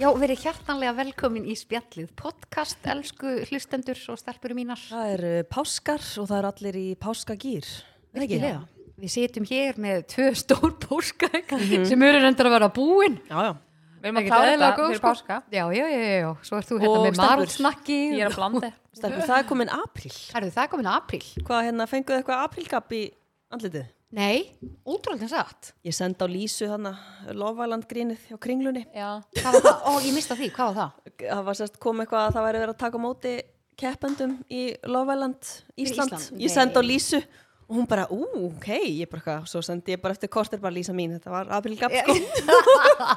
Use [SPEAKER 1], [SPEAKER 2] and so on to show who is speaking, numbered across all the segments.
[SPEAKER 1] Já, verið hjartanlega velkomin í spjallið podcast, elsku hlustendur og stelpurum mínar.
[SPEAKER 2] Það eru páskar og það eru allir í páskagýr. Er það ekki?
[SPEAKER 1] Virkilega. Við sitjum hér með tvö stór póskæk sem eru reyndar að vera búin.
[SPEAKER 2] Já, já.
[SPEAKER 3] Mhm. Við erum að klára þetta fyrir páska.
[SPEAKER 1] sko. Já, já, já, já, já. Svo ert þú hérna
[SPEAKER 2] Og
[SPEAKER 1] með
[SPEAKER 2] stelpur.
[SPEAKER 1] marútsnakki.
[SPEAKER 3] Ég er að blanda.
[SPEAKER 2] Stelpur, það er komin apríl.
[SPEAKER 1] Herðu, það er komin að apríl.
[SPEAKER 2] Hvað hérna, fenguðu eitthvað aprílgapp í andlitið?
[SPEAKER 1] Nei, útrúlega satt.
[SPEAKER 2] Ég sendi á Lísu þarna, Lofaland grínið hjá kringlunni.
[SPEAKER 3] Já.
[SPEAKER 1] Hvað var það? Ó, ég mista því, hvað var það?
[SPEAKER 2] Það var sérst kom eitthvað að það væri verið að taka á móti keppendum í Lofaland, Ísland.
[SPEAKER 1] Ísland?
[SPEAKER 2] Ég sendi á
[SPEAKER 1] Nei.
[SPEAKER 2] Lísu og hún bara, ú, ok, ég bara eitthvað, svo sendi ég bara eftir kortir bara Lísa mín, þetta var aprílgapp sko.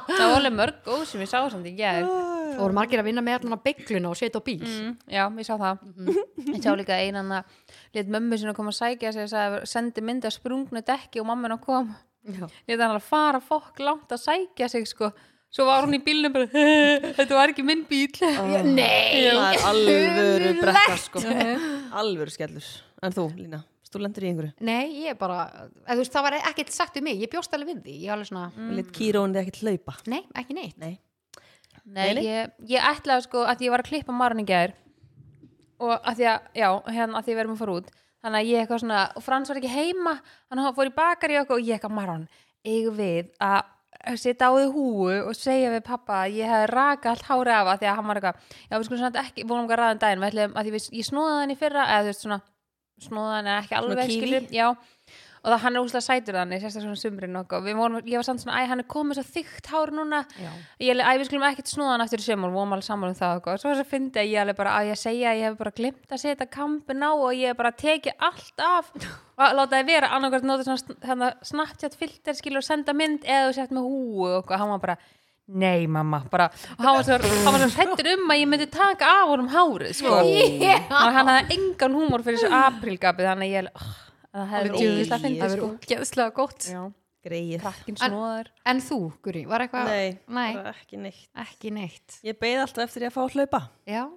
[SPEAKER 3] Það var alveg mörg góð sem ég sá samt í gerð.
[SPEAKER 1] Það voru margir að vinna með allan að byggluna og setja á bíl.
[SPEAKER 3] Mm, já, ég sá það. Ég sá líka einan að let mömmu sinna koma að sækja sig að sendi myndi að sprungnu dekki og mamma hennar kom.
[SPEAKER 1] Já.
[SPEAKER 3] Ég þannig að fara fokk langt að sækja sig sko. Svo var hún í bílnum bara, þetta var ekki minn bíl.
[SPEAKER 1] Nei!
[SPEAKER 2] Það er alvöru brekka sko. Alvöru skellur. En þú, Lína, stúlendur í einhverju?
[SPEAKER 1] Nei, ég bara, eða, þú veist, það var ekkert sagt um mig, ég bjóst alveg við því, ég var alveg svona,
[SPEAKER 2] Mm. Litt kýróin þið ekkert hlaupa.
[SPEAKER 1] nei, ekki neitt.
[SPEAKER 2] Nei.
[SPEAKER 3] Nei,
[SPEAKER 2] Nei, nei.
[SPEAKER 3] Ég, ég ætlaði sko að ég var að klippa marun í gær og að því að, já, hérna að því við erum að fara út þannig að ég eitthvað svona, og Frans var ekki heima þannig að hann fór í bakar í okkur og ég eitthvað marun eigum við að setja á því húu og segja við pappa að ég hef raka allt hári af að því að hann var eitthvað já, við skulum svona ekki, vorum eitthvað ræðan daginn við ætlum að því við, ég snóðaði hann í fyrra eða þú veist svona, snóðaði hann eða ekki
[SPEAKER 2] Svona
[SPEAKER 3] alveg
[SPEAKER 2] kiwi?
[SPEAKER 3] skilur, já og það hann er úslega sætur þannig, sérstaklega svona sumrin og eitthvað. Við vorum, ég var samt svona, æ, hann er komið svo þykkt hár núna
[SPEAKER 1] Já.
[SPEAKER 3] ég alveg, æ, við skulum ekkert snúða hann aftur í sömur, vorum alveg saman um það og eitthvað. svo þess að fyndi að ég alveg bara, að ég segja að ég hef bara glimt að setja kampin á og ég hef bara tekið allt af og að láta það vera, annarkvært nota svona sn- hérna, snartjátt filter skilur og senda mynd eða þú sett með húu og eitthvað, hann var bara nei mamma, bara, og hann var svo, hann var svo hrettur um að ég myndi taka af honum hárið, sko,
[SPEAKER 1] Yeah.
[SPEAKER 3] og hann hafði engan húmor fyrir þessu aprílgapið, þannig að ég alveg, oh, það hefði
[SPEAKER 2] Alveg
[SPEAKER 3] verið ógeðslega
[SPEAKER 2] ógeð,
[SPEAKER 3] fyndið,
[SPEAKER 1] Það verður
[SPEAKER 3] sko.
[SPEAKER 1] útgeðslega gott.
[SPEAKER 3] Já,
[SPEAKER 2] Greið.
[SPEAKER 3] krakkinn snúðaður.
[SPEAKER 1] En þú, Guri, var eitthvað?
[SPEAKER 2] Nei,
[SPEAKER 1] Nei.
[SPEAKER 2] bara ekki neitt.
[SPEAKER 1] Ekki neitt.
[SPEAKER 2] Ég beið alltaf eftir ég að fá að hlaupa.
[SPEAKER 1] Já,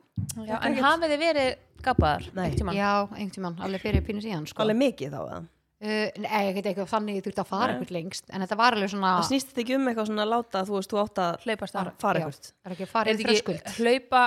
[SPEAKER 3] Já, en hafið þið verið gapaðar?
[SPEAKER 2] Nei.
[SPEAKER 3] einhvern tímann?
[SPEAKER 1] já, einhvern tímann, alveg fyrir pínu síðan, sko.
[SPEAKER 2] Alveg mikið þá eða.
[SPEAKER 1] Uh, nei, ég get ekki þannig þú ert að fara eitthvað lengst, en þetta var alveg svona...
[SPEAKER 2] Það snýst þetta ekki um eitthvað svona að láta að þú veist, þú átt að
[SPEAKER 3] Hlaupast
[SPEAKER 2] fara- fara
[SPEAKER 1] Já,
[SPEAKER 2] eitthvað.
[SPEAKER 1] Það er ekki að
[SPEAKER 3] Er
[SPEAKER 1] fara í
[SPEAKER 3] þetta ekki
[SPEAKER 1] þröskuld.
[SPEAKER 3] hlaupa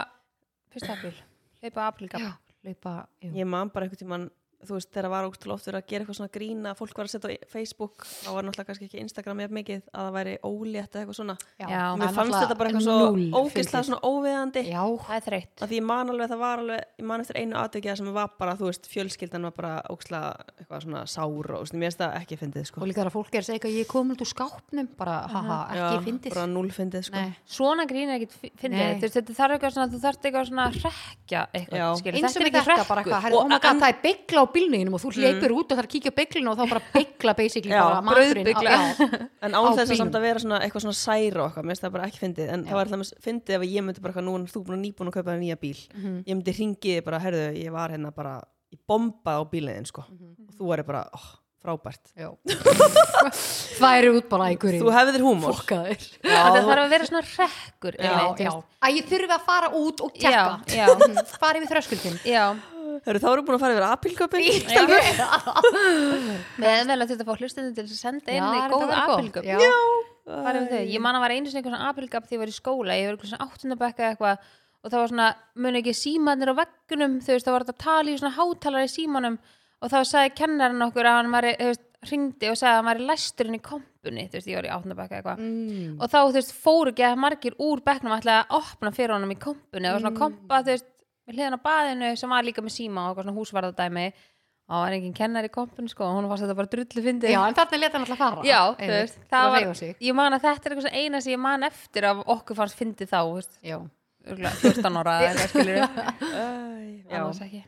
[SPEAKER 3] fyrsta apríl? Hlaupa apríl
[SPEAKER 1] Já,
[SPEAKER 3] gap.
[SPEAKER 1] hlaupa, jú.
[SPEAKER 2] Ég man bara einhvern tímann, þú veist, þegar var ógstulega oft verið að gera eitthvað svona grína, fólk var að setja á Facebook, þá var náttúrulega kannski ekki Instagram jafn mikið, að það væri ólétt eða eitthvað svona.
[SPEAKER 3] Já,
[SPEAKER 2] Og
[SPEAKER 1] það
[SPEAKER 2] mér
[SPEAKER 1] er
[SPEAKER 2] fannst
[SPEAKER 1] náttúrulega um
[SPEAKER 2] þetta bara eitthvað
[SPEAKER 1] núll
[SPEAKER 2] svo
[SPEAKER 1] fyndið.
[SPEAKER 2] ógeðslega svona óviðandi.
[SPEAKER 1] Já,
[SPEAKER 3] Það er þreytt.
[SPEAKER 2] að því ég man alveg að það var alveg, ég man eftir einu aðtökja sem var bara, þú veist, fjölskyldan var bara ókslega eitthvað svona sár og svona, mér finnst það ekki fyndið, sko.
[SPEAKER 1] og líka þegar fólk er að segja eitthvað, ég kom út úr skápnum, bara, haha,
[SPEAKER 2] Já,
[SPEAKER 1] ekki fyndið.
[SPEAKER 2] Bara núl fyndið, sko.
[SPEAKER 1] Nei.
[SPEAKER 3] Svona grín er ekki
[SPEAKER 1] Nei.
[SPEAKER 3] fyndið. Þú veist, Þetta þarf eitthvað svona, þú þarf eitthvað svona að rekja eitthvað.
[SPEAKER 2] Já.
[SPEAKER 3] skilur.
[SPEAKER 1] eins og
[SPEAKER 3] Þetta er
[SPEAKER 1] með
[SPEAKER 3] ekki
[SPEAKER 1] þetta bara eitthvað
[SPEAKER 3] rekku.
[SPEAKER 1] herri, oh my god, það er byggla á bílninum og þú hleypur út og það er að kíkja á bygglinu og þá bara byggla basically
[SPEAKER 2] Mm. Já,
[SPEAKER 1] bara maturinn
[SPEAKER 3] brauðbygla.
[SPEAKER 1] á- já.
[SPEAKER 2] En
[SPEAKER 1] Á
[SPEAKER 2] án þess að
[SPEAKER 1] bílnum.
[SPEAKER 2] samt að vera svona eitthvað svona særa og eitthvað, mér finnst það bara ekki fyndið, en það var alltaf fyndið ef ég myndi bara eitthvað, nú er þú búin að nýbúin að kaupa það nýja bíl,
[SPEAKER 1] Mhm.
[SPEAKER 2] ég myndi ringið bara, herðu, ég var hérna bara, ég bombað á bíliðin, sko,
[SPEAKER 1] Mhm.
[SPEAKER 2] og þú væri bara, oh, frábært.
[SPEAKER 1] Já. það eru út bara
[SPEAKER 2] Þú
[SPEAKER 1] einhverjum
[SPEAKER 2] hefðir húmór.
[SPEAKER 1] fokkaðir
[SPEAKER 3] Þetta þarf að vera svona rekkur.
[SPEAKER 1] já.
[SPEAKER 3] einmitt, þú veist.
[SPEAKER 1] að ég þurfi að fara út og tjekka
[SPEAKER 3] Já, já.
[SPEAKER 1] Mhm, fara yfir þröskuldin
[SPEAKER 3] Já,
[SPEAKER 2] Herru, þá erum búin að fara yfir apilköpun.
[SPEAKER 3] með meðlega þetta fá hlustinu til þess að senda inn í
[SPEAKER 1] þetta
[SPEAKER 3] góð
[SPEAKER 1] var gott.
[SPEAKER 3] aprílgap.
[SPEAKER 1] Já.
[SPEAKER 3] Bara um þau. Ég man að var einu sinni eitthvað svona aprilgap því ég var í skóla, ég var eitthvað svona áttundabekka eitthvað og það var svona, muni ekki símanir á veggunum, þú veist, það var þetta tala í svona hátalara í símanum og þá sagði kennarinn okkur að hann var, þú veist, ringdi og sagði að hann var læsturinn í kompunni, þú veist, ég var í áttundabekka eitthvað
[SPEAKER 1] Mm.
[SPEAKER 3] og þá, þú veist, fóru ekki að margir úr bekknum ætlaði að opna fyrir honum í kompunni og
[SPEAKER 1] Mm.
[SPEAKER 3] svona kompa, þú veist, með hliðan á baðinu sem var líka með síma og eitthvað svona húsvarðadæmi og hann er enginn kennar í kompunni, sko, og hún fannst þetta bara drullu fyndið
[SPEAKER 1] já, en þarna leta hann alltaf fara
[SPEAKER 3] Já, þú
[SPEAKER 1] Einmitt.
[SPEAKER 3] veist, það
[SPEAKER 1] að
[SPEAKER 3] var,
[SPEAKER 1] hreyfa sig.
[SPEAKER 3] ég man að þetta er eitthvað svona eina sem ég man eftir af okkur fannst fyndið þá, þú veist,
[SPEAKER 1] Já.
[SPEAKER 3] örugglega 14 ára eða eitthvað skilur
[SPEAKER 2] Æ, já.
[SPEAKER 3] annars ekki.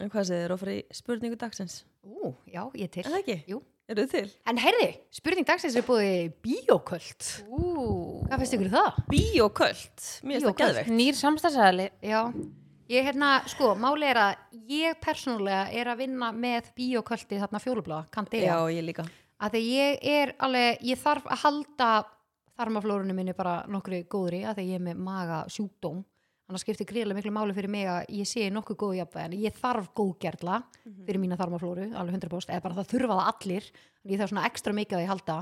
[SPEAKER 2] En hvað segir þér að fara í spurningu dagsins?
[SPEAKER 1] Ú, já, ég er til
[SPEAKER 2] Er það ekki?
[SPEAKER 1] Jú.
[SPEAKER 2] Eru þið til?
[SPEAKER 1] en heyrði, spurning dagsins er búið bíoköld
[SPEAKER 3] Ú,
[SPEAKER 1] hvað finnst ykkur um það?
[SPEAKER 2] Bíoköld, mér finnst það
[SPEAKER 1] Bíóköld.
[SPEAKER 2] geðveikt.
[SPEAKER 3] nýr samstagsæðali,
[SPEAKER 1] Já, ég hérna, sko, máli er að ég persónulega er að vinna með bíoköldið þarna fjólubla,
[SPEAKER 2] Já,
[SPEAKER 1] kandega,
[SPEAKER 2] ég líka.
[SPEAKER 1] að því ég er alveg, ég þarf að halda þarmaflórunum minni bara nokkru góðri að því ég er með maga sjúkdóm annars skiptir gríðlega miklu máli fyrir mig að ég sé nokkuð góð jafnvæg en ég þarf góðgerla fyrir mína þarmaflóru, alveg 100% eða bara það þurfa það allir, en ég þarf svona ekstra mikið að ég halda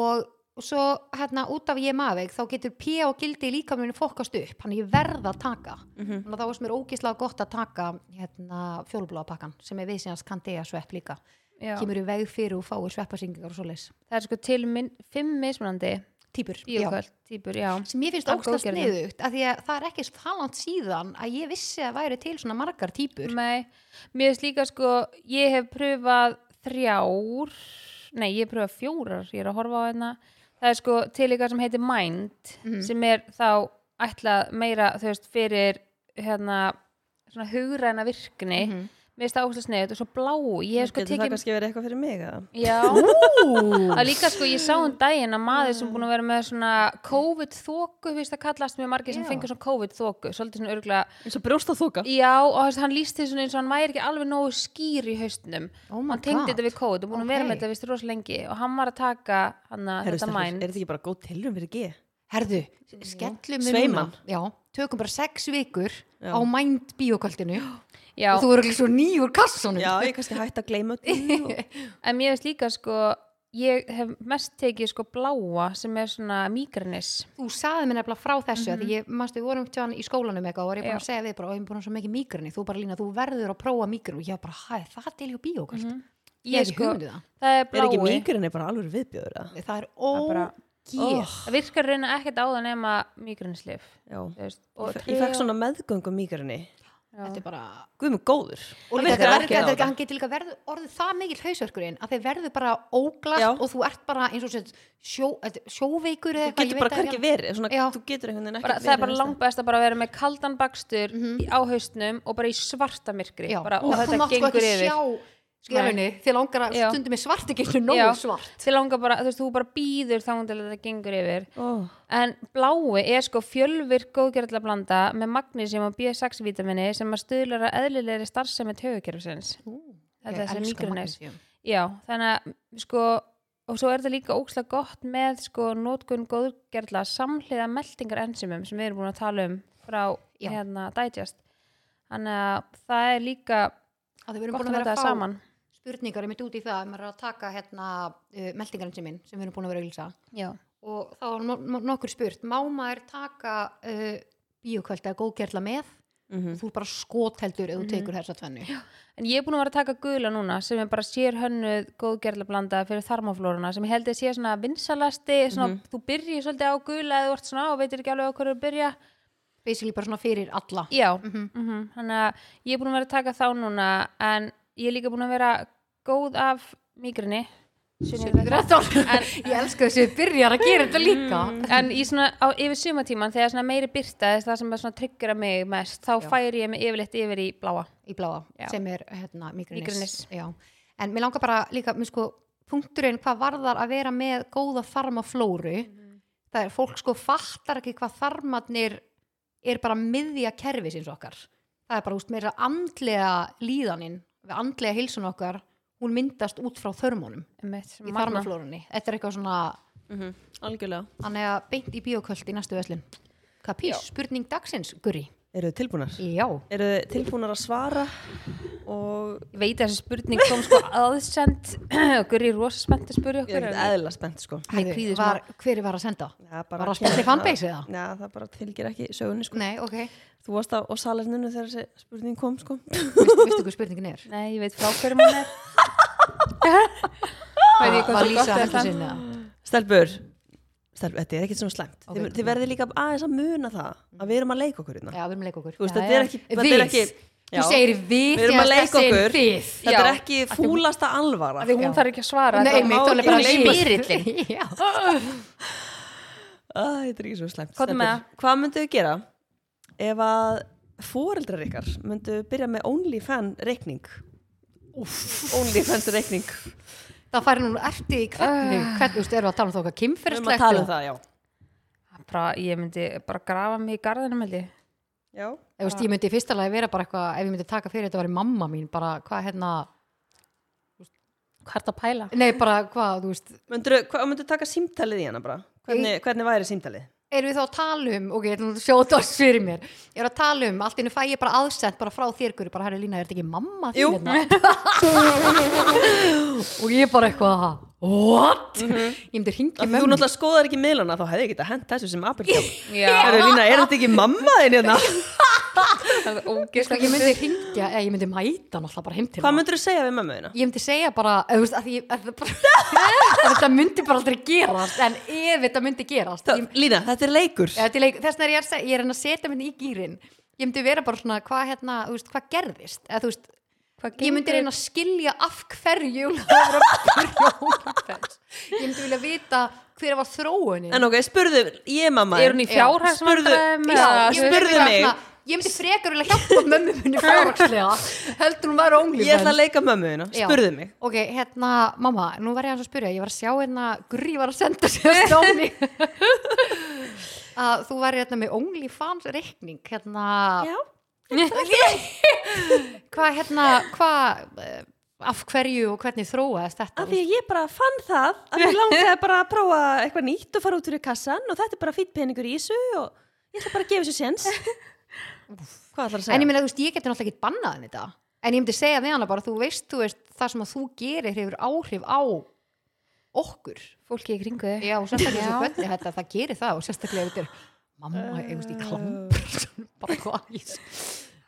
[SPEAKER 1] og og svo hérna út af ég maður þá getur pía og gildi í líkaminu fokast upp hann ég verð að taka
[SPEAKER 2] Mhm.
[SPEAKER 1] þannig að þá varst mér ógislega gott að taka hérna fjólubláðapakkan sem er viðsins kandega svepp líka
[SPEAKER 3] Já.
[SPEAKER 1] kemur í veg fyrir og fáir sveppasingingar og svoleiðis
[SPEAKER 3] það er sko til minn, fimm mismunandi
[SPEAKER 1] týpur
[SPEAKER 3] bíoköld típur, já
[SPEAKER 1] sem ég finnst
[SPEAKER 3] Af
[SPEAKER 1] ógstast
[SPEAKER 3] góðgerðum.
[SPEAKER 1] niðugt af því að það er ekki það langt síðan að ég vissi að væri til svona margar týpur
[SPEAKER 3] Nei, mér finnst líka sko ég hef pröfað þrjár nei, ég hef pröfað fjórar ég er að horfa á hérna það er sko til ykkar sem heitir Mind sem er þá ætlað meira þú veist, fyrir hérna svona hugræna virkni mér finnst það ógæslega sniðut og svo blá ég hef sko
[SPEAKER 2] Getur það
[SPEAKER 3] tekið
[SPEAKER 2] kannski verið eitthvað fyrir mig eða?
[SPEAKER 3] Já, það er líka sko, ég sá um daginn að maður sem búin að vera með svona COVID-þóku, við veist að kallast mjög margir sem
[SPEAKER 1] Já.
[SPEAKER 3] fengur svona COVID-þóku, svolítið svona örgulega
[SPEAKER 2] eins og brjóst að þóka
[SPEAKER 3] Já, og þess, hann líst því svona eins og hann væri ekki alveg nógu skýr í haustnum
[SPEAKER 1] Oh my
[SPEAKER 3] hann tengdi
[SPEAKER 1] God.
[SPEAKER 3] þetta við kóð og búin að vera
[SPEAKER 1] Ok.
[SPEAKER 3] með þetta vist rosa lengi og hann var að taka hann að
[SPEAKER 2] Herru,
[SPEAKER 3] þetta
[SPEAKER 2] stelpur,
[SPEAKER 3] mæn
[SPEAKER 2] er þetta ekki bara góð tilrum fyrir G?
[SPEAKER 1] herðu, skellum við
[SPEAKER 2] Sveiman.
[SPEAKER 1] núna. já, tökum bara sex vikur
[SPEAKER 2] Já.
[SPEAKER 1] á mænd bíoköldinu
[SPEAKER 3] Já,
[SPEAKER 1] og þú eru ekki svo nýjur kassunum
[SPEAKER 2] Já, ég kannski hætti að gleyma öllu og-
[SPEAKER 3] en mér veist líka sko ég hef mest tekið sko bláa sem er svona mígrenis
[SPEAKER 1] þú saði mér nefnilega frá þessu mm
[SPEAKER 3] Mhm.
[SPEAKER 1] -hmm. því ég, manstu, við vorum tjáðan í skólanum eitthvað og var ég bara að segja við bara, og ég er búin að svo mikið mígrunni þú bara lína, þú verður að prófa mígrun og ég var bara, hæ, það til hjá bíókvöld ég
[SPEAKER 3] Mhm. Ég
[SPEAKER 1] er ekki
[SPEAKER 3] sko-
[SPEAKER 1] hugmyndið það,
[SPEAKER 3] Það er
[SPEAKER 2] Er ekki
[SPEAKER 3] blái
[SPEAKER 2] mýgrinni bara alveg viðbjöður eða?
[SPEAKER 1] það er
[SPEAKER 3] er
[SPEAKER 1] ógér
[SPEAKER 3] bara- Það virkar reyna ekkert á það nema mígrenisleif
[SPEAKER 2] Já,
[SPEAKER 3] og
[SPEAKER 2] ég, fe- ég fekk svona meðgöngu mýgrinni
[SPEAKER 1] þetta er bara
[SPEAKER 2] Guð mig góður
[SPEAKER 1] og
[SPEAKER 2] virkar
[SPEAKER 1] líka, það er
[SPEAKER 2] ekki
[SPEAKER 1] ekki, þetta
[SPEAKER 2] á
[SPEAKER 1] er
[SPEAKER 2] það.
[SPEAKER 1] ekki, hann getur líka verð, orðið það mikil hausverkurinn að þeir verður bara óglast
[SPEAKER 2] Já.
[SPEAKER 1] og þú ert bara eins og sett, sjó, þetta- sjóveikur eða eitthvað,
[SPEAKER 2] Þú
[SPEAKER 1] ég
[SPEAKER 2] getur
[SPEAKER 1] veit
[SPEAKER 2] bara
[SPEAKER 1] það ekki
[SPEAKER 2] hvergi verið svona,
[SPEAKER 1] Já.
[SPEAKER 2] Þú getur einhvern veginn ekki
[SPEAKER 3] bara, það er bara langt best að bara vera með kaldan bakstur í áhaustnum og bara í svarta myrkri
[SPEAKER 1] Mhm. Já,
[SPEAKER 3] bara, og
[SPEAKER 1] þú
[SPEAKER 3] þetta
[SPEAKER 1] mátt sko
[SPEAKER 3] gengur
[SPEAKER 1] ekki
[SPEAKER 3] yfir
[SPEAKER 1] sjá skjölunni því langar að
[SPEAKER 3] Já.
[SPEAKER 1] stundum er svart ekki einu
[SPEAKER 3] Já.
[SPEAKER 1] nógu svart
[SPEAKER 3] Þið langar bara, þú veist, þú bara býður þannig til þetta gengur yfir.
[SPEAKER 2] oh.
[SPEAKER 3] En blái er sko fjölvirk góðgerðla blanda með magnísum og B6 vítamini sem að stuðlar að eðlilegri starfsemi tögukerfisins. Þetta er þessi mígrunnes. Já, þannig að sko, og svo er þetta líka ókslega gott með sko nótgun góðgerðla samhliða meldingar enzimum sem við erum búin að tala um frá
[SPEAKER 1] Já.
[SPEAKER 3] hérna Digest. Þannig að það er líka
[SPEAKER 1] að þau verðum
[SPEAKER 3] gott
[SPEAKER 1] búin að
[SPEAKER 3] að
[SPEAKER 1] vera
[SPEAKER 3] nota
[SPEAKER 1] að
[SPEAKER 3] það
[SPEAKER 1] fá
[SPEAKER 3] saman.
[SPEAKER 1] spurningar einmitt út í það ef maður er að taka hérna uh, meldingarinn sem minn sem við erum búin að vera að auglýsa
[SPEAKER 3] Já.
[SPEAKER 1] og þá var no- no- nokkur spurt má maður taka uh, bíokvöld eða góðgerla með
[SPEAKER 2] mm -hmm.
[SPEAKER 1] þú er bara skoteldur ef þú tekur þessa tvennu
[SPEAKER 3] En ég er búin að vera að taka gula núna sem er bara sér hönnuð góðgerðlablanda fyrir þarmaflóruna sem ég held að sé svona vinsalasti, svona, þú byrjir svolítið á gula eða þú ert svona og veitir ekki alveg á hverju að byrja.
[SPEAKER 1] basically bara svona fyrir alla
[SPEAKER 3] Já, mm þannig að ég er búin að vera að taka þá núna en ég er líka búin að vera góð af migrini.
[SPEAKER 1] en, Mm. ég elska þessi byrjar að gera þetta líka
[SPEAKER 3] En í svona, á, yfir sumatíman þegar svona meiri byrta, þess það sem að svona tryggjara mig mest, þá færi ég mig yfirleitt yfir í bláa.
[SPEAKER 1] í bláa
[SPEAKER 3] Já.
[SPEAKER 1] sem er hérna migrunis
[SPEAKER 3] Mígrenis.
[SPEAKER 1] en mér langar bara líka mér sko, punkturinn hvað varðar að vera með góða þarmaflóru það er fólk sko fattar ekki hvað þarmarnir er bara miðja kerfi sinns okkar það er bara úst meira andlega líðaninn við andlega hilsun okkar hún myndast út frá þörmónum
[SPEAKER 3] Einmitt,
[SPEAKER 1] í
[SPEAKER 3] magnað.
[SPEAKER 1] þarmaflórunni þetta er eitthvað svona
[SPEAKER 2] Algjörlega
[SPEAKER 1] hann er að beint í bíoköld í næstu veslun kapís, spurning dagsins, Guri
[SPEAKER 2] Eru þið tilbúnar?
[SPEAKER 1] já,
[SPEAKER 2] Eru þið tilbúnar að svara og
[SPEAKER 3] Ég veit að þessi spurning kom sko aðsend og Guri er rosa spennt að spurja
[SPEAKER 2] ég er
[SPEAKER 3] okkur
[SPEAKER 2] ekkert
[SPEAKER 3] en-
[SPEAKER 2] eðla spennt sko
[SPEAKER 3] Mér kvíðir smá.
[SPEAKER 1] var, hver var að senda?
[SPEAKER 2] Já, bara,
[SPEAKER 1] Var að spjalla í fanbase eða?
[SPEAKER 2] Já, það bara tilgir ekki sögunni sko
[SPEAKER 1] Nei, ok,
[SPEAKER 2] Þú varst á, á salerninu þegar þessi spurning kom sko
[SPEAKER 1] veistu, veistu hvað spurningin er?
[SPEAKER 3] Nei, ég veit frá hverjum hann er Veit ég hvað
[SPEAKER 1] Var
[SPEAKER 3] svo gott
[SPEAKER 1] Lísa
[SPEAKER 3] er
[SPEAKER 1] hættu
[SPEAKER 3] það
[SPEAKER 1] sinni það?
[SPEAKER 2] Stelbur, Stelbur, þetta er ekkert svona slæmt
[SPEAKER 1] Ok.
[SPEAKER 2] þið, þið verðið líka aðeins að muna það að við erum að leika okkur hérna
[SPEAKER 1] Já, við erum að leika okkur
[SPEAKER 2] Þú veist,
[SPEAKER 3] Já,
[SPEAKER 2] þetta er
[SPEAKER 3] já.
[SPEAKER 2] ekki, þetta
[SPEAKER 1] Við,
[SPEAKER 2] er ekki
[SPEAKER 1] þú segir við
[SPEAKER 2] Við erum að
[SPEAKER 1] þegar
[SPEAKER 2] leika
[SPEAKER 1] þessi er
[SPEAKER 2] okkur.
[SPEAKER 1] við
[SPEAKER 2] Þetta er
[SPEAKER 3] Já.
[SPEAKER 2] ekki fúlasta alvara
[SPEAKER 3] Því hún þarf ekki að svara
[SPEAKER 1] Nei,
[SPEAKER 3] þetta-
[SPEAKER 1] mig,
[SPEAKER 2] má
[SPEAKER 1] þá er bara
[SPEAKER 2] ekki
[SPEAKER 1] við.
[SPEAKER 3] spyrillin.
[SPEAKER 1] Já.
[SPEAKER 2] Æ, Þetta er ekki svo slæmt
[SPEAKER 3] Hvað er
[SPEAKER 2] Stelpur,
[SPEAKER 3] með það?
[SPEAKER 2] Hvað myndu þið gera ef að fóreldrar ykkar myndu byrja með OnlyFan reikning OnlyFans reikning
[SPEAKER 1] Það færi nú eftir í hvernig Hvernig, þú veist, erum við að tala um þá hvað
[SPEAKER 2] Ah. Við erum
[SPEAKER 1] kynferðslegt
[SPEAKER 2] að tala um það, já
[SPEAKER 3] bara, Ég myndi bara grafa mig í garðinum held ég
[SPEAKER 2] Já,
[SPEAKER 1] Ég, veist, ég myndi í fyrsta lagi vera bara eitthvað Ef ég myndi taka fyrir þetta var í mamma mín Bara hvað hérna
[SPEAKER 3] Hvað er það að pæla?
[SPEAKER 1] Nei, bara hvað, þú veist
[SPEAKER 2] myndu, hvað myndu taka símtalið í hana bara? Hvernig, hvernig væri símtalið?
[SPEAKER 1] erum við þá að tala um ok, ég ætlum að sjóta oss fyrir mér ég er að tala um, allt innu fæ ég bara aðsend bara frá þér, guri, bara herri Lína, er þetta ekki mamma þín
[SPEAKER 2] Jú.
[SPEAKER 1] hérna? og ég bara eitthvað what? ég myndi hringi
[SPEAKER 2] Mhm. Þú
[SPEAKER 1] mömmu
[SPEAKER 2] náttúrulega skoðar ekki miðlana, þá hefði ég getað hent þessu sem apelkjál.
[SPEAKER 3] Já.
[SPEAKER 2] Herru Lína, er þetta ekki mamma þinn hérna?
[SPEAKER 3] Það er
[SPEAKER 1] Sko,
[SPEAKER 3] ógeðslega
[SPEAKER 1] ég myndi hringja, eða ég myndi mæta náttúrulega bara heim til
[SPEAKER 2] Hvað
[SPEAKER 1] hennar.
[SPEAKER 2] myndur þú segja við mamma þina?
[SPEAKER 1] ég myndi segja bara, eða, þú veist, að því, að það bara, að þetta myndi bara aldrei gerast en ef þetta myndi gerast ég,
[SPEAKER 2] Lína, þetta er leikur.
[SPEAKER 1] eða, til, leik- þess vegna er ég, að seg- ég er að reyna að setja myndi í gýrin ég myndi vera bara svona, hvað hérna, þú veist, hvað gerðist eða þú veist,
[SPEAKER 3] Hvað
[SPEAKER 1] ég myndi reyna að skilja af hverju jólaferð var að byrja jólaferð. ég myndi vilja vita hver var þróunin
[SPEAKER 2] En ok, spurðu, ég mamma
[SPEAKER 3] Er hún í fjárhagsvandræðum?
[SPEAKER 2] Spurðu-
[SPEAKER 1] ég myndi vilja
[SPEAKER 2] Já, spurðu mig.
[SPEAKER 3] eða-
[SPEAKER 1] svona- ég myndi frekar vilja hjálpa mömmu minni fjárhagslega heldur hún væri ónglíf
[SPEAKER 2] Ég ætla að leika mömmu þina,
[SPEAKER 1] Já.
[SPEAKER 2] spurðu mig.
[SPEAKER 1] Ok, hérna, mamma, nú var ég aðeins að spyrja, ég var að sjá hérna, Guri var að senda sér stóni að þú væri hérna með OnlyFans reikning, hérna, hvað, hérna, hvað, eh, af hverju og hvernig þróaðist þetta?
[SPEAKER 2] Af því að ég bara fann það að ég langaði bara að prófa eitthvað nýtt og fara út úr í kassan og þetta er bara fýtt peningur í þessu og ég ætla bara að gefa þessu séns. Hvað ætlar að segja?
[SPEAKER 1] En ég meina, þú veist, ég geti náttúrulega ekki bannað henni þetta, en ég myndi segja við hana bara, þú veist, þú veist, það sem að þú gerir hefur áhrif á okkur.
[SPEAKER 3] Fólki í kringu þig.
[SPEAKER 1] Já, og sérstaklega eins og
[SPEAKER 3] Já.
[SPEAKER 1] hvernig þetta, það gerir það og sérstaklega ef þetta er mamma, ég veist, ég klampur, bara hvað, ég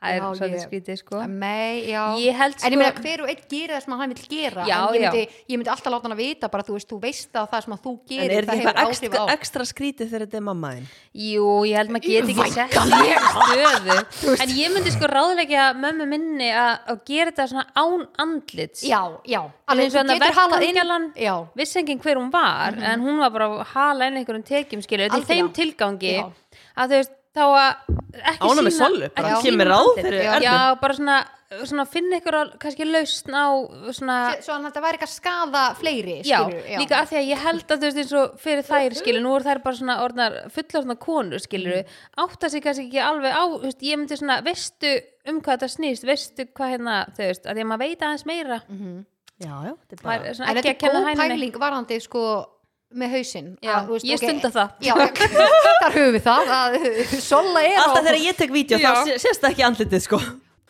[SPEAKER 3] Það er
[SPEAKER 1] Já,
[SPEAKER 3] svolítið
[SPEAKER 1] ég-
[SPEAKER 3] skrítið sko.
[SPEAKER 1] Nei, já
[SPEAKER 3] Ég held
[SPEAKER 1] En ég
[SPEAKER 3] sko-
[SPEAKER 1] meina hver og einn gerir það sem hann vil gera
[SPEAKER 3] Já,
[SPEAKER 1] en ég
[SPEAKER 3] já.
[SPEAKER 1] myndi, ég myndi alltaf láta hann að vita bara þú veist, þú veist að það sem að þú
[SPEAKER 2] En
[SPEAKER 1] gerir
[SPEAKER 2] er þetta
[SPEAKER 1] það hefur
[SPEAKER 2] eitthvað
[SPEAKER 1] áhrif á
[SPEAKER 2] ekstra, ekstra skrítið þegar þetta er mamma þinn?
[SPEAKER 3] Jú, ég held maður geti ekki sett
[SPEAKER 1] Væntanlega.
[SPEAKER 3] ég stöðu. En ég myndi sko ráðleggja mömmu minni að, að gera þetta svona án andlits.
[SPEAKER 1] Já, já
[SPEAKER 3] eins og
[SPEAKER 1] þú
[SPEAKER 3] hann að
[SPEAKER 1] getur halað inn-
[SPEAKER 3] verkangjalan-
[SPEAKER 1] Já,
[SPEAKER 3] vissi enginn hver hún var en hún var bara að hala inn einhverjum tekjum skilur, þetta er
[SPEAKER 1] Mhm. Algjörlega.
[SPEAKER 3] þeim tilgangi
[SPEAKER 1] Já.
[SPEAKER 3] að þú veist, þá að ekki
[SPEAKER 2] Ánægð með
[SPEAKER 3] sýna-
[SPEAKER 2] Sollu, bara
[SPEAKER 1] Já.
[SPEAKER 3] ekki
[SPEAKER 2] kemur
[SPEAKER 3] sýna
[SPEAKER 2] ráð
[SPEAKER 3] andlitið.
[SPEAKER 2] fyrir
[SPEAKER 3] já,
[SPEAKER 2] Erlu.
[SPEAKER 3] já, bara svona, svona finna ykkur á, kannski lausn á svona
[SPEAKER 1] svo hann þetta væri eitthvað að skaða fleiri
[SPEAKER 3] Já,
[SPEAKER 1] skilurðu,
[SPEAKER 3] líka að því að ég held að þú veist eins og fyrir þær skilur, nú eru þær bara svona orðnar fullorðna konur skilur,
[SPEAKER 1] Mhm.
[SPEAKER 3] átta sig kannski ekki alveg á, þú veist, ég myndi svona veistu um hvað þetta snýst, veistu hvað hérna, þú veist, að því að maður veit aðeins meira
[SPEAKER 2] Já, já, þetta er
[SPEAKER 3] maður er svona
[SPEAKER 1] Mhm. En þetta
[SPEAKER 3] ekki að
[SPEAKER 1] er
[SPEAKER 3] kenna
[SPEAKER 1] góð
[SPEAKER 3] hænunni
[SPEAKER 1] pæling varandi sko með hausinn
[SPEAKER 3] Já,
[SPEAKER 1] að, þú veist,
[SPEAKER 3] ég
[SPEAKER 1] ok,
[SPEAKER 3] stunda það.
[SPEAKER 1] Já, þar höfum við það að, Sola er á-
[SPEAKER 2] Alltaf þegar ég tek vídeo
[SPEAKER 3] Já.
[SPEAKER 2] þá sé- sést það ekki andlitið sko.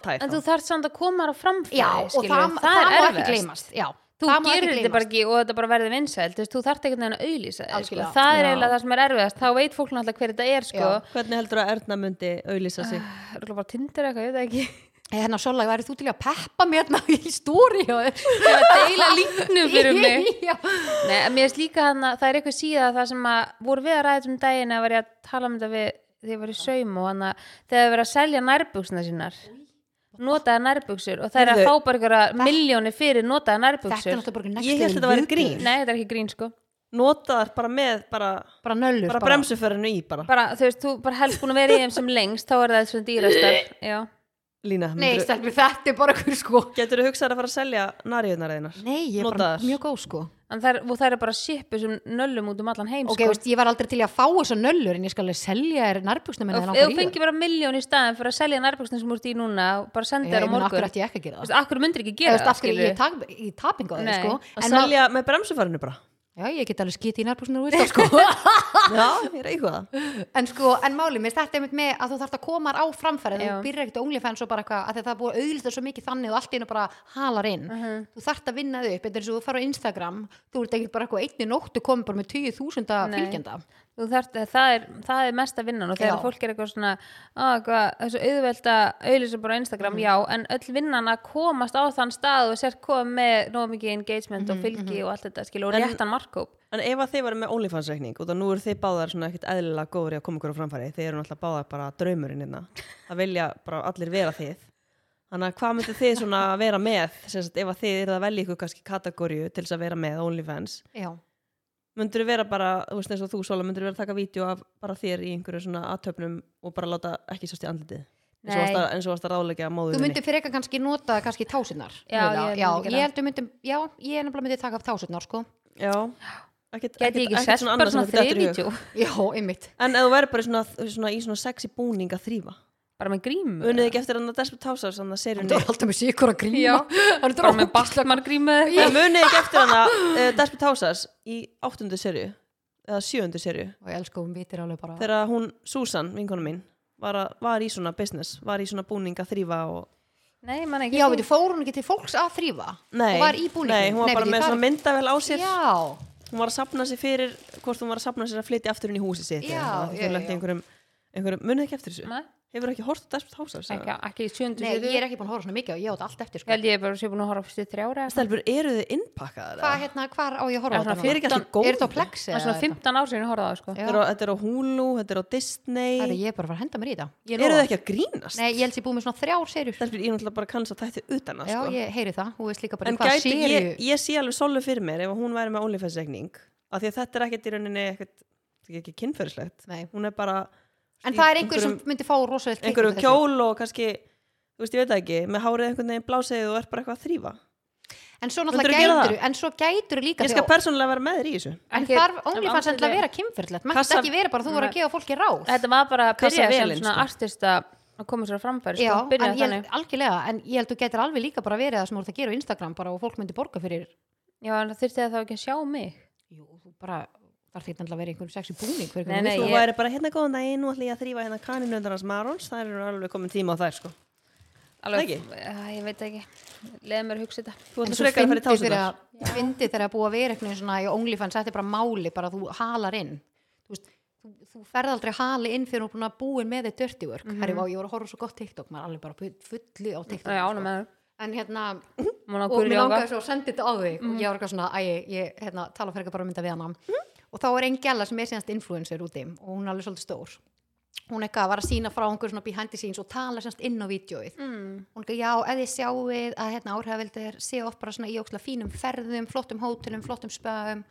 [SPEAKER 2] Tær
[SPEAKER 3] En
[SPEAKER 2] þá.
[SPEAKER 3] þú þarf samt að koma þar á framfæri
[SPEAKER 1] Já, og það,
[SPEAKER 3] skilur,
[SPEAKER 1] það,
[SPEAKER 3] er
[SPEAKER 1] má ekki
[SPEAKER 3] erfiðast.
[SPEAKER 1] gleymast Já,
[SPEAKER 3] Þú
[SPEAKER 1] það má ekki sko.
[SPEAKER 3] gerir þetta
[SPEAKER 1] gleymast.
[SPEAKER 3] bara ekki og þetta bara verði vinsælt þú veist, þú þarft ekkert neina að auðlýsa þig sko.
[SPEAKER 1] Algjörlega.
[SPEAKER 3] Það er
[SPEAKER 2] Já.
[SPEAKER 3] eiginlega það sem er erfiðast þá veit fólk náttúrulega hver þetta er sko.
[SPEAKER 1] Já.
[SPEAKER 2] Hvernig heldur að Erna myndi auðlýsa sig?
[SPEAKER 1] Ah.
[SPEAKER 3] Það er bara tindir eitthvað, ég veit það ekki
[SPEAKER 1] Hey, Hérna Sola, væri þú til í að peppa mér hérna í stóri hjá þér?
[SPEAKER 3] Til að deila líknum fyrir mig
[SPEAKER 1] Já.
[SPEAKER 3] Nei, en mér finnst líka hann að það er eitthvað síða það sem að voru við að ræða um daginn að var ég að tala um þetta við þegar ég var í saum og hann að þegar það verið að selja nærbuksna sínar notaða nærbuksur og það er að
[SPEAKER 2] Heyrðu,
[SPEAKER 3] fá bara einhverja miljónir fyrir notaða
[SPEAKER 1] Þetta er
[SPEAKER 3] nærbuksur
[SPEAKER 1] náttúrulega bara next
[SPEAKER 2] Ég
[SPEAKER 1] level
[SPEAKER 2] hélt þetta væri
[SPEAKER 1] viðbjóður.
[SPEAKER 2] grín.
[SPEAKER 3] Nei, þetta er ekki grín sko
[SPEAKER 2] Notaðar bara með, bara,
[SPEAKER 1] Bara nöllur.
[SPEAKER 2] bara bremsuferðinu í bara.
[SPEAKER 3] bara, þú veist, þú bara helst búin að vera í þeim sem lengst þá er það svona dýrastar já.
[SPEAKER 2] Lína,
[SPEAKER 1] Nei, stelpur, þetta er bara einhver sko.
[SPEAKER 2] getur þú hugsað að fara að selja nariðunar einar?
[SPEAKER 1] Nei, ég er bara
[SPEAKER 2] Notaðar.
[SPEAKER 1] mjög góð sko.
[SPEAKER 3] En þær, og það er bara sippu sem nöllum út um allan heim
[SPEAKER 1] Ok, sko. Veist, ég var aldrei til í að fá þessa nöllur en ég skal alveg selja þér hérna nærbuksna minna
[SPEAKER 3] og ef þú fengir bara miljón í staðin fyrir að selja nærbuksnum sem úr því núna og bara senda þér á
[SPEAKER 1] Akkur
[SPEAKER 3] morgun
[SPEAKER 1] ætti ég ekki að gera það.
[SPEAKER 3] akkur myndir ekki
[SPEAKER 1] Ég
[SPEAKER 3] gera
[SPEAKER 1] veist, af hverju ég
[SPEAKER 3] skilurðu?
[SPEAKER 1] tap, ég tapinga það,
[SPEAKER 3] Nei.
[SPEAKER 1] sko.
[SPEAKER 2] Að
[SPEAKER 1] En
[SPEAKER 2] selja með bremsuferðinu bara?
[SPEAKER 1] má- já, ég get alveg skítið í nærbúksinu úr það, sko.
[SPEAKER 2] Já, ég reyku það.
[SPEAKER 1] en sko, en málið minnst, þetta er einmitt með að þú þarft að koma þar á framfæri. Þú
[SPEAKER 3] Já.
[SPEAKER 1] byrjar ekkert OnlyFans og bara eitthvað, af því að það er búið að auðlita svo mikið þannig og allt í einu bara halar inn.
[SPEAKER 3] Mhm.
[SPEAKER 1] þú þarft að vinna þau upp, þetta er eins og þú farið á Instagram þú ert ekkert bara eitthvað einni nóttu komið bara með 20.000
[SPEAKER 3] Nei.
[SPEAKER 1] fylgjenda
[SPEAKER 3] Þú þarft, eh, það, er, það er mesta vinnan og þegar
[SPEAKER 1] Já.
[SPEAKER 3] fólk er eitthvað svona "Ah, hvað, þessu auðvelda auðlýsa bara á Instagram, já, en öll vinnan að komast á þann stað og sér koma með nóg mikið engagement og fylgi og allt þetta skilur og
[SPEAKER 2] En-
[SPEAKER 3] réttan markkóp
[SPEAKER 2] En ef að þið varum með OnlyFans reikning og það nú eru þið báðar svona ekkert eðlilega góður í að koma ykkur á framfæri, þið eru náttúrulega báðar bara draumurinn hérna, að vilja bara allir vera þið. Þannig að hvað myndir þið svona vera með, sem sagt, ef að þið eru að velja ykkur kannski kategóriu til þess að vera með á OnlyFans,
[SPEAKER 1] já,
[SPEAKER 2] myndur vera bara, þú veist eins og þú Sola, myndur vera að taka vídeo af bara þér í einhverju svona aðtöfnum og bara láta ekki sást í andlitið eins og
[SPEAKER 3] Nei.
[SPEAKER 2] varst að- eins og varst að ráðleggja móður
[SPEAKER 1] þú myndir fyrir eitthvað kannski nota kannski tásinnar
[SPEAKER 3] Já, ég
[SPEAKER 1] já,
[SPEAKER 3] myndi gera
[SPEAKER 1] ég
[SPEAKER 3] það.
[SPEAKER 1] heldur myndi, já, ég er nefnilega myndi taka upp tásinnar sko,
[SPEAKER 2] já, ekkert,
[SPEAKER 3] Gæti ég ekki selt
[SPEAKER 2] annað
[SPEAKER 3] bara
[SPEAKER 2] sem
[SPEAKER 3] svona
[SPEAKER 2] þetta dettur í hug.
[SPEAKER 3] þriðvídjó
[SPEAKER 1] já, einmitt
[SPEAKER 2] en ef þú verður bara í svona, svona, í svona sexy búning að þrýfa
[SPEAKER 3] bara með grímu
[SPEAKER 2] unnið ekki eftir hann að Desperate Housewives þannig að
[SPEAKER 1] þú
[SPEAKER 2] serjunni
[SPEAKER 1] er alltaf með sikur að
[SPEAKER 3] Já.
[SPEAKER 1] gríma hann er
[SPEAKER 3] bara með
[SPEAKER 1] bara
[SPEAKER 3] baklagmar grímu
[SPEAKER 2] eh, En munið ekki eftir hann að Desperate Housewives í áttundu serju eða sjöundu serju
[SPEAKER 1] og elskum vitir alveg bara
[SPEAKER 2] þegar hún, Susan, vinkonu mín var, að, var í svona business, var í svona búninga þrýfa og
[SPEAKER 3] Nei, mann ekki
[SPEAKER 1] Já, veitir, fór hún ekki til fólks að þrýfa
[SPEAKER 2] Nei,
[SPEAKER 1] og var í búningum
[SPEAKER 2] nei, hún var bara
[SPEAKER 1] veitir,
[SPEAKER 2] með
[SPEAKER 1] þar-
[SPEAKER 2] svona myndavel á sér
[SPEAKER 1] Já,
[SPEAKER 2] hún var að sapna sér fyrir hvort hún var að sapna sér að flytja aftur inn í húsi sitt
[SPEAKER 1] Já,
[SPEAKER 2] eða
[SPEAKER 1] já,
[SPEAKER 2] eitthvað, hún lenti í
[SPEAKER 1] já.
[SPEAKER 2] einhverjum, einhverjum munið ekki eftir þessu
[SPEAKER 3] Nei.
[SPEAKER 2] hefur ekki hort á Desperate Housewives
[SPEAKER 3] ekki,
[SPEAKER 2] eða?
[SPEAKER 3] ekki í sjöndu
[SPEAKER 1] nei, ég
[SPEAKER 3] sér
[SPEAKER 1] er ekki búin að horfa svona mikið og ég á þetta allt eftir
[SPEAKER 3] Ég
[SPEAKER 1] sko.
[SPEAKER 3] held ég bara sé búin að horfa fyrstu þrjára Það
[SPEAKER 2] stelpur eru þið innpakkaðar
[SPEAKER 1] Hvað
[SPEAKER 2] eða?
[SPEAKER 1] hérna, hvar á ég að
[SPEAKER 3] Já,
[SPEAKER 1] horfa á
[SPEAKER 3] svona
[SPEAKER 1] þetta?
[SPEAKER 2] fyrir ekki allir
[SPEAKER 1] núna? Er þetta á
[SPEAKER 2] góð.
[SPEAKER 1] Plex
[SPEAKER 3] er
[SPEAKER 1] eða
[SPEAKER 3] svona
[SPEAKER 1] þetta?
[SPEAKER 3] 15 ár sinni horfaði á það, sko
[SPEAKER 1] Já.
[SPEAKER 2] þetta er á- þetta er á Hulu, þetta er á Disney
[SPEAKER 1] Herri, ég er bara að fara að henda mér í þetta. Ég
[SPEAKER 2] eru
[SPEAKER 1] lofa.
[SPEAKER 2] þið ekki að grínast
[SPEAKER 1] Nei, ég held sér búið með svona þrjár serjur.
[SPEAKER 2] stelpur, ég er náttúrulega bara kanns að þætti utan að
[SPEAKER 1] Já,
[SPEAKER 2] sko.
[SPEAKER 1] ég heyri það. Þú veist líka bara
[SPEAKER 2] en
[SPEAKER 1] í hvað
[SPEAKER 2] gæti,
[SPEAKER 1] serju.
[SPEAKER 2] ég, ég sé alveg solu fyrir mér ef hún væri með OnlyFans-regning af því að þetta er ekkert í rauninni ekkert, þetta er ekki kynferðislegt
[SPEAKER 1] Nei.
[SPEAKER 2] hún er bara
[SPEAKER 1] En
[SPEAKER 2] í
[SPEAKER 1] það er einhver sem
[SPEAKER 2] einhverjum-
[SPEAKER 1] myndi fá rosalega klikk
[SPEAKER 2] einhverjum
[SPEAKER 1] með þessu.
[SPEAKER 2] kjól og kannski þú veist, ég veit það ekki, með hárið einhvern veginn blásið og er bara eitthvað að þrýfa
[SPEAKER 1] En svo
[SPEAKER 2] Myndirðu
[SPEAKER 1] náttúrulega
[SPEAKER 2] gera það?
[SPEAKER 1] gætur, en svo gætur líka
[SPEAKER 2] ég skal persónulega vera með þér í þessu
[SPEAKER 1] En
[SPEAKER 3] Ekki-
[SPEAKER 1] þarf
[SPEAKER 3] en
[SPEAKER 1] OnlyFans
[SPEAKER 3] ástæðið-
[SPEAKER 1] endilega að vera kynferðlegt. Mætti
[SPEAKER 2] Kassa-
[SPEAKER 1] ekki vera bara að þú voru að gefa fólki ráð.
[SPEAKER 3] Þetta var bara að byrja sem
[SPEAKER 2] Kassavelin,
[SPEAKER 3] svona
[SPEAKER 2] sko.
[SPEAKER 3] artista að koma sér á framfæri
[SPEAKER 1] Já,
[SPEAKER 3] sko.
[SPEAKER 1] en
[SPEAKER 3] Byrjaði
[SPEAKER 1] ég held
[SPEAKER 3] þannig.
[SPEAKER 1] algjörlega, en ég held þú getur alveg líka bara verið það sem þú ert að gera á Instagram bara og fólk myndi borga fyrir
[SPEAKER 3] Já, en það þurfti það þá ekki að sjá mig
[SPEAKER 1] Jú, þú bara, þarf ekki endilega að vera í einhverjum sexy búning fyrir
[SPEAKER 3] Nei,
[SPEAKER 1] einhverjum
[SPEAKER 3] nei,
[SPEAKER 2] þú
[SPEAKER 1] vilt.
[SPEAKER 3] ég-
[SPEAKER 2] væri bara hérna góðan daginn, nú ætla ég að þrýfa hérna kaninundarnas marons, það eru alveg komin tíma á þær sko.
[SPEAKER 3] Alveg,
[SPEAKER 2] Ekki?
[SPEAKER 3] að, Ég veit ekki, leið mér að hugsa þetta
[SPEAKER 2] þú
[SPEAKER 1] En
[SPEAKER 2] ætla
[SPEAKER 1] svo
[SPEAKER 2] frekar að fara í
[SPEAKER 1] fyndi þegar
[SPEAKER 2] tásunar
[SPEAKER 1] að fyndi þegar að búa að vera eitthvað svona í OnlyFans, þetta er bara máli, bara þú halar inn þú, veist, þú, þú ferð aldrei hali inn fyrir að búin með þið dirty work mm -hmm. herri, vá, ég voru að horfa á svo gott TikTok, maður er alveg bara fullu á TikTok
[SPEAKER 3] Það Mhm. er
[SPEAKER 1] sko.
[SPEAKER 3] ánum með
[SPEAKER 1] en hérna,
[SPEAKER 3] það
[SPEAKER 1] og mér langaði svo að senda þetta á þig og ég var eitthvað svona, æ, ég hérna, tala fyrir bara að mynda við hana og þá er einn gæla sem er síðanst influencer úti og hún er alveg svolítið stór hún eitthvað var að sína frá einhver svona behind the scenes og tala semst inn á vídjóið
[SPEAKER 3] Mm.
[SPEAKER 1] hún eitthvað, já, ef þið sjáuð að hérna áhrifaveldir séu oft bara svona í óksla fínum ferðum, flottum hótelum, flottum spöðum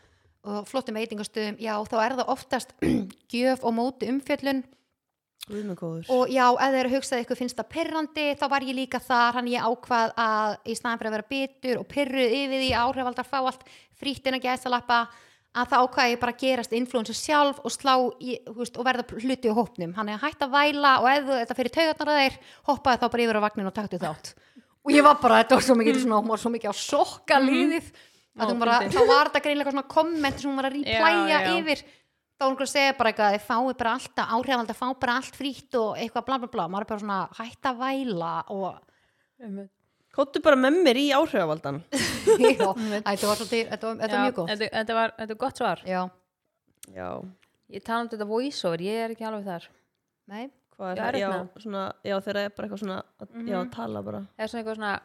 [SPEAKER 1] og flottum veitingastöðum, já, þá er það oftast gjöf og móti umfjöllun
[SPEAKER 2] Guðmengóður
[SPEAKER 1] og já, ef þeir hugsaði ykkur finnst það pyrrandi þá var ég líka þar, hann ég ákvað að í staðan fyrir að vera bitur og pyrruð yfir því áhrifaldar fá allt frítin að gæsa lappa að það ákvaði ég bara að gerast influencer sjálf og slá í, þú veist, og verða hluti á hópnum hann er hægt að væla og ef þú- þetta fyrir taugarnar að þeir hoppaði þá bara yfir á vagnin og taktu þátt og ég var bara, þetta var svo mikið svona, hún var svo mikið á sokka líðið að hún var að, þá var þetta greinlega svona komment sem hún var að replæja
[SPEAKER 3] já.
[SPEAKER 1] yfir þá hún að segja bara eitthvað að þið fái bara alltaf áhrifald að fá bara allt frýtt og eitthvað bla bla bla maður er bara svona hætt að væla og
[SPEAKER 2] Kóttu bara með mér í áhrifavaldan
[SPEAKER 1] Já, æ, þetta var svolítið, þetta var, þetta var mjög góð
[SPEAKER 3] Þetta þetta var þetta er gott svar
[SPEAKER 1] já,
[SPEAKER 2] Já,
[SPEAKER 3] Ég tala um þetta voiceover, ég er ekki alveg þar
[SPEAKER 1] nei,
[SPEAKER 2] hvað
[SPEAKER 3] Já,
[SPEAKER 2] er það?
[SPEAKER 3] erfitt
[SPEAKER 2] Já,
[SPEAKER 3] með
[SPEAKER 2] svona, já þeirra er bara eitthvað svona að,
[SPEAKER 1] Mhm.
[SPEAKER 2] Já, tala bara
[SPEAKER 3] Það er svona eitthvað svona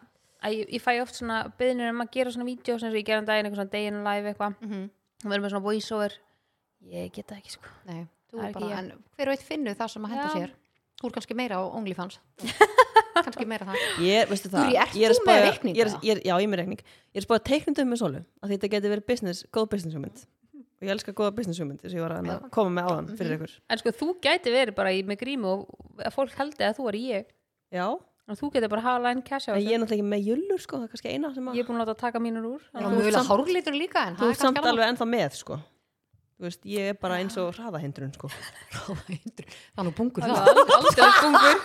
[SPEAKER 3] að ég, ég fæ oft svona byrðinir um að gera svona vídeo sem ég gera um daginn, eitthvað svona day in live eitthvað
[SPEAKER 1] mm
[SPEAKER 3] og verður með svona voiceover Ég get það ekki sko
[SPEAKER 1] nei þú
[SPEAKER 3] Það er ekki
[SPEAKER 1] bara,
[SPEAKER 3] ég.
[SPEAKER 1] en hver og eitt finnur það sem að henda
[SPEAKER 3] Já.
[SPEAKER 1] sér þú er kannski meira á OnlyFans kannski meira það
[SPEAKER 2] Ég, veistu það
[SPEAKER 1] Júri, ert
[SPEAKER 2] ég að
[SPEAKER 1] þú með
[SPEAKER 2] spá-
[SPEAKER 1] reikning,
[SPEAKER 2] ég er,
[SPEAKER 1] eða?
[SPEAKER 2] ég er, Já, ég er með reikning Ég er spáð að teiknum dömum með sólu að Þetta geti verið business, góð business hugmynd Og ég elska góða business hugmynd Þess að ég var að að koma með áðan
[SPEAKER 1] Mhm.
[SPEAKER 2] fyrir ykkur
[SPEAKER 3] En sko þú gæti verið bara í, með grímu og að fólk haldi að þú er ég
[SPEAKER 2] Já,
[SPEAKER 3] og þú getur bara að hafa line cash
[SPEAKER 2] en
[SPEAKER 3] á þessu
[SPEAKER 2] ég er náttúrulega ekki með jullur sko Það er kannski eina sem að
[SPEAKER 3] Ég er búin að láta að taka mínur úr
[SPEAKER 1] Já,
[SPEAKER 3] þannig að-
[SPEAKER 1] mjög vel
[SPEAKER 2] samt-
[SPEAKER 1] að hárlítur líka en
[SPEAKER 2] Þú
[SPEAKER 1] það er
[SPEAKER 2] ert samt
[SPEAKER 1] kannski alveg
[SPEAKER 2] alveg ennþá með sko Þú veist, ég er bara eins og hraðahindrun sko
[SPEAKER 1] það er nú bungur það
[SPEAKER 3] aldrei stungur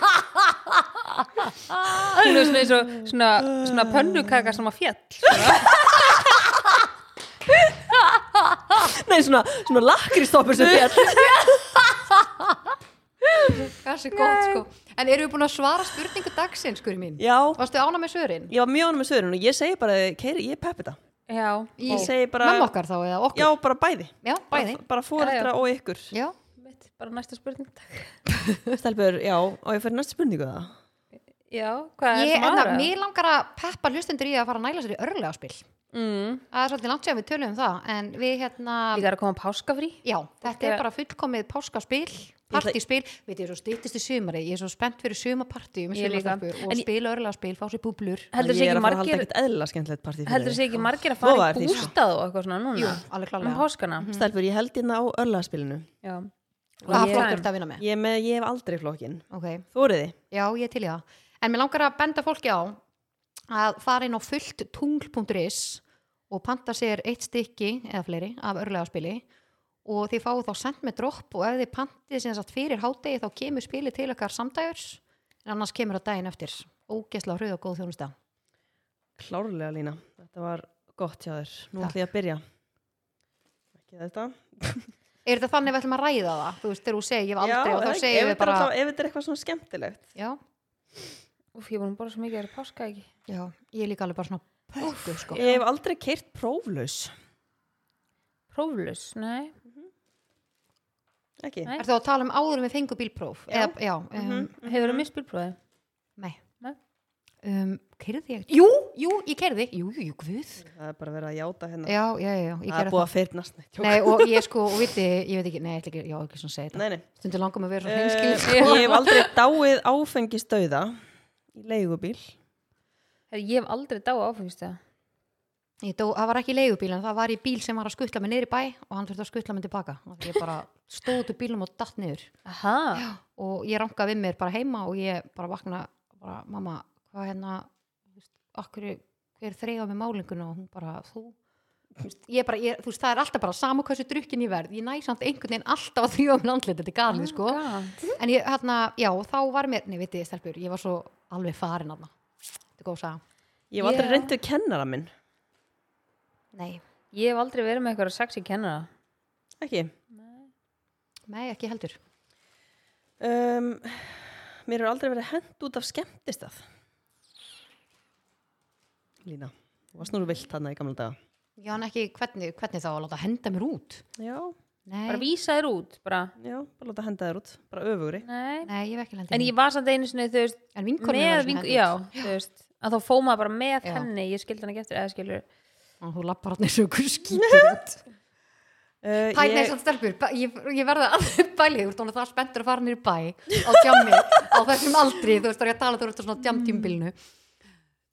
[SPEAKER 3] hún er svona eins og svona, svona pönnukaka sem að fjall
[SPEAKER 2] Nei, svona, svona lakristoppur sem fjall
[SPEAKER 1] það er svo gott sko en eru við búin að svara spurningu dagsins skurri mín
[SPEAKER 2] Já,
[SPEAKER 1] varstu ána með svörin?
[SPEAKER 2] ég var mjög ánum með söðurinn og ég segi bara, keiri, ég peppi það
[SPEAKER 3] já,
[SPEAKER 1] Í
[SPEAKER 2] Ég segi bara,
[SPEAKER 1] Mamma okkar þá eða okkur?
[SPEAKER 2] já, bara bæði
[SPEAKER 1] Já, bæði.
[SPEAKER 2] Bara, bara fóreldra
[SPEAKER 3] Já, já.
[SPEAKER 2] og ykkur
[SPEAKER 1] Já,
[SPEAKER 3] mitt, bara næsta spurning takk.
[SPEAKER 2] Stelbur, já, og ég fyrir næstu spurningu það
[SPEAKER 3] já, hvað
[SPEAKER 1] ég,
[SPEAKER 3] er
[SPEAKER 1] en
[SPEAKER 3] það
[SPEAKER 1] það, mér langar að peppa hlustendur í að fara að næla sér í örlega spil.
[SPEAKER 3] mm.
[SPEAKER 1] Það er svolítið langt sér við tölum um það, en við hérna,
[SPEAKER 3] ég þarf að koma á páskafrí
[SPEAKER 1] já, þetta
[SPEAKER 3] Ég-
[SPEAKER 1] er bara fullkomið páskaspil, partíspil, veit ég er svo stýttist í sumari, ég er svo spennt fyrir sumapartíum
[SPEAKER 3] Ég líka.
[SPEAKER 1] og
[SPEAKER 3] En ég-
[SPEAKER 1] spila örlega spil, fá sér búblur.
[SPEAKER 3] heldur
[SPEAKER 2] Ég
[SPEAKER 3] þessi
[SPEAKER 2] er
[SPEAKER 3] ekki
[SPEAKER 2] að fara að halda
[SPEAKER 3] margir
[SPEAKER 2] ekkert eðlilega skemmtilegt partí fyrir þig.
[SPEAKER 3] heldur þessi ekki margir að
[SPEAKER 2] Lofa
[SPEAKER 3] fara
[SPEAKER 2] þér
[SPEAKER 3] í
[SPEAKER 2] því, sko.
[SPEAKER 3] bústað og eitthvað svona núna
[SPEAKER 1] Jú, alveg
[SPEAKER 3] um
[SPEAKER 1] klálega.
[SPEAKER 3] páskana
[SPEAKER 2] Stelbur, ég held hérna á örlaðspilinu
[SPEAKER 3] já,
[SPEAKER 1] Það er
[SPEAKER 3] ég-
[SPEAKER 1] flokkur þetta að vinna með.
[SPEAKER 2] ég, er með, ég hef aldrei flokkin
[SPEAKER 1] Ok.
[SPEAKER 2] Þóriði,
[SPEAKER 1] Já, ég er til í það. En mér langar að benda fólki á að fara inn á fulltungl.is og panta sér eitt stykki eða fleiri af örlega spili og þið fáið þá sent með dropp og ef þið pantið sem sagt fyrir hádegi þá kemur spili til okkar samdægurs en annars kemur það daginn eftir. Ógesla hröð og góð þjónusta.
[SPEAKER 2] klárlega Lína Þetta var gott hjá þér, nú
[SPEAKER 1] Takk.
[SPEAKER 2] ætlum ég að byrja Ekki þetta
[SPEAKER 1] er þetta þannig að við ætlum að ræða það þú veist, þegar þú segir ég hef aldrei
[SPEAKER 2] Já,
[SPEAKER 1] og
[SPEAKER 2] eða
[SPEAKER 1] þá
[SPEAKER 2] ekki,
[SPEAKER 1] segir
[SPEAKER 2] ef
[SPEAKER 1] við
[SPEAKER 2] þetta er
[SPEAKER 1] bara
[SPEAKER 2] alltaf- Ef þetta er eitthvað svona skemmtilegt
[SPEAKER 1] já,
[SPEAKER 3] Úf, ég búin að bóra svo mikið að það er páska ekki.
[SPEAKER 1] já, ég er líka alveg bara svona pökku sko.
[SPEAKER 2] Ég hef aldrei keirt próflaus
[SPEAKER 3] Próflus, nei.
[SPEAKER 2] Ekki
[SPEAKER 3] Nei.
[SPEAKER 1] er það að tala um áður en við fengum bílpróf
[SPEAKER 2] Já. Mhm.
[SPEAKER 1] Eða, já um,
[SPEAKER 3] Hefur þú misspilprófið?
[SPEAKER 1] nei
[SPEAKER 3] Nei.
[SPEAKER 1] um, kerði ég jú, jú, ég kerði, jú, jú, jú, guð
[SPEAKER 2] Það er bara verið að játa hérna
[SPEAKER 1] já, já, já, já, ég
[SPEAKER 2] Það
[SPEAKER 1] gerði
[SPEAKER 2] er
[SPEAKER 1] það
[SPEAKER 2] búið að fyrnast Nei, tjók.
[SPEAKER 1] nei, og ég sko, og viti, ég veit ekki nei, ég ætla ekki, já, ekki svona að segja þetta
[SPEAKER 2] nei, nei.
[SPEAKER 1] stundir langar mig að vera svona
[SPEAKER 2] Uh,
[SPEAKER 1] hinskil
[SPEAKER 2] Ég hef aldrei dáið áfengistauða í leigubíl
[SPEAKER 3] Ég hef aldrei dáið áfengist það.
[SPEAKER 1] Ég dó, það var ekki leigubíl en það var í bíl sem var að skuttla mig niður í bæ og hann þurfti að skuttla mig tilbaka og því ég bara stóð út úr bílum og datt niður
[SPEAKER 3] Aha.
[SPEAKER 1] og ég rankaði við mér bara heima og ég bara vakna bara, mamma, hvað hérna þú veist, akkur, hver þreif á mig málinguna og hún bara, þú þú veist, ég bara, ég, þú veist, það er alltaf bara sama hversu drukkin ég verð, ég næ samt einhvern veginn alltaf að þrjóða minn andlit, þetta er galið sko
[SPEAKER 3] Gant.
[SPEAKER 1] en ég, hérna, já, þá var mér, nei, vitið, stelpur ég var svo alveg farin aðna þetta er góð saga,
[SPEAKER 2] Ég hef aldrei
[SPEAKER 3] Já.
[SPEAKER 2] yeah. reyndið kennara minn
[SPEAKER 1] nei,
[SPEAKER 3] Ég hef aldrei verið með eitthvað sexy kennara.
[SPEAKER 2] Ekki
[SPEAKER 1] nei, ekki heldur
[SPEAKER 2] um, Mér hefur aldrei verið hent út af skemmtistað Lína Þú varst nú vilt þarna í gamla daga
[SPEAKER 1] Já, en ekki hvernig, hvernig þá að láta henda mér út?
[SPEAKER 2] Já,
[SPEAKER 1] Nei,
[SPEAKER 3] Bara vísa þér út, bara.
[SPEAKER 2] já, bara láta henda þér út Bara öfugri
[SPEAKER 3] Nei.
[SPEAKER 1] nei ég hef ekki henda
[SPEAKER 3] En ég var samt einu sinni, þú veist,
[SPEAKER 1] En vinkonur
[SPEAKER 3] með
[SPEAKER 1] var
[SPEAKER 3] vink,
[SPEAKER 1] henda
[SPEAKER 3] já,
[SPEAKER 1] út.
[SPEAKER 3] þú veist, að þá fóð maður bara með
[SPEAKER 1] Já.
[SPEAKER 3] henni, ég skildi hann ekki eftir, eða skilur,
[SPEAKER 1] Og þú lappar hann þessu okkur skýtur út.
[SPEAKER 2] uh,
[SPEAKER 1] Hæ, nei,
[SPEAKER 2] ég,
[SPEAKER 1] svo stelpur, ba- ég, ég verða að bæli, þú ert þannig það spenntur að fara nýr bæ á djammi, á þessum aldri, þú veist, þá er ég að tala, þú ert á svona djamtímbilinu.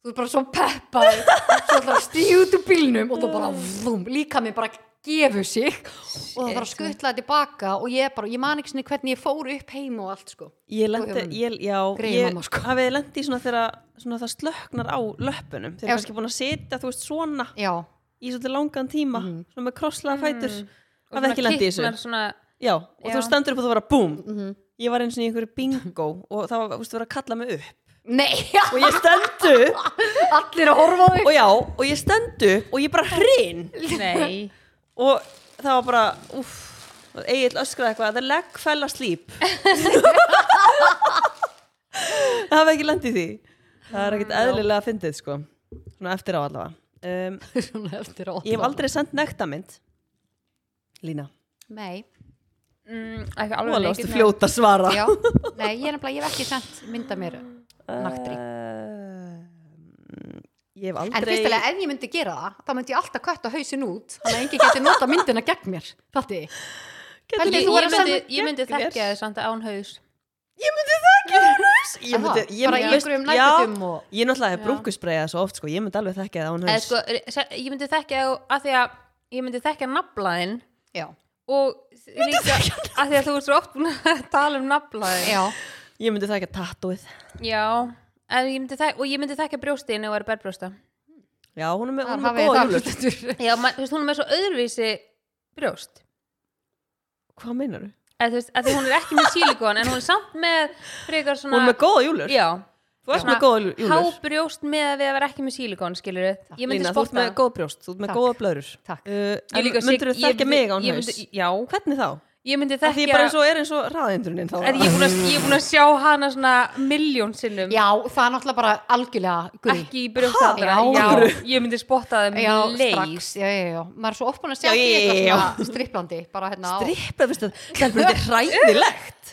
[SPEAKER 1] Þú ert bara svo peppað, svo ætlar að stíð út úr bílnum og þú bara, vum, líka mig bara gefur sig og það þarf að skuttla þetta tilbaka og ég bara, ég man ekki sinni hvernig ég fór upp heim og allt, sko.
[SPEAKER 2] ég lendi ég, Já,
[SPEAKER 1] Grey
[SPEAKER 2] ég
[SPEAKER 1] mamma, sko.
[SPEAKER 2] hafið lendi svona þegar svona það slöknar á löppunum
[SPEAKER 1] Já,
[SPEAKER 2] Þeir eru kannski búin að sitja, þú veist, svona
[SPEAKER 1] Já,
[SPEAKER 2] í svolítið langan tíma svona með
[SPEAKER 1] Mm.
[SPEAKER 2] krosslega fætur hafið ekki lendi í þessu
[SPEAKER 3] kittnar svona,
[SPEAKER 2] Já, og þú
[SPEAKER 3] Já.
[SPEAKER 2] stendur upp og þú bara búm
[SPEAKER 1] Mhm.
[SPEAKER 2] Ég var eins og í einhverju bingo og það var, þú veist, það var að kalla mig upp
[SPEAKER 1] nei,
[SPEAKER 2] og ég stend upp
[SPEAKER 1] allir að horfa á þig.
[SPEAKER 2] og já, og ég stend upp og ég bara hrin
[SPEAKER 3] nei,
[SPEAKER 2] og það var bara, uff Egil öskraði eitthvað, það er legg fell slíp það hafði ekki lendið því það er ekkert eðlilega að fyndið sko svona eftir á allavega um,
[SPEAKER 1] svona eftir á
[SPEAKER 2] ég hef aldrei sendt nektamind Lína,
[SPEAKER 1] Nei,
[SPEAKER 3] mm, ekki
[SPEAKER 2] þú
[SPEAKER 3] alveg
[SPEAKER 2] alveg ástu
[SPEAKER 3] leikirnar.
[SPEAKER 2] fljóta að svara
[SPEAKER 1] já, nei, ég er nefnilega, ég hef ekki sendt mynda mér naktri.
[SPEAKER 2] Um, ég hef
[SPEAKER 1] En
[SPEAKER 2] aldrei
[SPEAKER 1] fyrstilega, ef ég myndi gera það, þá myndi ég alltaf kvætta hausin út, þannig að enginn geti nota myndina gegn mér, fatti.
[SPEAKER 2] Getur
[SPEAKER 1] Pældi,
[SPEAKER 3] Ég,
[SPEAKER 1] þú
[SPEAKER 2] þú-
[SPEAKER 1] var að
[SPEAKER 3] ég myndi,
[SPEAKER 1] senda
[SPEAKER 3] ég myndi
[SPEAKER 2] gegn þér.
[SPEAKER 3] þekkja þér samt án haus
[SPEAKER 2] ég myndi,
[SPEAKER 1] það,
[SPEAKER 2] ég
[SPEAKER 1] bara
[SPEAKER 2] myndi,
[SPEAKER 1] í
[SPEAKER 2] veist-
[SPEAKER 1] einhverjum
[SPEAKER 2] já,
[SPEAKER 1] næftum og...
[SPEAKER 2] Ég náttúrulega hef brúkusbreiða svo oft sko, ég myndi alveg þekka það án
[SPEAKER 3] eða
[SPEAKER 2] haus.
[SPEAKER 3] sko, se- ég myndi þekkja þú að því að ég myndi þekkja naflaðin
[SPEAKER 1] Já,
[SPEAKER 3] og líka að því að þú ert svo oft búin að tala um naflaðin
[SPEAKER 1] já,
[SPEAKER 2] Ég myndi þekka tattooið.
[SPEAKER 3] já, en ég myndi þekkja og ég myndi þekkja brjóstin og er berbrjósta
[SPEAKER 2] Já, hún er með, hún
[SPEAKER 1] það
[SPEAKER 2] er með
[SPEAKER 1] hafið
[SPEAKER 2] góða
[SPEAKER 1] það
[SPEAKER 2] júlur.
[SPEAKER 1] hlutur.
[SPEAKER 3] já, ma- þú veist, hún er með svo öðruvísi brjóst
[SPEAKER 2] Hvað meinar þú?
[SPEAKER 3] eða þú veist, að því hún er ekki með sílikon en hún er samt með frekar svona
[SPEAKER 2] Hún er með góða júlur.
[SPEAKER 3] já,
[SPEAKER 2] Þú ert með góða júlur.
[SPEAKER 3] hábrjóst með að við að vera ekki með sílikon skilur ég myndi
[SPEAKER 2] Lína, þú ert
[SPEAKER 3] spotta
[SPEAKER 2] með góð brjóst, þú ert með
[SPEAKER 1] Takk.
[SPEAKER 2] góða blöður.
[SPEAKER 1] Takk.
[SPEAKER 2] Uh,
[SPEAKER 3] Ég líka sig-
[SPEAKER 2] myndur þú
[SPEAKER 3] ég
[SPEAKER 2] þekka
[SPEAKER 3] myndi-
[SPEAKER 2] mig án
[SPEAKER 3] ég
[SPEAKER 2] haus?
[SPEAKER 3] myndi- já.
[SPEAKER 2] Hvernig þá?
[SPEAKER 3] ég myndi
[SPEAKER 2] Það því
[SPEAKER 3] þekkja
[SPEAKER 2] ég bara eins og er eins og raðindrunin þá.
[SPEAKER 3] En ég er búin að- ég er búin að sjá hana svona miljón sinnum
[SPEAKER 1] Já, það er náttúrulega bara algjörlega guð.
[SPEAKER 3] ekki í brjóstaldra
[SPEAKER 1] Ha? Já.
[SPEAKER 3] já, ég myndi spotta þeim
[SPEAKER 1] Já,
[SPEAKER 3] leis
[SPEAKER 1] strax, já, já, já, maður er svo oft búin að sjá
[SPEAKER 2] Já,
[SPEAKER 1] því
[SPEAKER 2] já, já,
[SPEAKER 1] eitthvað
[SPEAKER 2] já.
[SPEAKER 1] svona striplandi, bara hérna á...
[SPEAKER 2] Drippa, veistu, það er bara þetta er hræðilegt.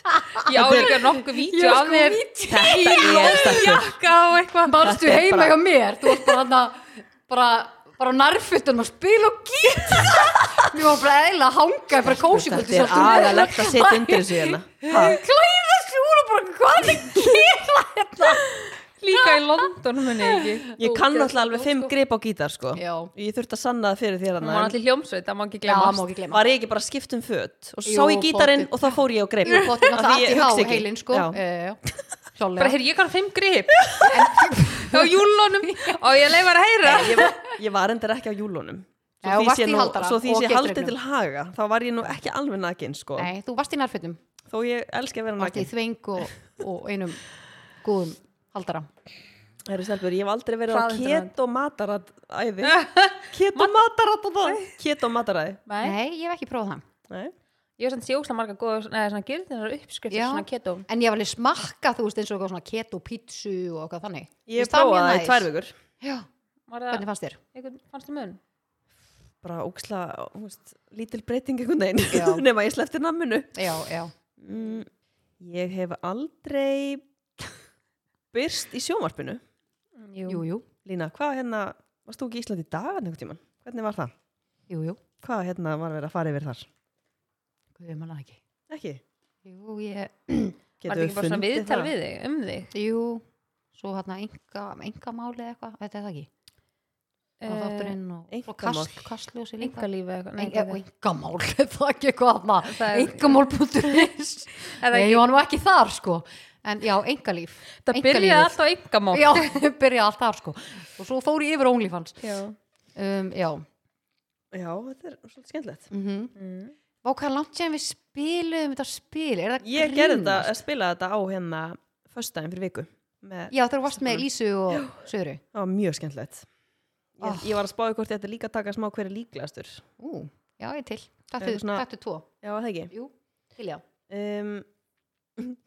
[SPEAKER 3] ég á líka nokkuð vítjó
[SPEAKER 1] sko
[SPEAKER 3] af mér
[SPEAKER 2] Þetta er stakkur.
[SPEAKER 3] jakka og eitthvað
[SPEAKER 1] Barstu
[SPEAKER 2] Þetta er
[SPEAKER 1] heima
[SPEAKER 2] bara-
[SPEAKER 1] hjá mér, þú varst bara hérna, bara, bara nærfuttunum að spila og gíta. Mér var bara eðla að hanga, bara kósi
[SPEAKER 2] Þetta er agalegt að setja undir þessu hérna. Ha?
[SPEAKER 1] Klæða sig úr og bara, hvað er að gera hérna?
[SPEAKER 3] líka í London muni ekki
[SPEAKER 2] Ég kann náttúrulega alveg fimm grip á gítar sko
[SPEAKER 1] Já.
[SPEAKER 2] Ég þurfti að sanna það fyrir þér
[SPEAKER 3] hún var
[SPEAKER 2] hana
[SPEAKER 3] allir hljómsveit, það má ekki
[SPEAKER 1] Já, má
[SPEAKER 3] glemast
[SPEAKER 1] ekki glema.
[SPEAKER 2] Var ég ekki bara að skipta um föt Og sá
[SPEAKER 1] Jú,
[SPEAKER 2] ég gítarinn
[SPEAKER 1] pottþétt.
[SPEAKER 2] og þá fór ég á greip
[SPEAKER 1] Jú, pottir
[SPEAKER 2] Af því
[SPEAKER 1] náttúrulega
[SPEAKER 2] ég
[SPEAKER 1] allt í há
[SPEAKER 2] hugsa ekki.
[SPEAKER 1] heilin, sko.
[SPEAKER 2] Já.
[SPEAKER 3] bara,
[SPEAKER 1] Sjólega.
[SPEAKER 3] heyrðu, ég kann fimm grip á júlunum og ég leifar að heyra
[SPEAKER 2] Ég var- Ég var endur ekki á júlunum
[SPEAKER 1] Nei, þú
[SPEAKER 2] Svo
[SPEAKER 1] varst
[SPEAKER 2] því sé
[SPEAKER 1] í
[SPEAKER 2] nú-
[SPEAKER 1] haldara
[SPEAKER 2] svo því
[SPEAKER 1] og
[SPEAKER 2] sé haldið
[SPEAKER 1] gestraugnum.
[SPEAKER 2] til haga Þá var ég nú ekki alveg nakin sko
[SPEAKER 1] Nei, þú varst í nærfuttum.
[SPEAKER 2] Þó ég elski að vera
[SPEAKER 1] Varst í
[SPEAKER 2] nakin
[SPEAKER 1] þveng og, og einum góðum haldara.
[SPEAKER 2] Herru stelpur, ég hef aldrei verið á
[SPEAKER 3] Hraðindrann.
[SPEAKER 2] keto matarat Æði Keto matarat og það Keto mataræði
[SPEAKER 1] Nei, ég hef ekki prófað það.
[SPEAKER 2] Nei
[SPEAKER 3] Ég hef samt sjókslega marga góða svona, svona gyrðinar uppskriftir
[SPEAKER 1] Já.
[SPEAKER 3] svona keto
[SPEAKER 1] en ég hef alveg smakka þú veist eins og eitthvað svona keto pítsu og eitthvað þannig
[SPEAKER 2] Ég
[SPEAKER 1] Finnst það
[SPEAKER 2] prófaði
[SPEAKER 1] mjög
[SPEAKER 2] það í
[SPEAKER 1] næs?
[SPEAKER 2] tvær vikur
[SPEAKER 1] já,
[SPEAKER 3] Var það,
[SPEAKER 1] hvernig fannst þér?
[SPEAKER 3] einhvern, fannst þið mun?
[SPEAKER 2] bara óksla, þú veist, lítil breyting einhvern
[SPEAKER 1] Já.
[SPEAKER 2] veginn, nema ég slefti naminu
[SPEAKER 1] já, já,
[SPEAKER 2] mm, Ég hef aldrei byrst í sjónvarpinu
[SPEAKER 1] jú, jú,
[SPEAKER 2] Lína, hvað hérna, varst þú ekki í Íslandi í dag þarna einhvern tímann? Hvernig var það?
[SPEAKER 1] jú, jú
[SPEAKER 2] Hvað hérna var verið að fara yfir þar?
[SPEAKER 1] Guð, ég manna ekki
[SPEAKER 2] Ekki?
[SPEAKER 1] jú, ég,
[SPEAKER 3] Var það ekki bara svona viðtal við þig, um þig?
[SPEAKER 1] jú, svo hérna enga, enga máli eitthvað, þetta er það ekki og þátturinn og, og
[SPEAKER 2] einkamál.
[SPEAKER 1] kast, kastljósi líka
[SPEAKER 3] Engalífi Eh, eitthvað nei,
[SPEAKER 1] En-
[SPEAKER 3] hvað
[SPEAKER 1] og engamál, er það ekki eitthvað þarna
[SPEAKER 3] Það er-
[SPEAKER 1] engamál.is
[SPEAKER 3] er það
[SPEAKER 1] Nei,
[SPEAKER 3] ekki-
[SPEAKER 1] ég var nú ekki þar sko en já, engalíf
[SPEAKER 3] Það byrjaði allt á engamál
[SPEAKER 1] Já, byrjaði allt þar sko og svo fór ég yfir á OnlyFans
[SPEAKER 3] Já.
[SPEAKER 1] um, Já,
[SPEAKER 2] Já, þetta er svolítið skemmtilegt
[SPEAKER 1] mhm mm
[SPEAKER 3] Mm.
[SPEAKER 1] Vá, hvað er langt séðan við spiluðum þetta spil er það
[SPEAKER 2] Ég gerði þetta, eh,
[SPEAKER 1] grínast?
[SPEAKER 2] að spila þetta á hérna föstudaginn fyrir viku með,
[SPEAKER 1] Já, þegar þú varst með Lísu og Söru
[SPEAKER 2] það var mjög skemmtilegt ég,
[SPEAKER 3] Ah.
[SPEAKER 1] Oh.
[SPEAKER 2] ég var að spáði hvort ég ætti líka að taka smá hverja líklegastur Já,
[SPEAKER 1] Ú, já, ég er til
[SPEAKER 2] Eitthvað
[SPEAKER 1] Taktu
[SPEAKER 2] svona-
[SPEAKER 1] taktu tvo
[SPEAKER 2] það ekki
[SPEAKER 1] Jú, til já
[SPEAKER 2] um,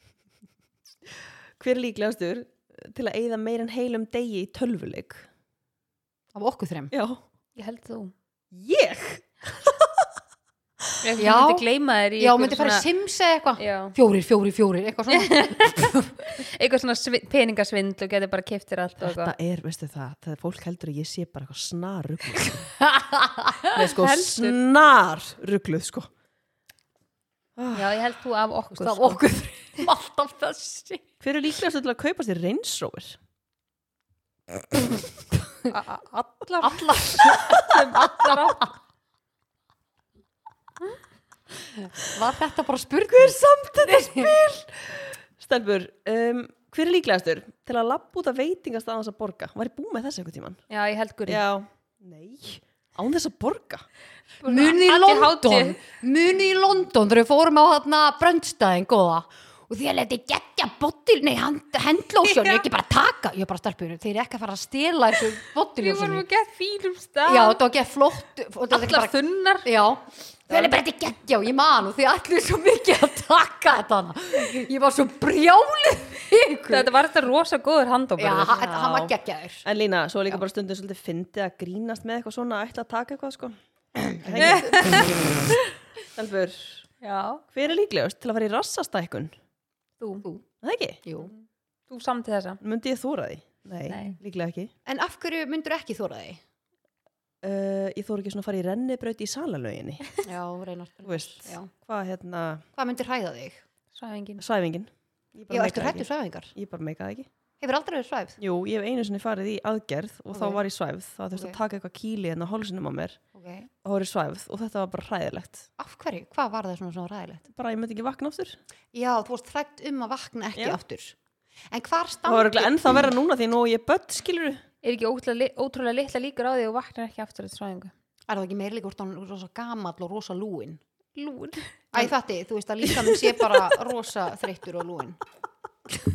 [SPEAKER 2] Hver er líklegastur til að eyða meir en heilum degi í tölvuleik
[SPEAKER 1] Af okkur þrem
[SPEAKER 2] Já
[SPEAKER 3] Ég held þú
[SPEAKER 2] Ég?
[SPEAKER 3] Ég
[SPEAKER 1] Já.
[SPEAKER 3] myndi gleyma þér í
[SPEAKER 1] Já,
[SPEAKER 3] einhverju
[SPEAKER 1] myndi fara að simsa eitthvað
[SPEAKER 3] Já.
[SPEAKER 1] Fjórir, fjórir, fjórir, eitthvað svona
[SPEAKER 3] eitthvað svona svi- peningasvindl og getur bara kiptir allt og
[SPEAKER 2] Þetta
[SPEAKER 3] eitthvað
[SPEAKER 2] er, veistu það, þegar fólk heldur að ég sé bara eitthvað snar ruggluð Nei, sko,
[SPEAKER 3] Heldur.
[SPEAKER 2] snar ruggluð, sko
[SPEAKER 3] Já, ég held þú af okkur
[SPEAKER 1] Af
[SPEAKER 3] sko.
[SPEAKER 1] okkur þrem, alltaf þessi
[SPEAKER 2] Hver er líklegastur til að kaupa sér reynsróver?
[SPEAKER 3] A- a- Allar
[SPEAKER 1] Allar
[SPEAKER 3] Allar átt
[SPEAKER 1] Var þetta bara spurning? Hver samt þetta spil?
[SPEAKER 2] Stelbur, um, hver er líklegastur til að labba út að veitingast aðeins að borga? Var ég búið með þessi einhvern tíman?
[SPEAKER 3] Já, ég held Guri
[SPEAKER 2] Já. Nei, án þess að borga.
[SPEAKER 1] Muni í
[SPEAKER 3] Allir
[SPEAKER 1] London
[SPEAKER 3] hátíð.
[SPEAKER 1] Muni í London þegar við fórum á þarna bröndstæðin góða og því að leti geggja bottilni hendlósjónu,
[SPEAKER 3] Já.
[SPEAKER 1] ekki bara taka ég er bara stelpunum, þeir eru ekki að fara að stela þessu
[SPEAKER 3] Við vorum
[SPEAKER 1] bottiljósjónu
[SPEAKER 3] að geta fínum stað
[SPEAKER 1] Já, þetta var ekki flott og þetta er
[SPEAKER 3] Allar
[SPEAKER 1] bara-
[SPEAKER 3] þunnar
[SPEAKER 1] Já, þeir eru bara þetta geggja og ég man og þið ætluðu svo mikið að taka þetta hana. ég var svo brjálið við ykkur
[SPEAKER 3] Þetta var þetta rosa góður
[SPEAKER 1] Já,
[SPEAKER 3] handóparður
[SPEAKER 1] hann hann var geggjaður
[SPEAKER 2] En Lína, svo er líka bara stundum svolítið fyndið að grínast með eitthvað svona að ætla að taka eitthvað, sko. Stelbur,
[SPEAKER 3] Já,
[SPEAKER 2] hver er líklegast til að fara í rassastækkun?
[SPEAKER 3] þú,
[SPEAKER 2] Það ekki?
[SPEAKER 1] Jú.
[SPEAKER 3] þú samti þessa
[SPEAKER 2] Myndi ég þóra því? Nei,
[SPEAKER 3] Nei.
[SPEAKER 2] líklega ekki.
[SPEAKER 1] En af hverju myndur ekki þóra því?
[SPEAKER 2] Uh, ég þóra ekki svona að fara í rennibraut í salalöginni.
[SPEAKER 1] Já, reynar
[SPEAKER 2] Þú veist,
[SPEAKER 1] Já.
[SPEAKER 2] hvað hérna,
[SPEAKER 1] Hvað myndir hræða þig?
[SPEAKER 3] Sæfingin
[SPEAKER 2] svæfingin. Ég
[SPEAKER 1] Já,
[SPEAKER 2] bara
[SPEAKER 1] ertu
[SPEAKER 2] meikaði
[SPEAKER 1] hrættu
[SPEAKER 2] ekki.
[SPEAKER 1] svæfingar?
[SPEAKER 2] Ég bara meikaði ekki.
[SPEAKER 1] Hefur aldrei verið svæfð?
[SPEAKER 2] Jú, ég hef einu sinni farið í aðgerð og þá
[SPEAKER 1] Ok.
[SPEAKER 2] var ég svæfð. Það þurfti
[SPEAKER 1] Ok.
[SPEAKER 2] að taka eitthvað kýli en á hálsinum á mér
[SPEAKER 1] Ok.
[SPEAKER 2] og þá var ég svæfð og þetta var bara hræðilegt.
[SPEAKER 1] Af hverju? Hvað var það svona, svona ræðilegt?
[SPEAKER 2] Bara ég myndi ekki vakna aftur.
[SPEAKER 1] Já, þú varst hrætt um að vakna ekki
[SPEAKER 2] Já.
[SPEAKER 1] aftur. En hvar
[SPEAKER 2] Það var
[SPEAKER 1] stangir?
[SPEAKER 2] örugglega ennþá verra núna því nú á ég börn skilur
[SPEAKER 3] Er ekki ótrúlega, li- ótrúlega litla líkur á því og vaknar ekki aftur þetta svæfingu
[SPEAKER 1] Er það ekki meira líka úr þannig rosa gamall og rosa lúin?
[SPEAKER 3] Lúr
[SPEAKER 1] Æ, þetta, þú veist að líkanum sé bara rosa þreyttur og lúin.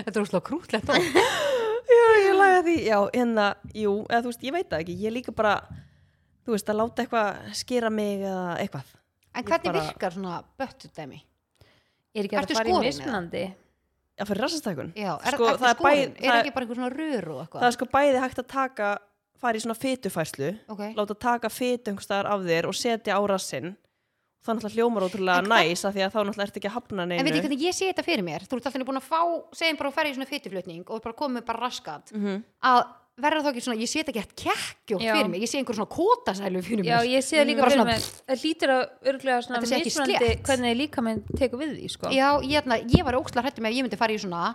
[SPEAKER 1] þetta er úrslega krútlegt og
[SPEAKER 2] Já, ég laga því. Já, en það, jú, eða þú veist, ég veit það ekki. Ég líka bara, þú veist, að láta eitthvað skera mig eða eitthvað.
[SPEAKER 1] En
[SPEAKER 2] Ég
[SPEAKER 1] hvernig
[SPEAKER 2] bara-
[SPEAKER 1] virkar svona böttudæmi?
[SPEAKER 3] Er ekki hægt
[SPEAKER 1] Ertu
[SPEAKER 3] að fara í
[SPEAKER 1] skorin eða?
[SPEAKER 3] mismunandi
[SPEAKER 2] Já, fyrir rassastækun.
[SPEAKER 1] Já, er,
[SPEAKER 2] Sko,
[SPEAKER 1] ertu
[SPEAKER 2] það er
[SPEAKER 1] skorin? er
[SPEAKER 2] bæði- það-
[SPEAKER 1] ekki bara einhver svona rör og
[SPEAKER 2] Það
[SPEAKER 1] eitthvað?
[SPEAKER 2] er sko bæði hægt að taka, fara í svona fytufærslu,
[SPEAKER 1] Ok.
[SPEAKER 2] láta taka fytu einhverstaðar af þér og setja á rassinn. Það er náttúrulega hljómar ótrúlega
[SPEAKER 1] En hvað-
[SPEAKER 2] næs af því að þá náttúrulega ertu ekki að hafna neinu.
[SPEAKER 1] En veit ég hvernig ég sé þetta fyrir mér? Þú ert alltaf búin að fá, segjum bara að ferja í svona fytuflutning og bara komið bara raskat
[SPEAKER 2] Mhm.
[SPEAKER 1] að verða þá ekki svona, ég sé þetta ekki hægt kekkjótt
[SPEAKER 3] Já.
[SPEAKER 1] fyrir mig, ég sé einhver svona kótasælu fyrir
[SPEAKER 3] Já,
[SPEAKER 1] mér
[SPEAKER 3] ég sé það líka
[SPEAKER 1] Bara
[SPEAKER 3] fyrir
[SPEAKER 1] svona-
[SPEAKER 3] mig Það lítur að örgulega svona
[SPEAKER 1] Þetta sé ekki
[SPEAKER 3] mismunandi
[SPEAKER 1] slétt.
[SPEAKER 3] hvernig líka minn tekur við því sko.
[SPEAKER 1] Já, ég, hérna, ég var ókslega hrættu með að ég myndi fara í svona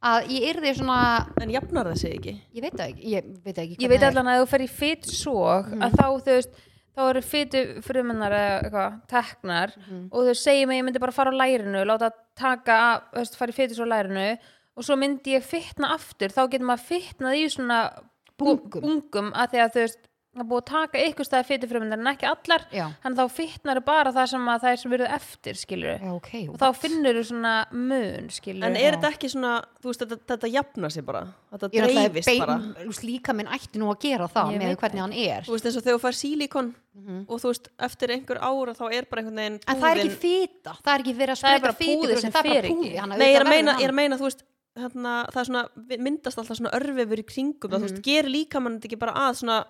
[SPEAKER 1] að ég yrði svona
[SPEAKER 2] En jafnar það sig ekki.
[SPEAKER 1] ég veit það ekki, ég veit það ekki
[SPEAKER 3] Ég
[SPEAKER 1] hvernig
[SPEAKER 3] veit
[SPEAKER 1] það er. Mm.
[SPEAKER 3] allan að ef þú fer í fytt sóg að þá þú veist þá eru fytu frumennar eða eitthvað teknar
[SPEAKER 1] Mhm.
[SPEAKER 3] og þau segja mig að ég myndi bara fara á lærinu láta taka, af- þú veist, fara í fytu sóg á lærinu og svo myndi ég fytna aftur þá getur maður fytnað í svona
[SPEAKER 1] Bungum.
[SPEAKER 3] bungum að því að þú veist það er búið að taka ykkur staði fytufrumundar en ekki allar
[SPEAKER 1] Já.
[SPEAKER 3] en þá fitnar bara það sem að það er sem verið eftir skilur
[SPEAKER 1] Já, ok.
[SPEAKER 3] og þá finnur þú svona mun skilur
[SPEAKER 2] En er þetta ekki svona, þú veist, þetta, þetta jafna sig bara, þetta
[SPEAKER 1] Ég er alltaf
[SPEAKER 2] dreifist bara.
[SPEAKER 1] bein, þú veist, líka minn ætti nú að gera það
[SPEAKER 3] Ég
[SPEAKER 1] með
[SPEAKER 3] veit
[SPEAKER 1] hvernig hann er.
[SPEAKER 2] Þú veist, eins og þegar þú fær sílikon og þú veist, eftir einhver ára þá er bara einhvern veginn
[SPEAKER 1] Mhm. En það er ekki
[SPEAKER 2] húðin-
[SPEAKER 1] fýta, það er ekki verið að
[SPEAKER 3] Það er
[SPEAKER 1] spreita
[SPEAKER 3] bara
[SPEAKER 1] fýtu,
[SPEAKER 3] púðið sem
[SPEAKER 1] það er
[SPEAKER 3] fer
[SPEAKER 1] bara
[SPEAKER 3] ekki.
[SPEAKER 1] púði. hann
[SPEAKER 2] Nei, ég er að
[SPEAKER 1] auðvitað
[SPEAKER 2] meina,
[SPEAKER 1] verður
[SPEAKER 2] ég er að
[SPEAKER 1] hann.
[SPEAKER 2] meina, þú veist, hérna, það er svona, við- myndast alltaf svona örfefur í kringum, það, þú
[SPEAKER 1] Mhm.
[SPEAKER 2] veist, gerir líkamann þetta ekki bara að svona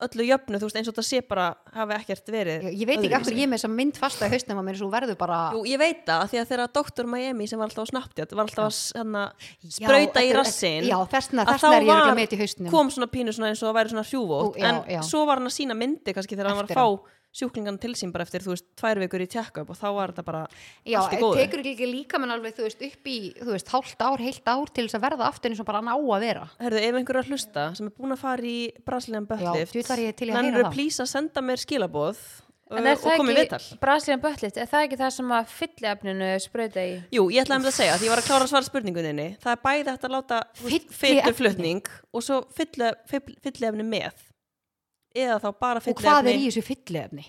[SPEAKER 2] öllu jöfnu, þú veist, eins og þetta sé bara hafi ekkert verið.
[SPEAKER 1] Ég- Ég veit ekki af
[SPEAKER 2] öðruvísi.
[SPEAKER 1] hverju ég er með þess að mynd fasta í hausnum að mér svo verður bara...
[SPEAKER 2] Jú, ég veit það, af því að þeirra doktor Miami sem var alltaf á Snapchat, var alltaf að hérna,
[SPEAKER 1] Já,
[SPEAKER 2] sprauta
[SPEAKER 1] þetta
[SPEAKER 2] í
[SPEAKER 1] er-
[SPEAKER 2] rassin
[SPEAKER 1] Já, þessna,
[SPEAKER 2] að
[SPEAKER 1] þessna
[SPEAKER 2] þá
[SPEAKER 1] er ég ekki
[SPEAKER 2] var-
[SPEAKER 1] með í hausnum.
[SPEAKER 2] kom svona pínu svona eins og það væri svona
[SPEAKER 1] Ó,
[SPEAKER 2] hrjúvótt
[SPEAKER 1] já,
[SPEAKER 2] en
[SPEAKER 1] já.
[SPEAKER 2] svo var hann að sína myndi kannski þegar hann var
[SPEAKER 1] Eftir
[SPEAKER 2] að fá sjúklingan til sín bara eftir, þú veist, tvær vikur í check-up og þá var þetta bara
[SPEAKER 1] Já, eh,
[SPEAKER 2] allt í góðu
[SPEAKER 1] tekur ekki líka menn alveg, þú veist, upp í, þú veist, hálft ár, heilt ár til þess að verða aftur eins og bara hann á að vera.
[SPEAKER 2] Herðu, ef einhver er að hlusta sem er búin að fara í Brasilian
[SPEAKER 1] Já,
[SPEAKER 2] Buttlift
[SPEAKER 1] djú, var ég til í að heyra
[SPEAKER 2] nennirðu
[SPEAKER 1] það.
[SPEAKER 2] please að senda mér skilaboð
[SPEAKER 3] En
[SPEAKER 2] uh,
[SPEAKER 3] er
[SPEAKER 2] og
[SPEAKER 3] það
[SPEAKER 2] komið viðtal
[SPEAKER 3] ekki Brasilian Buttlift, er það ekki það sem að fylliefninu sprauta í
[SPEAKER 2] Jú, ég ætlaði um þetta að segja, því ég var að klára að svara spurninguninni það er bæði hægt að láta
[SPEAKER 1] Fylliefni.
[SPEAKER 2] fytuflutning og svo fyllefni með eða þá bara
[SPEAKER 1] Og hvað
[SPEAKER 2] fyllefni
[SPEAKER 1] er í þessu fyllefni?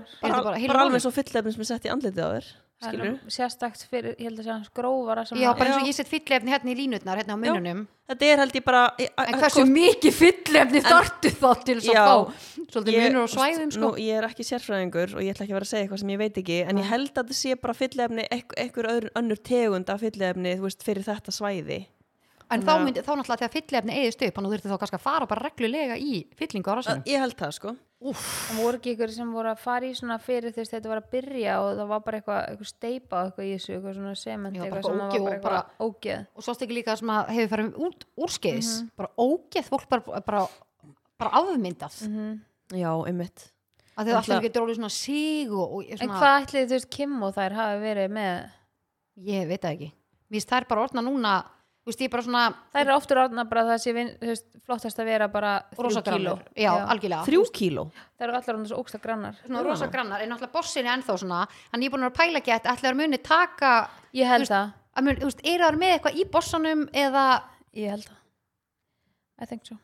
[SPEAKER 1] Er
[SPEAKER 2] bara,
[SPEAKER 1] þetta bara heil
[SPEAKER 2] bara
[SPEAKER 1] málið?
[SPEAKER 2] alveg svo fyllefni sem er sett í andlitið á þér
[SPEAKER 3] Það er
[SPEAKER 2] skilur
[SPEAKER 3] nú sérstakt fyrir, ég held að segja hans grófara sem
[SPEAKER 1] Já,
[SPEAKER 3] að-
[SPEAKER 1] bara eins og
[SPEAKER 2] Já.
[SPEAKER 1] ég sett fyllefni hérna í línutnar, hérna á mununum.
[SPEAKER 2] þetta er held ég bara ég-
[SPEAKER 1] En
[SPEAKER 2] að-
[SPEAKER 1] hversu
[SPEAKER 2] Eh, hvort-
[SPEAKER 1] mikið fyllefni þartu þá til þess
[SPEAKER 2] Já.
[SPEAKER 1] að fá? Svolítið
[SPEAKER 2] ég-
[SPEAKER 1] munur og svæðum, sko.
[SPEAKER 2] nú, ég er ekki sérfræðingur og ég ætla ekki að vera að segja eitthvað sem ég veit ekki en ég held að þetta sé bara fyllefni einhver öðru önnur tegund af fyllefni þú veist, fyrir þetta svæði
[SPEAKER 1] En þá, myndi, þá náttúrulega þegar fyllefni eigðist upp, hann þurfti þá kannski að fara bara reglulega í fyllingu á
[SPEAKER 2] Að-
[SPEAKER 1] rassinum.
[SPEAKER 2] ég held það sko
[SPEAKER 3] það voru ekki ykkur sem voru að fara í svona fyrir þess þetta var að byrja og það var bara eitthvað, eitthvað steipa og eitthvað í þessu, eitthvað svona sement
[SPEAKER 1] Já, bara
[SPEAKER 3] eitthvað
[SPEAKER 1] eitthvað
[SPEAKER 3] sem
[SPEAKER 1] ógeð
[SPEAKER 3] var bara
[SPEAKER 1] og bara-
[SPEAKER 3] eitthvað ógeð
[SPEAKER 1] Og svo stekki líka sem að hefur farið út úrskeiðis, bara ógeð, fólk bara, bara, bara afmyndað. Mm -hmm.
[SPEAKER 3] Mhm.
[SPEAKER 2] já, einmitt
[SPEAKER 1] Að þið alltaf
[SPEAKER 2] Náttúrulega-
[SPEAKER 1] getur alveg svona sig og, og
[SPEAKER 3] En
[SPEAKER 1] svona,
[SPEAKER 3] hvað ætli þú veist Kim og þær hafi verið með
[SPEAKER 1] ég veit það ekki. Mér finnst það er bara orðna núna, þú veist, ég er bara svona
[SPEAKER 3] Þær eru oftur orðna bara það sé vin- þú veist, flottast að vera bara þrjú
[SPEAKER 1] rosa
[SPEAKER 3] kíló
[SPEAKER 1] grannar. Já, algjörlega.
[SPEAKER 2] þrjú kíló
[SPEAKER 3] Þær eru allar orðna svo ógsta grannar
[SPEAKER 1] Svona rosa grannar, en alltaf bossin er ennþá svona, en ég er búin að vera að pæla ekki að ætla að muni taka,
[SPEAKER 3] Ég held það,
[SPEAKER 1] að muni, þú veist, eru það með eitthvað í bossanum eða
[SPEAKER 3] ég held það I think so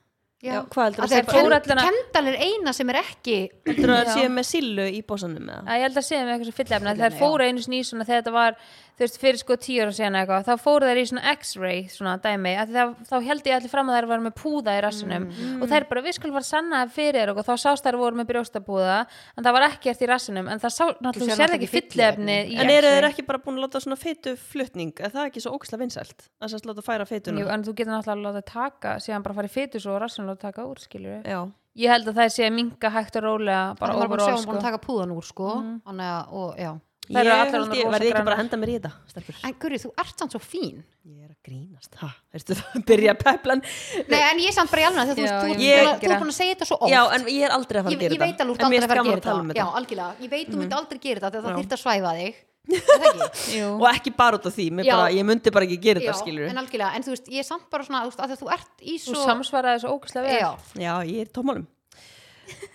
[SPEAKER 2] Já, hvað heldur
[SPEAKER 1] að
[SPEAKER 2] að
[SPEAKER 1] það
[SPEAKER 3] segja bara-
[SPEAKER 1] er kend, kendal er eina sem er ekki
[SPEAKER 2] heldur að það
[SPEAKER 3] Já.
[SPEAKER 2] sé með sillu í bósanum með það
[SPEAKER 3] Æ, ég held að segja með eitthvað sem fyllefni að
[SPEAKER 1] Fylliefni,
[SPEAKER 3] þær fóru einu sinni í svona þegar þetta var þú veist, fyrir sko tíu ára síðan eða eitthvað þá fóru þær í svona x-ray svona dæmi að það, þá held ég allir fram að þær var með púða í rassinum og þær bara við skulum fara að sanna það fyrir þér og eitthvað. þá sást þær voru með brjóstapúða en það var ekkert í rassinum en það sá
[SPEAKER 1] sér
[SPEAKER 3] náttúrulega
[SPEAKER 1] náttúrulega
[SPEAKER 3] sérð ekki
[SPEAKER 1] ekki
[SPEAKER 3] fyllefni
[SPEAKER 1] fylliefni.
[SPEAKER 3] í
[SPEAKER 2] En eru
[SPEAKER 3] X-ray.
[SPEAKER 2] þeir ekki bara búin að láta svona feituflutning? Er það ekki svo óksla vinsælt? Það sést láta færa feituna?
[SPEAKER 3] Jú, en þú getur náttúrulega að láta taka síðan bara fara í fytus og rassinum og taka úr skilur
[SPEAKER 2] Já.
[SPEAKER 3] ég held að það sé að minka hægt og rólega bara
[SPEAKER 1] bara búin að sjá
[SPEAKER 3] overall
[SPEAKER 1] hún búin
[SPEAKER 3] sko
[SPEAKER 1] að taka púðan úr sko þannig að, og já
[SPEAKER 2] Ég
[SPEAKER 3] Þær eru allar
[SPEAKER 2] held
[SPEAKER 3] orðnar
[SPEAKER 2] ég,
[SPEAKER 3] rosa
[SPEAKER 2] verði ekki bara
[SPEAKER 3] grænar.
[SPEAKER 2] að henda mér í þetta, stelpur.
[SPEAKER 1] en Guri, þú ert samt svo fín
[SPEAKER 2] Ég er að grínast, ha? Ertu það að byrja peplan?
[SPEAKER 1] nei, en ég er samt bara í alveg, þú
[SPEAKER 3] Já,
[SPEAKER 1] veist, þú,
[SPEAKER 3] ég
[SPEAKER 1] ert búin
[SPEAKER 2] myndi
[SPEAKER 1] að- þú
[SPEAKER 3] ekki gera.
[SPEAKER 1] er búin að segja þetta svo oft
[SPEAKER 2] Já, en ég er aldrei að fara
[SPEAKER 1] ég,
[SPEAKER 2] að gera
[SPEAKER 1] ég
[SPEAKER 2] þetta.
[SPEAKER 1] veit alveg, þú ert
[SPEAKER 2] En mér
[SPEAKER 1] aldrei að fara að
[SPEAKER 2] er gaman
[SPEAKER 1] gera
[SPEAKER 2] tala um
[SPEAKER 1] þetta já, algjörlega, ég veit, þú
[SPEAKER 3] Mhm.
[SPEAKER 1] myndi aldrei gera þetta þegar það þyrft að svæfa þig Er það ekki?
[SPEAKER 3] Jú.
[SPEAKER 2] Og ekki bara út af því, mér
[SPEAKER 1] Já.
[SPEAKER 2] bara, ég myndi bara ekki gera
[SPEAKER 1] já,
[SPEAKER 2] þetta, skilur
[SPEAKER 1] en algjörlega, en þú veist, ég er samt bara svona þú veist, af því að þú ert í
[SPEAKER 3] þú
[SPEAKER 1] svo
[SPEAKER 3] samsvaraði þessu ógæslega vel
[SPEAKER 1] já,
[SPEAKER 2] Já, ég er í tómálum.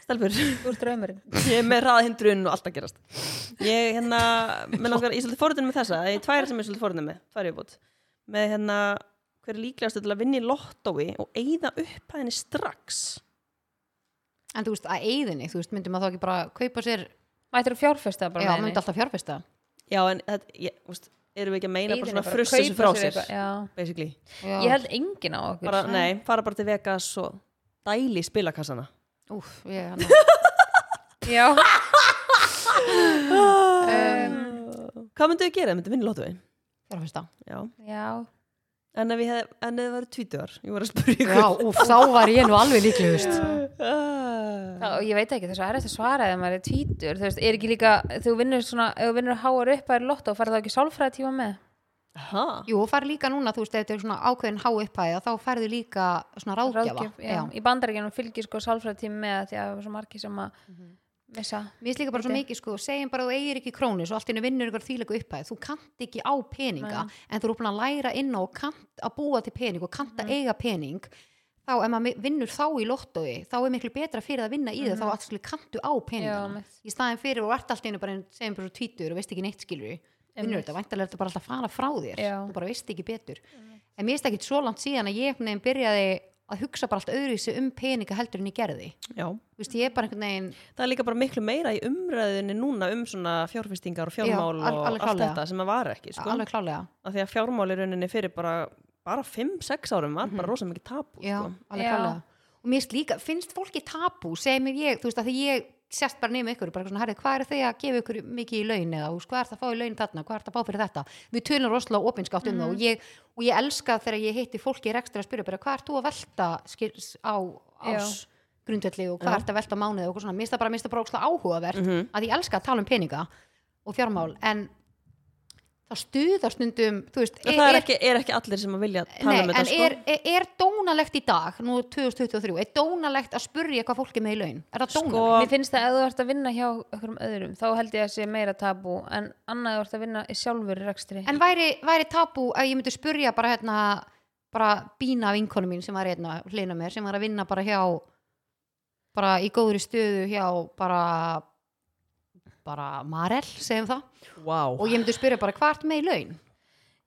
[SPEAKER 2] Stelpur,
[SPEAKER 3] þú ert draumurinn
[SPEAKER 2] ég er með raðhindrun og allt að gerast. Ég, hérna, með langar, ég er svolítið forðunum með þessa, ég er tvær sem ég er svolítið forðunum með, tvær ég bútt. Með, hérna, hver er líklegastu til að vinna í lottói og eigða upp að henni strax?
[SPEAKER 1] en þú veist, að eigðinni, þú veist, myndum að þá ekki bara kaupa sér,
[SPEAKER 3] Mættir að fjárfesta bara
[SPEAKER 1] já,
[SPEAKER 3] með
[SPEAKER 1] myndi alltaf fjárfesta
[SPEAKER 2] Já, en þetta, ég, úst, erum við ekki að meina bara
[SPEAKER 3] Eyðinni
[SPEAKER 2] svona
[SPEAKER 3] bara,
[SPEAKER 2] frussa
[SPEAKER 3] kaupa
[SPEAKER 2] þessu frá
[SPEAKER 3] sér
[SPEAKER 2] sér,
[SPEAKER 3] eitthvað, já.
[SPEAKER 2] basically.
[SPEAKER 1] Já.
[SPEAKER 3] Ég held engin á okkur
[SPEAKER 2] Bara, nei, fara bara til Vegas og dæli spilakassana.
[SPEAKER 1] úf, ég, hann
[SPEAKER 3] Já, Um.
[SPEAKER 2] Hvað myndu þið gera? Myndu vinna í lottói?
[SPEAKER 1] fjárfesta
[SPEAKER 2] Já.
[SPEAKER 3] já
[SPEAKER 2] En ef ég hef, en ef þið væri tvítuðar, ég voru að spyrja ykkur.
[SPEAKER 1] Já, úf, þá var ég nú alveg líklegust
[SPEAKER 2] Ah.
[SPEAKER 3] Þá, og ég veit ekki, það er svo erfitt að svara þegar maður er tvítur þú veist, er ekki líka, þú vinnur svona ef þú vinnur háar upp að er lott og farið þá ekki sálfræði tíma með
[SPEAKER 2] Aha.
[SPEAKER 1] Jú, og fari líka núna, þú veist, ef þetta er svona ákveðin há upphæða, þá færðu líka svona ráðgjafa
[SPEAKER 3] Ráðgjöf, já. í bandaríkjunum fylgir sko sálfræði tíma með því að það er svo margir sem að
[SPEAKER 1] Mhm.
[SPEAKER 3] missa
[SPEAKER 1] Mér finnst líka bara svo mikið, sko, segjum bara að þú eigir ekki krónu svo allt innu vinnur ykkur þýlegu upphæð, þú kannt ekki á peninga, en þú eru búin að læra inn á og kannt að búa til pening og kannt að eiga pening þá, ef maður mi- vinnur þá í lottói þá er miklu betra fyrir það að vinna í það þá allir kanntu á peningana
[SPEAKER 3] mitt.
[SPEAKER 1] í staðin fyrir og ert allt innu bara, segjum bara tvítur og veist ekki neitt skilur vinnur þetta, væntalega er þetta bara alltaf að fara frá þér
[SPEAKER 3] Já.
[SPEAKER 1] þú bara veist ekki betur en mér finnst ekki svo langt síðan að ég einhvern veginn byrjaði að hugsa bara allt öðru um peninga heldur en ég gerði
[SPEAKER 2] já.
[SPEAKER 1] þú veist, ég er bara einhvern veginn
[SPEAKER 2] Það er líka bara miklu meira í umræðinni núna um svona fjárfestingar og fjármál
[SPEAKER 1] Já, al-
[SPEAKER 2] og
[SPEAKER 1] alveg
[SPEAKER 2] allt
[SPEAKER 1] klárlega.
[SPEAKER 2] þetta sem að var ekki, sko.
[SPEAKER 1] alveg klálega
[SPEAKER 2] Af því að fjármál í rauninni fyrir bara, bara 5-6 árum var bara rosa mikið
[SPEAKER 1] Mhm.
[SPEAKER 2] tabu,
[SPEAKER 1] já,
[SPEAKER 2] sko.
[SPEAKER 1] alveg
[SPEAKER 3] Já.
[SPEAKER 1] klálega og mér finnst líka, finnst fólki tabu segir mér ég, þú veist, að því ég sérst bara nefnum ykkur, bara svona, herri, hvað er þið að gefa ykkur mikið í laun eða, þú veist, hvað er það að fá í laun þarna, hvað er það að fá fyrir þetta, við tölum rosalega opinskátt um
[SPEAKER 3] Mhm.
[SPEAKER 1] það og ég, og ég elska þegar ég hitti fólki í rekstur að spyrja bara, hvað er þú að velta skils, á
[SPEAKER 3] Já.
[SPEAKER 1] ás grundvelli og hvað er það að velta á mánuði og eitthvað svona, mista bara, mista bara ókslega áhugavert
[SPEAKER 2] Mhm.
[SPEAKER 1] að ég elska að tala um peninga og fjármál, en það stuðar stundum, þú veist,
[SPEAKER 2] En það er ekki, er ekki allir sem að vilja tala
[SPEAKER 1] E- Nei,
[SPEAKER 2] um
[SPEAKER 1] en
[SPEAKER 2] þetta, sko.
[SPEAKER 1] er, er, er dónalegt í dag, nú 2023, er dónalegt að spurja hvað fólki með í laun? Er það
[SPEAKER 2] Sko,
[SPEAKER 1] dónalegt?
[SPEAKER 3] Mér finnst það að ef þú ert að vinna hjá okkur öðrum þá held ég að sé meira tabú en annað ef þú ert að vinna í sjálfur í rekstri
[SPEAKER 1] En væri, væri tabu að ég myndi spurja bara hérna, bara bína vinkonu mín sem var hérna hlina mér, sem var að vinna bara hjá, bara í góðri stöðu hjá bara, bara Marel, segjum það.
[SPEAKER 2] Wow.
[SPEAKER 1] Og ég myndi spurja bara hvað ertu með í laun?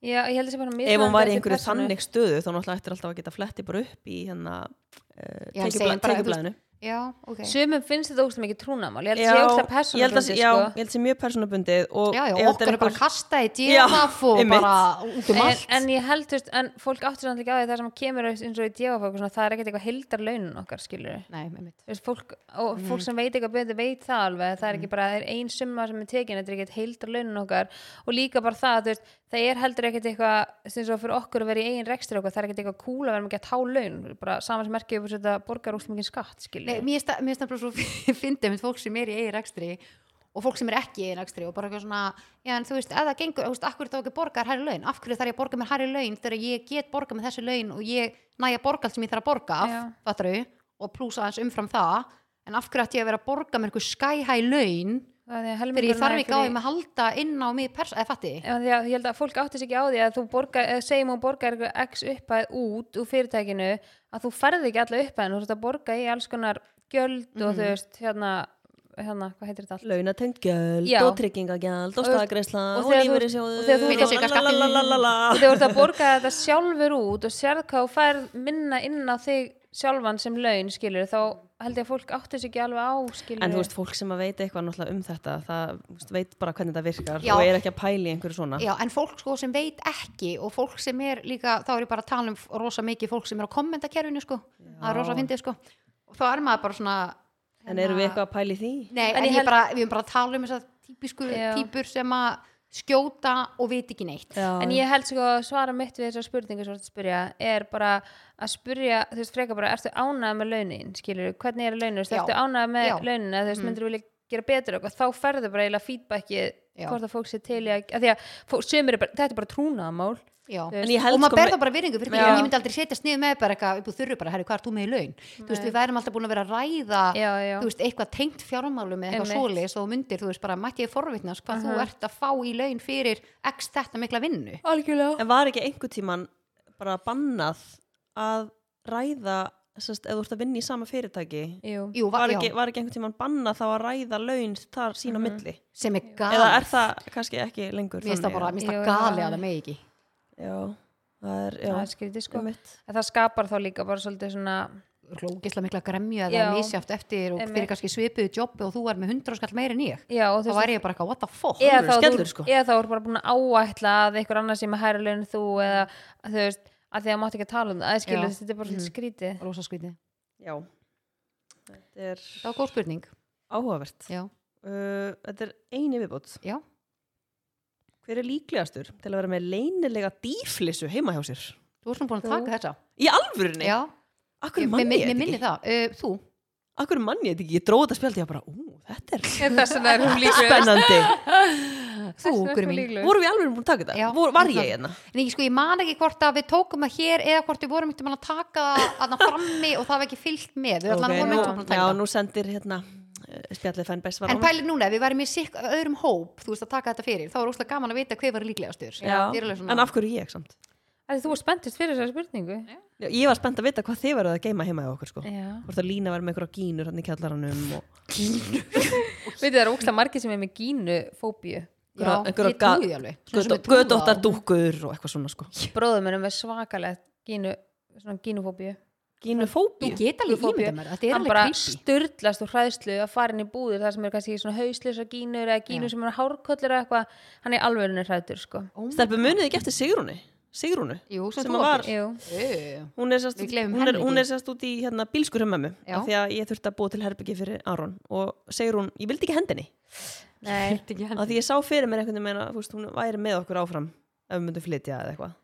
[SPEAKER 3] Já, ég held þessi
[SPEAKER 2] ef
[SPEAKER 3] bara
[SPEAKER 2] hún var
[SPEAKER 3] mismunandi
[SPEAKER 2] í
[SPEAKER 3] eftir
[SPEAKER 2] einhverju
[SPEAKER 3] persónu.
[SPEAKER 2] þannig stöðu þá náttúrulega ættir alltaf að geta fletti bara upp í hérna
[SPEAKER 1] Já, en segjum bara,
[SPEAKER 2] tekjublaðinu
[SPEAKER 1] Já, ok.
[SPEAKER 3] Sumum finnst þetta ógst mikið trúnamál Ég held
[SPEAKER 2] Já,
[SPEAKER 3] þessi ógst að
[SPEAKER 2] ég held að já,
[SPEAKER 3] persónabundið sko.
[SPEAKER 2] ég held sé mjög persónabundið og
[SPEAKER 1] Já, já,
[SPEAKER 2] ef þetta
[SPEAKER 1] okkar er bara að kasta í
[SPEAKER 2] Já,
[SPEAKER 1] djöfaf og
[SPEAKER 2] einmitt.
[SPEAKER 1] bara út um
[SPEAKER 3] en,
[SPEAKER 1] allt.
[SPEAKER 3] en ég held, þú veist, en fólk áttur samt líka á því það sem kemur eins og í djöfafólk svona, það er ekkert eitthvað heildar launin okkar skilur
[SPEAKER 1] Nei, einmitt.
[SPEAKER 3] Þú veist, fólk, og fólk
[SPEAKER 2] Mm.
[SPEAKER 3] sem veit eitthvað betur veit það alveg það er ekki bara það er ein summa sem er tekin þetta er ekkert heildar launin okkar og líka bara það, þú veist, það er heldur ekkert eitthvað sem svo fyrir okkur að vera í eigin rekstur okkar það er ekkert eitthvað kúla að vera með að há laun bara saman sem merkið um upp þetta borgar úst mikið skatt
[SPEAKER 1] Nei,
[SPEAKER 3] skilur
[SPEAKER 1] mér finnst það- mér finnst það bara svo fyndið með fólk sem er í eigin rekstri og fólk sem er ekki í eigin rekstri og bara eitthvað svona, já en þú veist, ef það gengur, þú veist, af hverju þá ekki borgar hærri laun, af hverju þarf ég að borga mér hærri laun þegar ég get borgað með þessi laun og ég næja borga allt sem ég þarf að borga af,
[SPEAKER 3] Já.
[SPEAKER 1] fattaru, og plúsa aðeins umfram það, en af hverju ætti ég að vera að borga mér einhver skæhæ laun þegar ég þarf ekki á þeim að halda inn á mig pers, eða fatti,
[SPEAKER 3] Já, því að ég held að fólk átti sig ekki á því að þú borgar, eða segjum hún borgar eitthvað x upphæð út úr fyrirtækinu að þú ferði ekki alla upphæðin, þú ert að borga í alls konar gjöld
[SPEAKER 2] Mhm.
[SPEAKER 3] og þú veist, hérna, hérna, hvað heitir þetta allt?
[SPEAKER 2] launatengt gjöld
[SPEAKER 3] Já.
[SPEAKER 2] og tryggingagjald og
[SPEAKER 3] Og-
[SPEAKER 2] staðgreisla og
[SPEAKER 3] og þegar þú-
[SPEAKER 2] lífeyrisjóður
[SPEAKER 3] og þegar þú- Og
[SPEAKER 2] lalalalalalala.
[SPEAKER 3] þú ert að borga þetta sjálfur út og sérð hvað þú færð minna inn á þig sjálfan sem laun, skilur, þá held ég að fólk átti sig ekki alveg á, skilur.
[SPEAKER 2] En þú veist, fólk sem að veit eitthvað náttúrulega um þetta, það þú veist, veit bara hvernig þetta virkar
[SPEAKER 1] Já.
[SPEAKER 2] og er ekki að pæli einhverju svona.
[SPEAKER 1] Já, en fólk sko sem veit ekki og fólk sem er líka, þá er ég bara að tala um rosa mikið fólk sem er á kommentakerfinu sko, það er rosa fyndið sko og þá er maður bara svona
[SPEAKER 2] En eru við eitthvað að pæli því?
[SPEAKER 1] Nei,
[SPEAKER 3] En
[SPEAKER 1] en,
[SPEAKER 3] ég
[SPEAKER 1] ég
[SPEAKER 3] held-
[SPEAKER 1] bara, við erum bara að tala um þessar típisku
[SPEAKER 3] Já.
[SPEAKER 1] típur sem að skjóta og veit ekki neitt
[SPEAKER 2] Já.
[SPEAKER 3] En ég held sko að svara mitt við þessar spurningar svo að spyrja er bara að spyrja, þú veist, frekar bara, ertu ánægð með launin, skilur, hvernig er launin, þú veist,
[SPEAKER 1] Já.
[SPEAKER 3] ertu ánægð með
[SPEAKER 1] Já. Mm.
[SPEAKER 3] launin, þú veist, myndir vilja gera betur og þá ferðu bara eiginlega feedbackið
[SPEAKER 1] Já.
[SPEAKER 3] hvort að fólk sé til í að, að því að fólk, sumir er bara, þetta er bara trúnaðamál,
[SPEAKER 1] Já.
[SPEAKER 3] En
[SPEAKER 2] ég held
[SPEAKER 1] og maður
[SPEAKER 2] sko
[SPEAKER 1] ber
[SPEAKER 2] með-
[SPEAKER 1] það bara virðingu fyrir því
[SPEAKER 3] Já.
[SPEAKER 1] en ég myndi aldrei setjast niður með bara eitthvað upp úr þurru bara, herri, hvað er þú með í laun? Þú veist, við værum alltaf búin að vera að ræða
[SPEAKER 3] Já, já.
[SPEAKER 1] Ah, þú veist, eitthvað tengt fjármálum eða eitthvað
[SPEAKER 3] Einmitt.
[SPEAKER 1] svoleiðis og þú myndir, þú veist, bara mætti ég forvitnast hvað þú ert að fá í laun fyrir x þetta mikla vinnu
[SPEAKER 3] algjörlega
[SPEAKER 2] En var ekki einhver tíman bara bannað að ræða, sérst, ef þú ert að vinna í sama fyrirtæki,
[SPEAKER 3] Jú.
[SPEAKER 1] Jú, va-
[SPEAKER 2] var
[SPEAKER 1] já.
[SPEAKER 2] ekki, var ekki einhvern tímann bannað þá að ræða laun þar sín á milli
[SPEAKER 1] sem er gal
[SPEAKER 2] eða er það kannski ekki
[SPEAKER 1] Ah.
[SPEAKER 2] lengur
[SPEAKER 1] mér finnst það
[SPEAKER 2] þannig,
[SPEAKER 1] bara, mér finnst
[SPEAKER 3] Jú,
[SPEAKER 1] það gali
[SPEAKER 3] já.
[SPEAKER 1] að það megi ekki
[SPEAKER 2] eða? já, það er, já,
[SPEAKER 3] það er skrítið sko,
[SPEAKER 2] einmitt.
[SPEAKER 3] en það skapar þá líka bara svolítið svona,
[SPEAKER 1] glókislega mikla gremju
[SPEAKER 3] Já.
[SPEAKER 1] eða misjátt eftir og
[SPEAKER 3] Einmitt.
[SPEAKER 1] fyrir kannski svipuðu jobbi og þú er með 100 skall meira en ég
[SPEAKER 3] já, og þú
[SPEAKER 1] þá væri ég bara eitthvað, what the fuck
[SPEAKER 3] eða
[SPEAKER 2] Alvöru
[SPEAKER 3] þá,
[SPEAKER 2] skellur,
[SPEAKER 3] þú,
[SPEAKER 2] sko.
[SPEAKER 3] eða þá er bara búin að áætla að einhver annar sem er hærri laun en þú eða þú veist, að því að mátt ekki að tala um það, eða
[SPEAKER 1] Já.
[SPEAKER 3] skilur þetta er bara svona skrítið
[SPEAKER 1] rosa skrítið,
[SPEAKER 2] já þetta er
[SPEAKER 1] það var góð spurning
[SPEAKER 2] áhugavert
[SPEAKER 1] já,
[SPEAKER 2] uh, þetta er eini viðbót
[SPEAKER 1] já,
[SPEAKER 2] hver er líklegastur til að vera með leynilega dýflissu heima hjá sér
[SPEAKER 1] þú varst nú búin að
[SPEAKER 3] Þú.
[SPEAKER 1] taka þetta
[SPEAKER 2] í alvörunni,
[SPEAKER 1] já,
[SPEAKER 2] akkur
[SPEAKER 1] ég-
[SPEAKER 2] manni
[SPEAKER 1] mér-
[SPEAKER 2] ég
[SPEAKER 1] mér
[SPEAKER 2] þetta
[SPEAKER 1] minni
[SPEAKER 2] ekki
[SPEAKER 1] það, uh, þú
[SPEAKER 2] akkur manni ég þetta ekki, ég dróði þetta spjaldi ég bara, ú, þetta er
[SPEAKER 3] þess að það er hún líklega
[SPEAKER 2] spennandi
[SPEAKER 1] þú, Guri mín
[SPEAKER 2] vorum við alveg búin að taka
[SPEAKER 1] Já.
[SPEAKER 2] þetta, Vor, var ég hérna
[SPEAKER 1] en ég, sko, ég man ekki hvort að við tókum að hér eða hvort við vorum ekkert að taka að það frammi og það var ekki fyllt með við
[SPEAKER 2] Ok,
[SPEAKER 1] allan vorum
[SPEAKER 2] nú,
[SPEAKER 1] ekkert að taka
[SPEAKER 2] já,
[SPEAKER 1] það
[SPEAKER 2] nú sendir hérna eh, spjallið fanbase var
[SPEAKER 1] En
[SPEAKER 2] hún.
[SPEAKER 1] pælið núna, ef við værum í sikk öðrum hóp, þú veist að taka þetta fyrir, þá er óslega gaman að vita hver var líklegastur.
[SPEAKER 2] Já,
[SPEAKER 1] Ég er alveg svona-
[SPEAKER 2] en af hverju ég samt?
[SPEAKER 3] að þú er spenntist fyrir þessari spurningu
[SPEAKER 2] Já, Ég var spennt að vita hvað þið verðuð að geima heima hjá okkur
[SPEAKER 1] Eh.
[SPEAKER 2] sko.
[SPEAKER 3] já,
[SPEAKER 2] Hvort að Lína verður með einhverja gínur hann í kjallaranum og
[SPEAKER 3] veitir það eru ókslega margir sem er með gínu fóbíu
[SPEAKER 1] Já, ég
[SPEAKER 2] einhverja
[SPEAKER 1] trúi því alveg. Svona sem er trúað.
[SPEAKER 2] gödóttar dúkkur og eitthvað svona sko.
[SPEAKER 3] bróðum erum við svakalegt gínu svona gínufóbíu
[SPEAKER 1] Þú
[SPEAKER 2] Gínufóbíu?
[SPEAKER 1] get alveg
[SPEAKER 3] Fóbíu.
[SPEAKER 1] ímynda mér, þetta er
[SPEAKER 3] hann
[SPEAKER 1] alveg
[SPEAKER 3] bara
[SPEAKER 1] creepy
[SPEAKER 3] störtlast úr hræðslu að fara inn í búðir þar sem er kannski svona hauslisar gínur eða gínur sem eru hárköllur eða eitthvað hann er alveg hrættur sko
[SPEAKER 1] Oh my-
[SPEAKER 2] Stelpa munið ekki eftir Sigrúnu Sigrúnu
[SPEAKER 1] Jú, sem
[SPEAKER 2] sem
[SPEAKER 1] þú
[SPEAKER 2] að var-
[SPEAKER 1] áttir.
[SPEAKER 3] Jú.
[SPEAKER 1] Ö,
[SPEAKER 2] Hún er sérst,
[SPEAKER 1] Við gleymum
[SPEAKER 2] hún er,
[SPEAKER 1] henni
[SPEAKER 2] hún
[SPEAKER 1] ekki.
[SPEAKER 2] er sérst út í hérna, bílskur hjá mömmu
[SPEAKER 1] Já.
[SPEAKER 2] af því að ég þurfti að búa til herbyggi fyrir Aron og Sigrún, ég vildi ekki hendinni
[SPEAKER 3] Nei,
[SPEAKER 1] þetta ekki
[SPEAKER 2] af
[SPEAKER 1] heldur.
[SPEAKER 2] því ég sá fyrir mér einhvern veginn að þú veist, hún væri með okkur áfram ef við myndum flytja eða eitthvað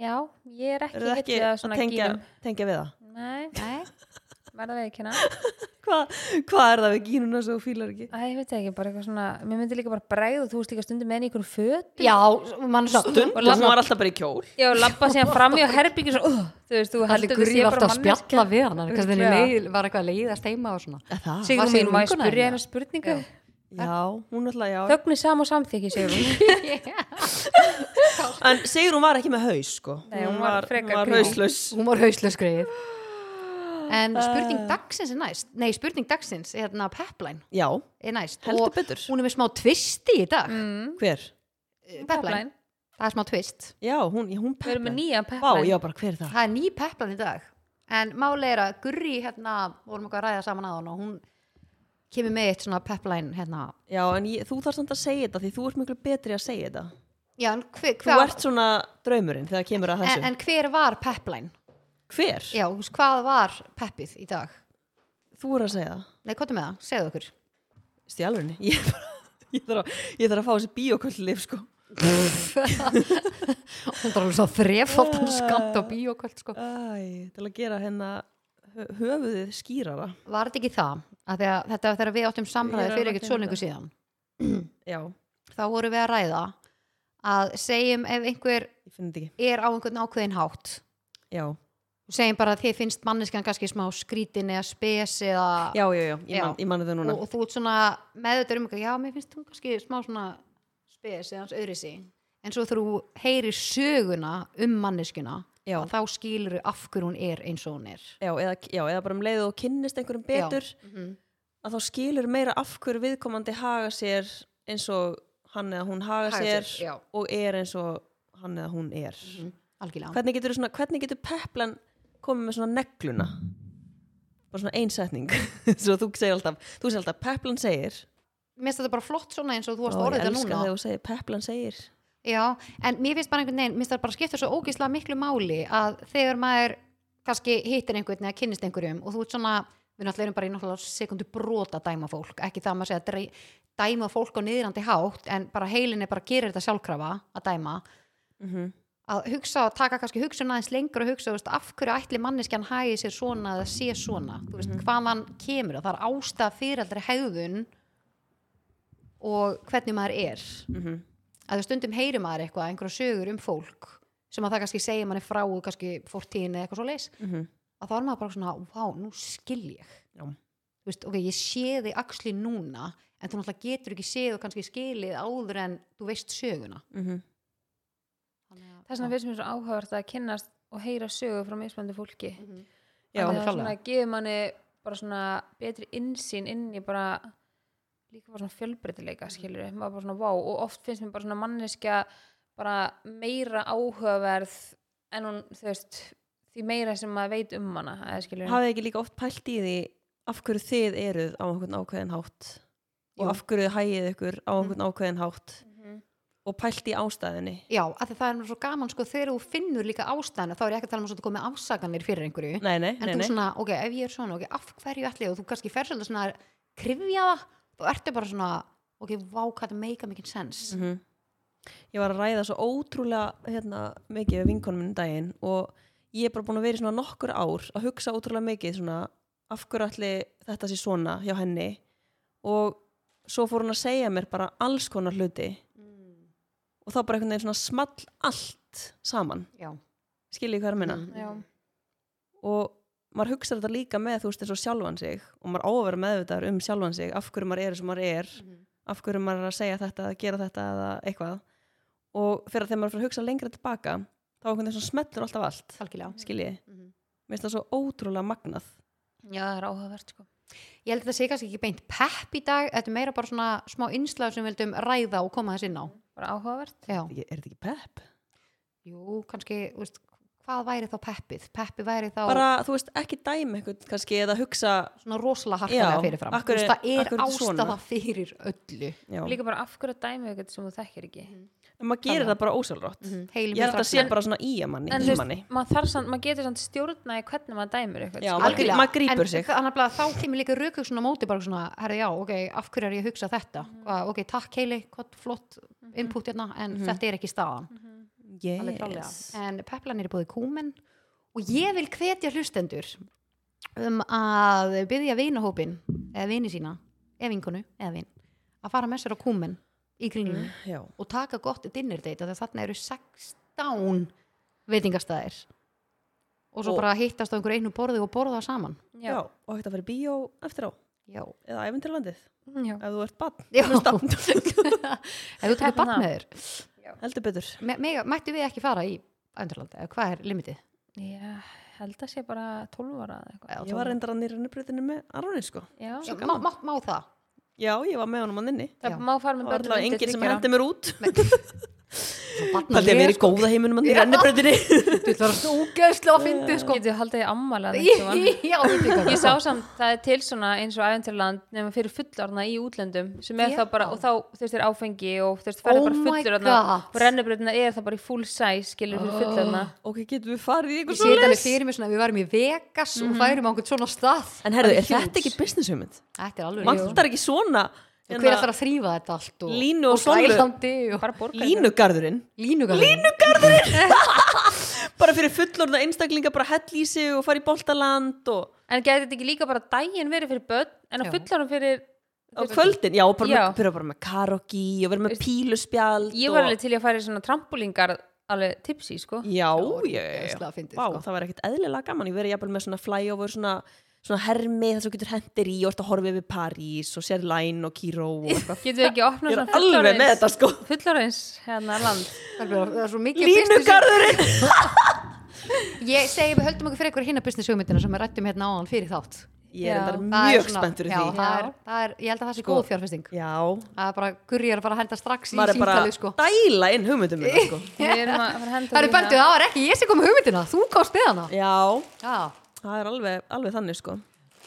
[SPEAKER 3] já, ég er ekki
[SPEAKER 2] Eru það ekki
[SPEAKER 3] hillið af
[SPEAKER 2] að
[SPEAKER 3] svona
[SPEAKER 2] tengja,
[SPEAKER 3] gínum
[SPEAKER 2] tengja við það?
[SPEAKER 3] Nei,
[SPEAKER 1] Nei,
[SPEAKER 3] verða við ekki hérna
[SPEAKER 2] Hvað hva er það við gínuna sem þú fílar ekki?
[SPEAKER 3] Æ, ég veit það ekki, bara eitthvað svona Mér myndi líka bara bregð og þú veist líka stundum með henni í einhverjum föt
[SPEAKER 1] Já, mann svo
[SPEAKER 2] Stund,
[SPEAKER 3] Og
[SPEAKER 2] hún
[SPEAKER 3] labba-
[SPEAKER 2] var alltaf bara í kjól
[SPEAKER 3] Já, lappa síðan fram í og herbyggjur svo, uh, Þú veist, þú
[SPEAKER 1] Allir
[SPEAKER 3] heldur
[SPEAKER 1] gurið aftur að
[SPEAKER 3] manneskja.
[SPEAKER 1] spjalla við hana Kannski henni
[SPEAKER 3] Örugglega.
[SPEAKER 1] leið- var eitthvað að leiðast heima og svona
[SPEAKER 2] Er það?
[SPEAKER 1] Var
[SPEAKER 3] Sigrún mín,
[SPEAKER 1] Sigrún
[SPEAKER 3] má ég
[SPEAKER 1] vinkona þín,
[SPEAKER 3] spyrja hennar spurningu?
[SPEAKER 2] Já, hún alltaf, já
[SPEAKER 3] Þögnu sam og samþykki, Sigrún
[SPEAKER 2] En Sigrún var ekki með haus, sko
[SPEAKER 3] Nei, hún var frekar
[SPEAKER 2] hún var
[SPEAKER 3] creepy.
[SPEAKER 2] hauslaus
[SPEAKER 1] Hún var hauslega skrið En spurning dagsins er næst Nei, spurning dagsins er hérna pepline
[SPEAKER 2] Já,
[SPEAKER 1] er næst
[SPEAKER 2] heldur
[SPEAKER 1] og
[SPEAKER 2] betur
[SPEAKER 1] hún er með smá twist í dag
[SPEAKER 3] Mm,
[SPEAKER 2] Hver?
[SPEAKER 1] pepline, það er smá twist
[SPEAKER 2] Já, hún, hún
[SPEAKER 3] Við erum með
[SPEAKER 2] peplan
[SPEAKER 3] nýjan
[SPEAKER 2] Vá,
[SPEAKER 3] pepline
[SPEAKER 2] já, bara hver er það?
[SPEAKER 1] það er ný pepline í dag en máli er að Gurri hérna vorum eitthvað að ræða saman að hann og hún kemur með eitt svona pepline hérna
[SPEAKER 2] Já, en ég, þú þarf samt að segja þetta því þú ert miklu betri að segja þetta
[SPEAKER 1] já, en, hver,
[SPEAKER 2] Þú
[SPEAKER 1] hver,
[SPEAKER 2] ert svona draumurinn þegar kemur að
[SPEAKER 1] en,
[SPEAKER 2] þessu
[SPEAKER 1] en hver var pepline
[SPEAKER 2] Hver?
[SPEAKER 1] já, þú veist, hvað var peppið í dag
[SPEAKER 2] Þú er að segja það
[SPEAKER 1] nei, hvað er með það, segðu okkur
[SPEAKER 2] Stjálfurinn, ég, bara- ég, þarf að- ég þarf að fá þessi bíoköllif, sko
[SPEAKER 1] hún er alveg svo þrefaldan skamt á bíókvöld sko.
[SPEAKER 2] Æ, til að gera hennar höfuðið skýrara
[SPEAKER 1] var þetta ekki það að að, þetta var þegar við áttum
[SPEAKER 2] Ég er
[SPEAKER 1] samræði fyrir
[SPEAKER 2] alveg
[SPEAKER 1] ekkert
[SPEAKER 2] að
[SPEAKER 1] svo
[SPEAKER 2] finna
[SPEAKER 1] lengur síðan
[SPEAKER 2] Já,
[SPEAKER 1] þá vorum við að ræða að segjum ef einhver
[SPEAKER 2] ég finn þetta ekki
[SPEAKER 1] er á einhvern ákveðin hátt
[SPEAKER 2] Já,
[SPEAKER 1] og segjum bara að þið finnst manneskjan kannski smá skrítin eða spes eða
[SPEAKER 2] já, já, já, ég, Man,
[SPEAKER 1] Já.
[SPEAKER 2] ég mani það núna
[SPEAKER 1] og, og þú ert svona meðutur um eitthvað, já, mér finnst hún kannski smá svona spes eða hans öðrisi en svo þegar þú heyrir söguna um manneskjuna
[SPEAKER 2] Já.
[SPEAKER 1] að þá skilur af hverju hún er eins og hún er
[SPEAKER 2] já eða, já, eða bara um leið og þú kynnist einhverjum betur að þá skilur meira af hverju viðkomandi haga sér eins og hann eða hún haga,
[SPEAKER 1] Haga
[SPEAKER 2] sér,
[SPEAKER 1] sér, já. Mhm.
[SPEAKER 2] og er eins og hann eða hún er
[SPEAKER 1] algjörlega
[SPEAKER 2] hvernig, getur svona, hvernig getur peplan komið með svona negluna bara svona einsetning svo þú segir alltaf, þú segir alltaf peplan segir
[SPEAKER 1] mér finnst þetta bara flott svona eins og þú varst
[SPEAKER 2] Ó, ég
[SPEAKER 1] orðið þetta
[SPEAKER 2] elska
[SPEAKER 1] núna
[SPEAKER 2] þegar þú segir peplan segir
[SPEAKER 1] Já, en mér finnst bara einhvern veginn, mér finnst það bara skipta svo ógeðslega miklu máli að þegar maður kannski hittir einhvern eða kynnist einhverjum og þú ert svona, við náttúrulega erum bara í náttúrulega sekundu brota að dæma fólk, ekki það að maður segja að drey- dæma fólk á niðrandi hátt en bara heilin er bara að gera þetta sjálfkrafa að dæma,
[SPEAKER 2] mm
[SPEAKER 1] Mhm,
[SPEAKER 2] -hmm.
[SPEAKER 1] að hugsa og taka kannski hugsun aðeins lengur og hugsa, þú veist, af hverju ætli manneskjan hægi sér svona eða sé svona, þú veist, hvaðan kemur og það er ástæða fyrir allri hegðun og hvernig maður er að þú stundum heyri maður eitthvað, einhverja sögur um fólk sem að það kannski segja manni frá og kannski fórtíðin eða eitthvað svo leis að þá er maður bara svona, vá, nú skil ég
[SPEAKER 2] Já.
[SPEAKER 1] þú veist, ok, ég sé þig axli núna, en þú náttúrulega getur ekki séð og kannski skilið áður en þú veist söguna
[SPEAKER 3] Þess vegna finnst mér svo áhugavert að kynnast og heyra sögu frá mismöndu fólki
[SPEAKER 2] Já,
[SPEAKER 3] Þannig að það
[SPEAKER 1] klárlega.
[SPEAKER 3] svona gefur manni bara svona betri innsýn inn í bara líka bara svona
[SPEAKER 2] Mm.
[SPEAKER 3] fjölbreytileika skilur við, maður bara svona vá og oft finnst mér bara svona manneskja bara meira áhugaverð en hún, þú veist, því meira sem maður veit um hana, eða skilur við
[SPEAKER 2] hafið þið ekki líka oft pælt í því af hverju þið eruð á einhvern ákveðin hátt
[SPEAKER 1] Jú. Mhm.
[SPEAKER 2] og af hverju þið hægið ykkur á einhvern ákveðin hátt og pælt í ástæðinni
[SPEAKER 1] já, af því það er nú svo gaman sko, þegar þú finnur líka ástæðan þá er ég ekki að tala um að svona komið afsakanir fyrir einhverju
[SPEAKER 2] nei, nei,
[SPEAKER 1] en
[SPEAKER 2] nei,
[SPEAKER 1] þú
[SPEAKER 2] nei.
[SPEAKER 1] svona, ok, ef ég er svona, ok, af hverju ætli ég og þú kannski fer svolítið svona að krifja það þá ertu bara svona, ok, vá, hvað þetta make a mikið sense
[SPEAKER 2] Mhm. ég var að ræða svo ótrúlega hérna, mikið við vinkonum minn um daginn og ég er bara búin að vera í svona nokkur ár að hugsa ótrúlega mikið svona af hverju allir þetta sé svona hjá henni og svo fór hún að segja mér bara alls konar hluti Mm. og þá bara einhvern veginn svona small allt saman
[SPEAKER 1] Já,
[SPEAKER 2] skiljið hvað er að minna
[SPEAKER 1] Mhm.
[SPEAKER 3] Já,
[SPEAKER 2] og maður hugsa þetta líka með þú veist eins og sjálfan sig og maður á að vera meðvitaður um sjálfan sig af hverju maður er sem maður er af hverju maður er að segja þetta, að gera þetta eða eitthvað og fyrir að þegar maður fyrir að hugsa lengra tilbaka þá er einhvern veginn svona smellur alltaf allt
[SPEAKER 1] algjörlega.
[SPEAKER 2] skiljið,
[SPEAKER 1] Mhm.
[SPEAKER 2] mér finnst það svo ótrúlega magnað
[SPEAKER 3] já, það er áhugavert sko
[SPEAKER 1] Ég held að þetta sé kannski ekki beint pepp í dag, þetta er meira bara svona smá innslag sem við vildum ræða og koma þess inn á.
[SPEAKER 3] bara áhugavert
[SPEAKER 1] Já,
[SPEAKER 2] er þetta ekki pepp?
[SPEAKER 1] jú, kannski, þú veist, hvað væri þá peppið? Peppi væri þá
[SPEAKER 2] bara, þú veist, ekki dæmi eitthvað kannski eða hugsa
[SPEAKER 1] svona rosalega harkalega
[SPEAKER 2] Já,
[SPEAKER 1] fyrirfram
[SPEAKER 2] af hverju-
[SPEAKER 1] Þú veist, það
[SPEAKER 2] af
[SPEAKER 1] er
[SPEAKER 2] hverju er þetta svona?
[SPEAKER 1] ástæða fyrir öllu
[SPEAKER 2] já. Mhm.
[SPEAKER 3] líka bara af hverju dæmi eitthvað sem þú þekkir ekki
[SPEAKER 2] en maður gerir það bara ósjálfrátt
[SPEAKER 1] heilum
[SPEAKER 2] ég held að það sé
[SPEAKER 1] strax-
[SPEAKER 2] bara svona í að manni,
[SPEAKER 3] en
[SPEAKER 2] í
[SPEAKER 3] þú
[SPEAKER 2] manni.
[SPEAKER 3] veist, maður þarf samt, maður getur samt stjórna í hvernig maður dæmir eitthvað
[SPEAKER 2] Já,
[SPEAKER 3] sko.
[SPEAKER 2] maður-
[SPEAKER 1] Algjörlega.
[SPEAKER 2] maður grípur
[SPEAKER 1] En
[SPEAKER 2] sig.
[SPEAKER 1] þannig að þá kemur líka raukugsun á móti bara svona, herri já, ok, af hverju er ég að hugsa þetta Hvað, ok, takk heili, hvað flott input hérna, en þetta er ekki staðan alveg klálega.
[SPEAKER 2] yes.
[SPEAKER 1] En peplan er búið kúmen og ég vil hvetja hlustendur um að byggja vinahópin eða vini sína, eða vinkonu eða vin, að fara með sér á kúmen í kringlunni
[SPEAKER 2] já,
[SPEAKER 1] og taka gott dinner date af því að þarna eru 16 veitingastæðir og svo
[SPEAKER 2] Og-
[SPEAKER 1] bara hittast á einhver einu borði og borða saman
[SPEAKER 2] já, og hægt að fara í bíó eftir á
[SPEAKER 1] Já,
[SPEAKER 2] eða æfintirlandið,
[SPEAKER 3] já.
[SPEAKER 2] ef þú ert bann
[SPEAKER 1] Já. ef þú tekur bann með þér
[SPEAKER 2] heldur betur
[SPEAKER 1] Me- mega- Mættu við ekki fara í Öndurland, eða hvað er limitið?
[SPEAKER 3] ég held að sé bara 12 ára eða eitthvað
[SPEAKER 1] Eða
[SPEAKER 2] ég var reyndar að nýra nýrbrutinu með Aroni sko
[SPEAKER 3] já,
[SPEAKER 1] tólf? má, má, má það?
[SPEAKER 2] já, ég var með honum að nynni
[SPEAKER 3] það
[SPEAKER 1] Já.
[SPEAKER 3] má fara
[SPEAKER 2] það
[SPEAKER 3] með
[SPEAKER 2] var
[SPEAKER 3] börnum
[SPEAKER 2] alltaf
[SPEAKER 3] undir
[SPEAKER 2] enginn sem
[SPEAKER 3] þriggja ára.
[SPEAKER 2] hendi mér út
[SPEAKER 1] Barnið
[SPEAKER 2] það er
[SPEAKER 1] er
[SPEAKER 2] verið í góða heiminum að
[SPEAKER 1] Já.
[SPEAKER 2] nýra nýrbrutinu
[SPEAKER 1] Þú ætlar að stókæðsla að fyndi sko
[SPEAKER 3] Getið þið haldið í ammala
[SPEAKER 1] Já, veitu hvað
[SPEAKER 3] ég sá samt það er til svona eins og æventurland nema fyrir fullorna í útlöndum sem er
[SPEAKER 1] Já.
[SPEAKER 3] þá bara, og þá þú veist er áfengi og þú veist ferði
[SPEAKER 1] Oh
[SPEAKER 3] bara
[SPEAKER 1] my
[SPEAKER 3] fullorna
[SPEAKER 1] God.
[SPEAKER 3] og rennubröðina er það bara í full size skilur
[SPEAKER 1] Oh.
[SPEAKER 3] fyrir fullorna
[SPEAKER 2] ok, getum við farið í
[SPEAKER 1] Ég
[SPEAKER 2] eitthvað
[SPEAKER 1] sé þetta
[SPEAKER 2] svoleiðis? Mhm.
[SPEAKER 1] alveg fyrir mig svona að við værum í Vegas og færum á einhvern svona stað
[SPEAKER 2] en herðu,
[SPEAKER 1] Það
[SPEAKER 2] er þetta
[SPEAKER 1] huge.
[SPEAKER 2] ekki business hugmynd?
[SPEAKER 1] Þetta er alveg
[SPEAKER 2] vantar ekki svona hérna,
[SPEAKER 1] En hver að þarf að þrýfa þetta allt og,
[SPEAKER 2] Línu og Sólu.
[SPEAKER 1] Sælandi og
[SPEAKER 3] bara borgar
[SPEAKER 2] línugarðurinn
[SPEAKER 1] línugarðin Línu?
[SPEAKER 2] bara fyrir fullorna einstaklinga bara hell í sig og fara í boltaland og
[SPEAKER 3] en getur þetta ekki líka bara daginn verið fyrir börn en á
[SPEAKER 1] Já.
[SPEAKER 3] fullorna fyrir
[SPEAKER 2] á kvöldin, já, og bara
[SPEAKER 3] Já.
[SPEAKER 2] með, byrja bara með karaoke og vera með píluspjald
[SPEAKER 3] ég
[SPEAKER 2] og...
[SPEAKER 3] var alveg til í að fara í svona trampolíngar alveg tipsi sko
[SPEAKER 2] já, já, já, já.
[SPEAKER 1] ógeðslega fyndið,
[SPEAKER 2] Vá,
[SPEAKER 1] sko.
[SPEAKER 2] það var ekkert eðlilega gaman ég verið jafnvel með svona flyover svona, svona hermi þar sem þú getur hendir í og ert að horfa yfir París og sér Læn og Kíró og eitthvað
[SPEAKER 3] getur við ekki að opna
[SPEAKER 2] ég er
[SPEAKER 3] svona
[SPEAKER 2] alveg með
[SPEAKER 3] fullorins
[SPEAKER 2] þetta sko
[SPEAKER 3] fullorins hérna land
[SPEAKER 1] Það er svo mikið business-
[SPEAKER 2] línugarðurinn
[SPEAKER 1] Ég segi við höldum okkur fyrir ykkur hinna business hugmyndina sem við rættum hérna áðan fyrir þátt
[SPEAKER 2] ég er
[SPEAKER 3] Já.
[SPEAKER 2] endar
[SPEAKER 1] Það er
[SPEAKER 2] mjög
[SPEAKER 1] svona-
[SPEAKER 2] spenntur í
[SPEAKER 1] já,
[SPEAKER 2] því Sko-
[SPEAKER 1] það er, það er, Ég held að það sé góð fjárfesting
[SPEAKER 2] já,
[SPEAKER 1] Það er bara gurrið að fara að henda strax í
[SPEAKER 2] maður er bara
[SPEAKER 1] síntali sko.
[SPEAKER 2] dæla inn hugmyndum minna, sko.
[SPEAKER 3] við erum að fara að henda hérna.
[SPEAKER 1] Það er
[SPEAKER 3] Línu.
[SPEAKER 1] bæntið, það var ekki ég sem kom með hugmyndina Þú komst með hana
[SPEAKER 2] já,
[SPEAKER 1] Já,
[SPEAKER 2] það er alveg, alveg þannig sko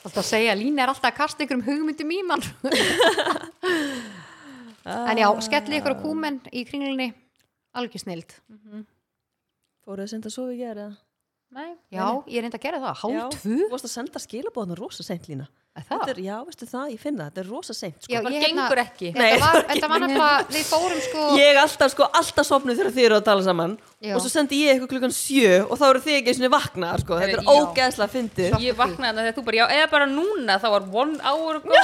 [SPEAKER 1] alltaf að segja, Lína er alltaf að kasta einhverjum hugmyndum í mann En
[SPEAKER 2] Ah.
[SPEAKER 1] já, skelli ykkur á kúmen í kringlinni Algjör snild
[SPEAKER 2] Mm-hmm. fóruð að senda svo við gera
[SPEAKER 3] Nei,
[SPEAKER 1] Já, ég reyndi að gera það, hálf tvö
[SPEAKER 2] þú varst að senda skilabóðan rosa seint lína
[SPEAKER 1] Er það?
[SPEAKER 2] þetta er, já, veistu það, ég finna það, þetta er rosa seint sko.
[SPEAKER 1] Já,
[SPEAKER 3] bara
[SPEAKER 1] ég hérna-
[SPEAKER 3] gengur ekki.
[SPEAKER 1] Þetta
[SPEAKER 2] Nei,
[SPEAKER 1] var,
[SPEAKER 2] það
[SPEAKER 1] þetta var náttúrulega, við fórum sko
[SPEAKER 2] ég alltaf, sko, alltaf sopnuð þegar þið eru að tala saman
[SPEAKER 1] Já.
[SPEAKER 2] og svo sendi ég eitthvað klukkan sjö og þá eru þið ekki einu sinni vaknað sko. þetta
[SPEAKER 3] Herri,
[SPEAKER 2] er
[SPEAKER 3] já.
[SPEAKER 2] ógeðslega fyndið
[SPEAKER 3] ég vaknaði þannig að þú bara, já, eða bara núna þá var one hour ago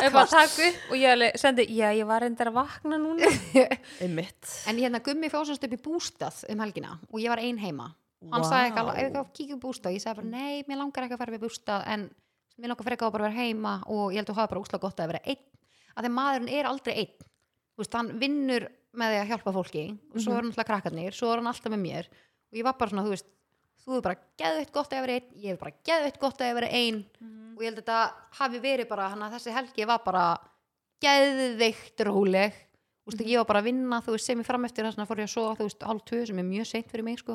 [SPEAKER 3] eða bara takk upp og ég alveg sendi já, ég var reyndar að vakna núna
[SPEAKER 2] einmitt
[SPEAKER 1] En hérna gummi fjóðsast upp í bústað um helgina og ég var ein heima Hann
[SPEAKER 2] Vá.
[SPEAKER 1] sagði ekki alveg, ef ekki að kíkja í bústað Ég sagði bara, nei, mér langar ekki að fara upp í bústað en mér langar frekar að bara vera heima og ég held að hafa bara úsla gott að vera einn að þegar maðurinn er aldrei einn Þú veist, hann vinnur með því að hjálpa fólki og svo er hann alltaf krakkarnir, svo er hann alltaf með mér og ég var bara svona, þú veist þú er bara geðveitt gott að vera einn ég er bara geðveitt gott að vera einn og ég held að þetta hafi verið bara hann að þessi helgi var bara geðveikt róleg Þú veist, ég var bara að vinna, þú veist, sem ég fram eftir þess að fór ég að sofa, þú veist, hálf tvö sem er mjög seint fyrir mig, sko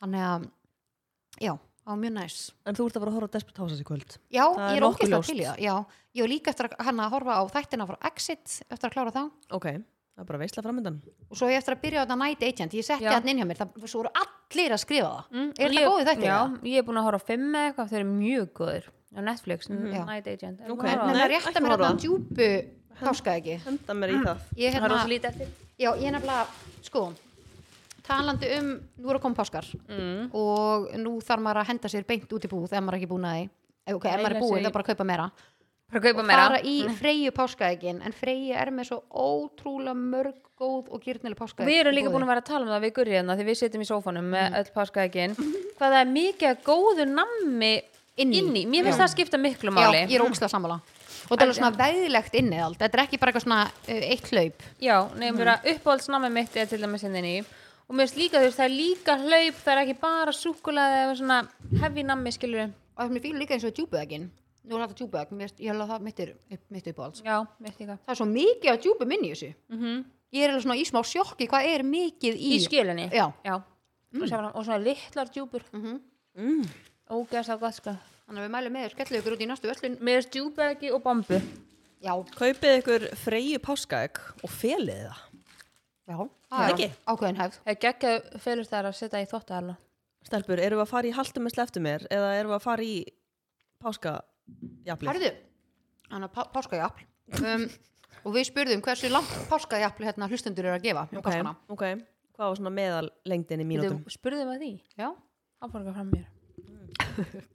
[SPEAKER 1] þannig að, já, það var mjög næs
[SPEAKER 2] en þú ert að fara að horfa á Desperate Houses í kvöld
[SPEAKER 1] Já,
[SPEAKER 2] Það
[SPEAKER 1] ég
[SPEAKER 2] er
[SPEAKER 1] er
[SPEAKER 2] nokkuð
[SPEAKER 1] ógeðslega
[SPEAKER 2] ljóst.
[SPEAKER 1] til í það, já ég var líka eftir að hann að horfa á þættina frá Exit eftir að klára þá
[SPEAKER 2] ok, það er bara veisla framöndan
[SPEAKER 1] og svo ég eftir að byrja á þetta Night Agent ég setti
[SPEAKER 3] Já.
[SPEAKER 1] hann inn hjá mér, það svo voru allir að skrifa það
[SPEAKER 3] mm,
[SPEAKER 1] Er þetta
[SPEAKER 3] ég-
[SPEAKER 1] góðir þættir,
[SPEAKER 3] Já,
[SPEAKER 1] eða?
[SPEAKER 3] ég er búin að horfa á fimm eða eitthvað, þau eru mjög góður á Netflix,
[SPEAKER 1] Já.
[SPEAKER 3] Night Agent
[SPEAKER 2] Ok.
[SPEAKER 3] okay.
[SPEAKER 1] en
[SPEAKER 2] Nei,
[SPEAKER 1] það
[SPEAKER 2] ekki
[SPEAKER 1] rétta mér
[SPEAKER 2] horfa á
[SPEAKER 1] hann djúpu káska ekki
[SPEAKER 2] henda mér í það
[SPEAKER 1] ég,
[SPEAKER 3] það er rosa
[SPEAKER 1] hérna,
[SPEAKER 3] lítið eftir
[SPEAKER 1] já, ég nefnilega, sko talandi um, nú er að koma páskar
[SPEAKER 3] mm.
[SPEAKER 1] og nú þarf maður að henda sér beint út í búð ef maður er ekki búin að því Eh, ok, ef maður er
[SPEAKER 3] Æla
[SPEAKER 1] búin
[SPEAKER 3] sig
[SPEAKER 1] það er bara að kaupa meira
[SPEAKER 3] bara að kaupa
[SPEAKER 1] og
[SPEAKER 3] meira
[SPEAKER 1] fara í Freyju páskaegin en Freyja er með svo ótrúlega mörg góð og gyrnileg páskaegin
[SPEAKER 3] við erum líka búin að vera að tala um það við gurrið hérna því við sitjum í sófanum með öll páskaækin hvað það er mikið af góðu nammi
[SPEAKER 1] Inni.
[SPEAKER 3] inni, mér finnst það skipta miklu
[SPEAKER 1] Já,
[SPEAKER 3] máli
[SPEAKER 1] ég er ógstlega sammála og það er alveg svona veðilegt inni allt þetta er ekki bara eitthvað svona uh, eitt hlaup
[SPEAKER 3] Já, nefnum vera uppáhaldsnammi mitt er til dæmis hérna inn í og mér finnst líka þú veist það er líka hlaup það er ekki bara súkulaði eða svona hefði nammi skilur
[SPEAKER 1] og það er fílu líka eins og djúbuðegin nú er þetta djúbuðeg, mér finnst- ég held að það mitt er upp, mitt upp á alls
[SPEAKER 3] Já, mitt líka
[SPEAKER 1] það er svo mikið af djúbum inn í þessu ég er alveg svona í smá sjokki hvað er mikið í
[SPEAKER 3] Í skilunni
[SPEAKER 1] Já. Mm. Mhm.
[SPEAKER 3] Já, og, saman, og svona litlar djúpur
[SPEAKER 2] Mm.
[SPEAKER 3] ógeðslega gott sko
[SPEAKER 1] Þannig að við mælum með þér, skellu ykkur út í næstu völlun
[SPEAKER 3] með stjúbergi og bambu
[SPEAKER 1] Já,
[SPEAKER 2] Kaupið ykkur freyju páskaegg og felið það.
[SPEAKER 1] já,
[SPEAKER 2] Já.
[SPEAKER 1] það
[SPEAKER 2] Ekki?
[SPEAKER 1] er ákveðin hefð
[SPEAKER 3] það er geggjaðu felur þær að setja í þóttu alveg
[SPEAKER 2] Stelpur, erum við að fara í haldumisli eftir mér eða erum við að fara í páskajafli?
[SPEAKER 1] Herðu, hann að páskajafl um, Og við spurðum hversu langt páskajafl hérna hlustendur eru að gefa um
[SPEAKER 2] Ok,
[SPEAKER 1] páskana.
[SPEAKER 2] ok. Hvað var svona meðal lengdin í mínútum?
[SPEAKER 3] Þú spurðum að því
[SPEAKER 1] Já,
[SPEAKER 3] að borga fram mér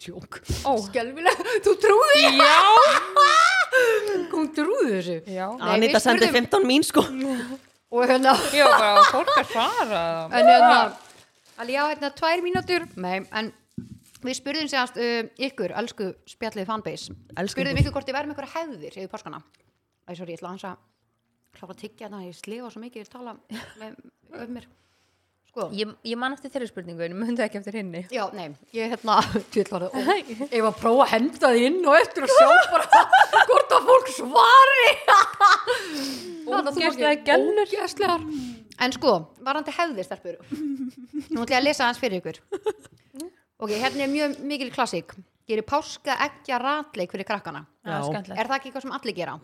[SPEAKER 1] tjók
[SPEAKER 3] Ó.
[SPEAKER 1] Skelvilega, þú trúði Já Hún trúði þessu
[SPEAKER 3] Já
[SPEAKER 1] Nei,
[SPEAKER 2] Anita
[SPEAKER 1] við
[SPEAKER 2] sendi
[SPEAKER 1] spurðum-
[SPEAKER 2] 15 mín sko.
[SPEAKER 1] Og hérna
[SPEAKER 3] Ég var bara fólk að svara
[SPEAKER 1] En hérna, alveg já, hérna, tvær mínútur Nei, en við spurðum séðast um, ykkur, elsku spjallið fanbase
[SPEAKER 2] Elskum
[SPEAKER 1] Spurðum
[SPEAKER 2] ykkur.
[SPEAKER 1] ykkur hvort þið værum ykkur hefðir yfir páskana Æ, sorry, ég ætla hans að klára að tyggja þannig að ég slifa svo mikið ég tala með um mér Sko,
[SPEAKER 3] ég, ég man eftir þeirri spurningu en ég myndi ekki eftir henni
[SPEAKER 1] já, nei, ég hérna tvillara og ég var að prófa að henda því inn og eftir að sjá bara hvort að fólk svari
[SPEAKER 3] Ógeðslega gellur.
[SPEAKER 1] Ógæslegar En sko, varandi hefðir stelpur Nú ætla ég að lesa hans fyrir ykkur Ok, hérna er mjög mikil klassik Gerir páska ekki að ratleik fyrir krakkana
[SPEAKER 3] Það er
[SPEAKER 2] Já.
[SPEAKER 3] skemmtilegt
[SPEAKER 1] Er það ekki eitthvað sem allir gera?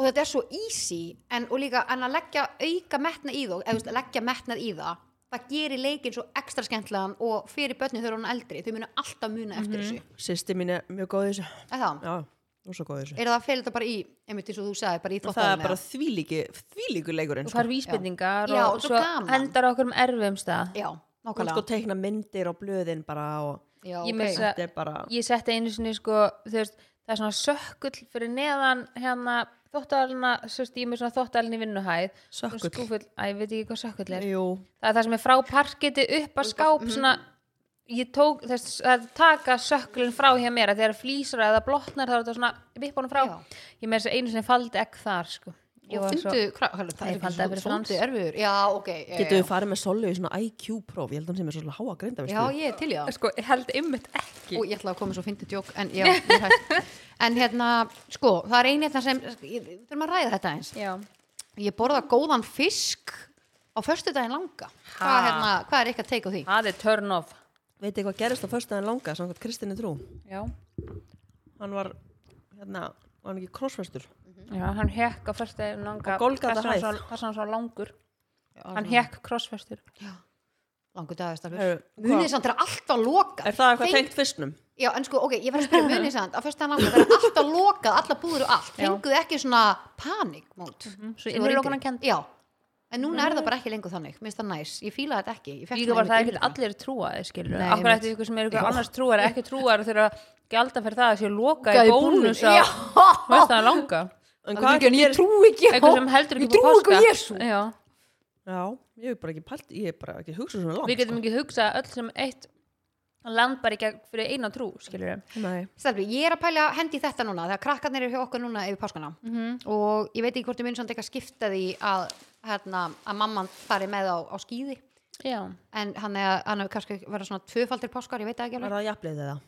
[SPEAKER 1] Og þetta er svo easy en, og líka en að leggja auka metna í þó eða þú veist, leggja metnað í það það gerir leikinn svo ekstra skemmtlegan og fyrir börnin þegar hún er eldri þau munu alltaf muna eftir þessu
[SPEAKER 2] Sýsti mín er mjög góð í þessu.
[SPEAKER 1] Er það?
[SPEAKER 2] Já, hún er svo góð í þessu.
[SPEAKER 1] Er það fyrir þetta bara í, einmitt eins og þú sagði, bara í
[SPEAKER 2] Það er
[SPEAKER 1] þóttaðum
[SPEAKER 2] bara þvílíki, þvílíku leikurinn
[SPEAKER 3] og það
[SPEAKER 2] sko.
[SPEAKER 3] er vísbendingar
[SPEAKER 1] Já, og
[SPEAKER 3] og
[SPEAKER 1] svo
[SPEAKER 3] svo
[SPEAKER 1] gaman.
[SPEAKER 3] endar á okkur um erfum stað
[SPEAKER 1] Já,
[SPEAKER 2] Hún
[SPEAKER 1] nákvæmlega
[SPEAKER 2] sko teikna myndir og blöðin bara og
[SPEAKER 1] Já,
[SPEAKER 3] Ég
[SPEAKER 1] ok.
[SPEAKER 3] missa-
[SPEAKER 2] þetta er bara
[SPEAKER 3] ég setti einu sinni sko þú veist, það er svona sökkull fyrir neðan hérna þóttalina sérst ég er með svona þóttalina í vinnuhæð svona
[SPEAKER 2] Sökkull?
[SPEAKER 3] skúfull, að ég veit ekki hvað sökkull er
[SPEAKER 2] Jú,
[SPEAKER 3] það er það sem er frá parkiti upp að skáp
[SPEAKER 1] Mhm.
[SPEAKER 3] svona ég tók þess að taka sökkulinn frá hjá mér að þegar flýsar eða blotnar þá er þetta svona vippunum frá
[SPEAKER 1] Já.
[SPEAKER 3] ég með þess að einu sinni faldi ekki þar sko Ég
[SPEAKER 1] og
[SPEAKER 3] var svo-
[SPEAKER 1] fundu, hvað, hvað, það
[SPEAKER 3] Ég
[SPEAKER 1] er
[SPEAKER 3] fann það
[SPEAKER 1] ekki
[SPEAKER 3] fyrir
[SPEAKER 1] svo
[SPEAKER 3] frans.
[SPEAKER 1] svolítið erfiður já, ok, já,
[SPEAKER 2] getum við
[SPEAKER 1] já,
[SPEAKER 2] farið með Solveig í svona IQ-próf, ég held að hún sem er svolítið háa greinda,
[SPEAKER 1] já, ég er til í það
[SPEAKER 3] sko, ég held ymmit ekki
[SPEAKER 1] og ég ætla að koma svo fyndið djók en, já, ég er hætt. en hérna, sko það er einu hérna sem, ég- við þurfum að ræða þetta eins
[SPEAKER 3] já,
[SPEAKER 1] ég borða góðan fisk á föstudaginn langa hvað,
[SPEAKER 3] Ha.
[SPEAKER 1] hérna, hvað er eitthvað teik á því?
[SPEAKER 3] það er turn off
[SPEAKER 2] Veit þið hvað gerist á föstudaginn langa, samkvæmt Kristinni Trú?
[SPEAKER 3] já,
[SPEAKER 2] Hann var, hérna, var hann ekki krossfestur?
[SPEAKER 3] já hann hekk á fyrstu
[SPEAKER 2] Á
[SPEAKER 3] nanga
[SPEAKER 2] Golgata
[SPEAKER 3] þess
[SPEAKER 2] hæð.
[SPEAKER 3] að hann svo- þess að hann svo langur hann hekk krossfestur
[SPEAKER 1] langur dagastarfur
[SPEAKER 2] Heyrðu, hvað-
[SPEAKER 1] munið samt er alltaf lokað
[SPEAKER 2] Er það eitthvað
[SPEAKER 1] Feng-
[SPEAKER 2] tengt fisknum?
[SPEAKER 1] já, en sko, ok, ég verð að spyrja munið samt á föstudaginn langa, það er alltaf lokað, allar búður og allt
[SPEAKER 3] Já. Mhm,
[SPEAKER 1] fenguð þið ekki svona panik mót
[SPEAKER 3] svo
[SPEAKER 1] Þegar ég var
[SPEAKER 3] innilokunan
[SPEAKER 1] yngri.
[SPEAKER 3] kend
[SPEAKER 1] Já, en núna er það bara ekki lengur þannig Mér finnst það næs, ég fíla þetta ekki Ég fékk
[SPEAKER 3] líka
[SPEAKER 1] svona
[SPEAKER 3] bara það er
[SPEAKER 1] einmitt
[SPEAKER 3] ekkert allir trúaði skilur
[SPEAKER 1] Nei,
[SPEAKER 3] akkur
[SPEAKER 1] einmitt.
[SPEAKER 3] eftir ykkur sem er ykkur annars trúar ekki trúar þurfa að gjalda fyrir það að séu
[SPEAKER 1] Loka
[SPEAKER 3] loka í
[SPEAKER 1] í
[SPEAKER 3] bónus
[SPEAKER 1] búðinni.
[SPEAKER 3] á
[SPEAKER 1] Já.
[SPEAKER 3] veist það langa
[SPEAKER 2] En
[SPEAKER 1] Það er
[SPEAKER 2] hvað
[SPEAKER 1] ekki, en ég
[SPEAKER 2] gerist?
[SPEAKER 1] trúi ekki á-
[SPEAKER 3] eitthvað sem heldur
[SPEAKER 1] Ég
[SPEAKER 3] ekki
[SPEAKER 1] trúi ekki á Jesú
[SPEAKER 3] páska Já.
[SPEAKER 2] Já, ég hef bara ekki pælt, ég hef bara ekki hugsað svona langt. sko.
[SPEAKER 3] við getum ekki hugsað öll sem eitt land bara ekki fyrir eina trú skilur
[SPEAKER 2] Nei.
[SPEAKER 1] Stelbi, ég er að pæla hendi í þetta núna Þegar krakkarnir eru hjá okkur núna yfir páskana
[SPEAKER 3] Mhm.
[SPEAKER 1] Og ég veit ekki hvort ég minn samt eitthvað skipta því Að, hérna, að mamman fari með á, á skýði
[SPEAKER 3] já
[SPEAKER 1] En hann er, hann er kannski verða svona tvöfaldir páskar Ég veit það ekki
[SPEAKER 2] Er
[SPEAKER 1] alveg
[SPEAKER 2] það jafnlega það?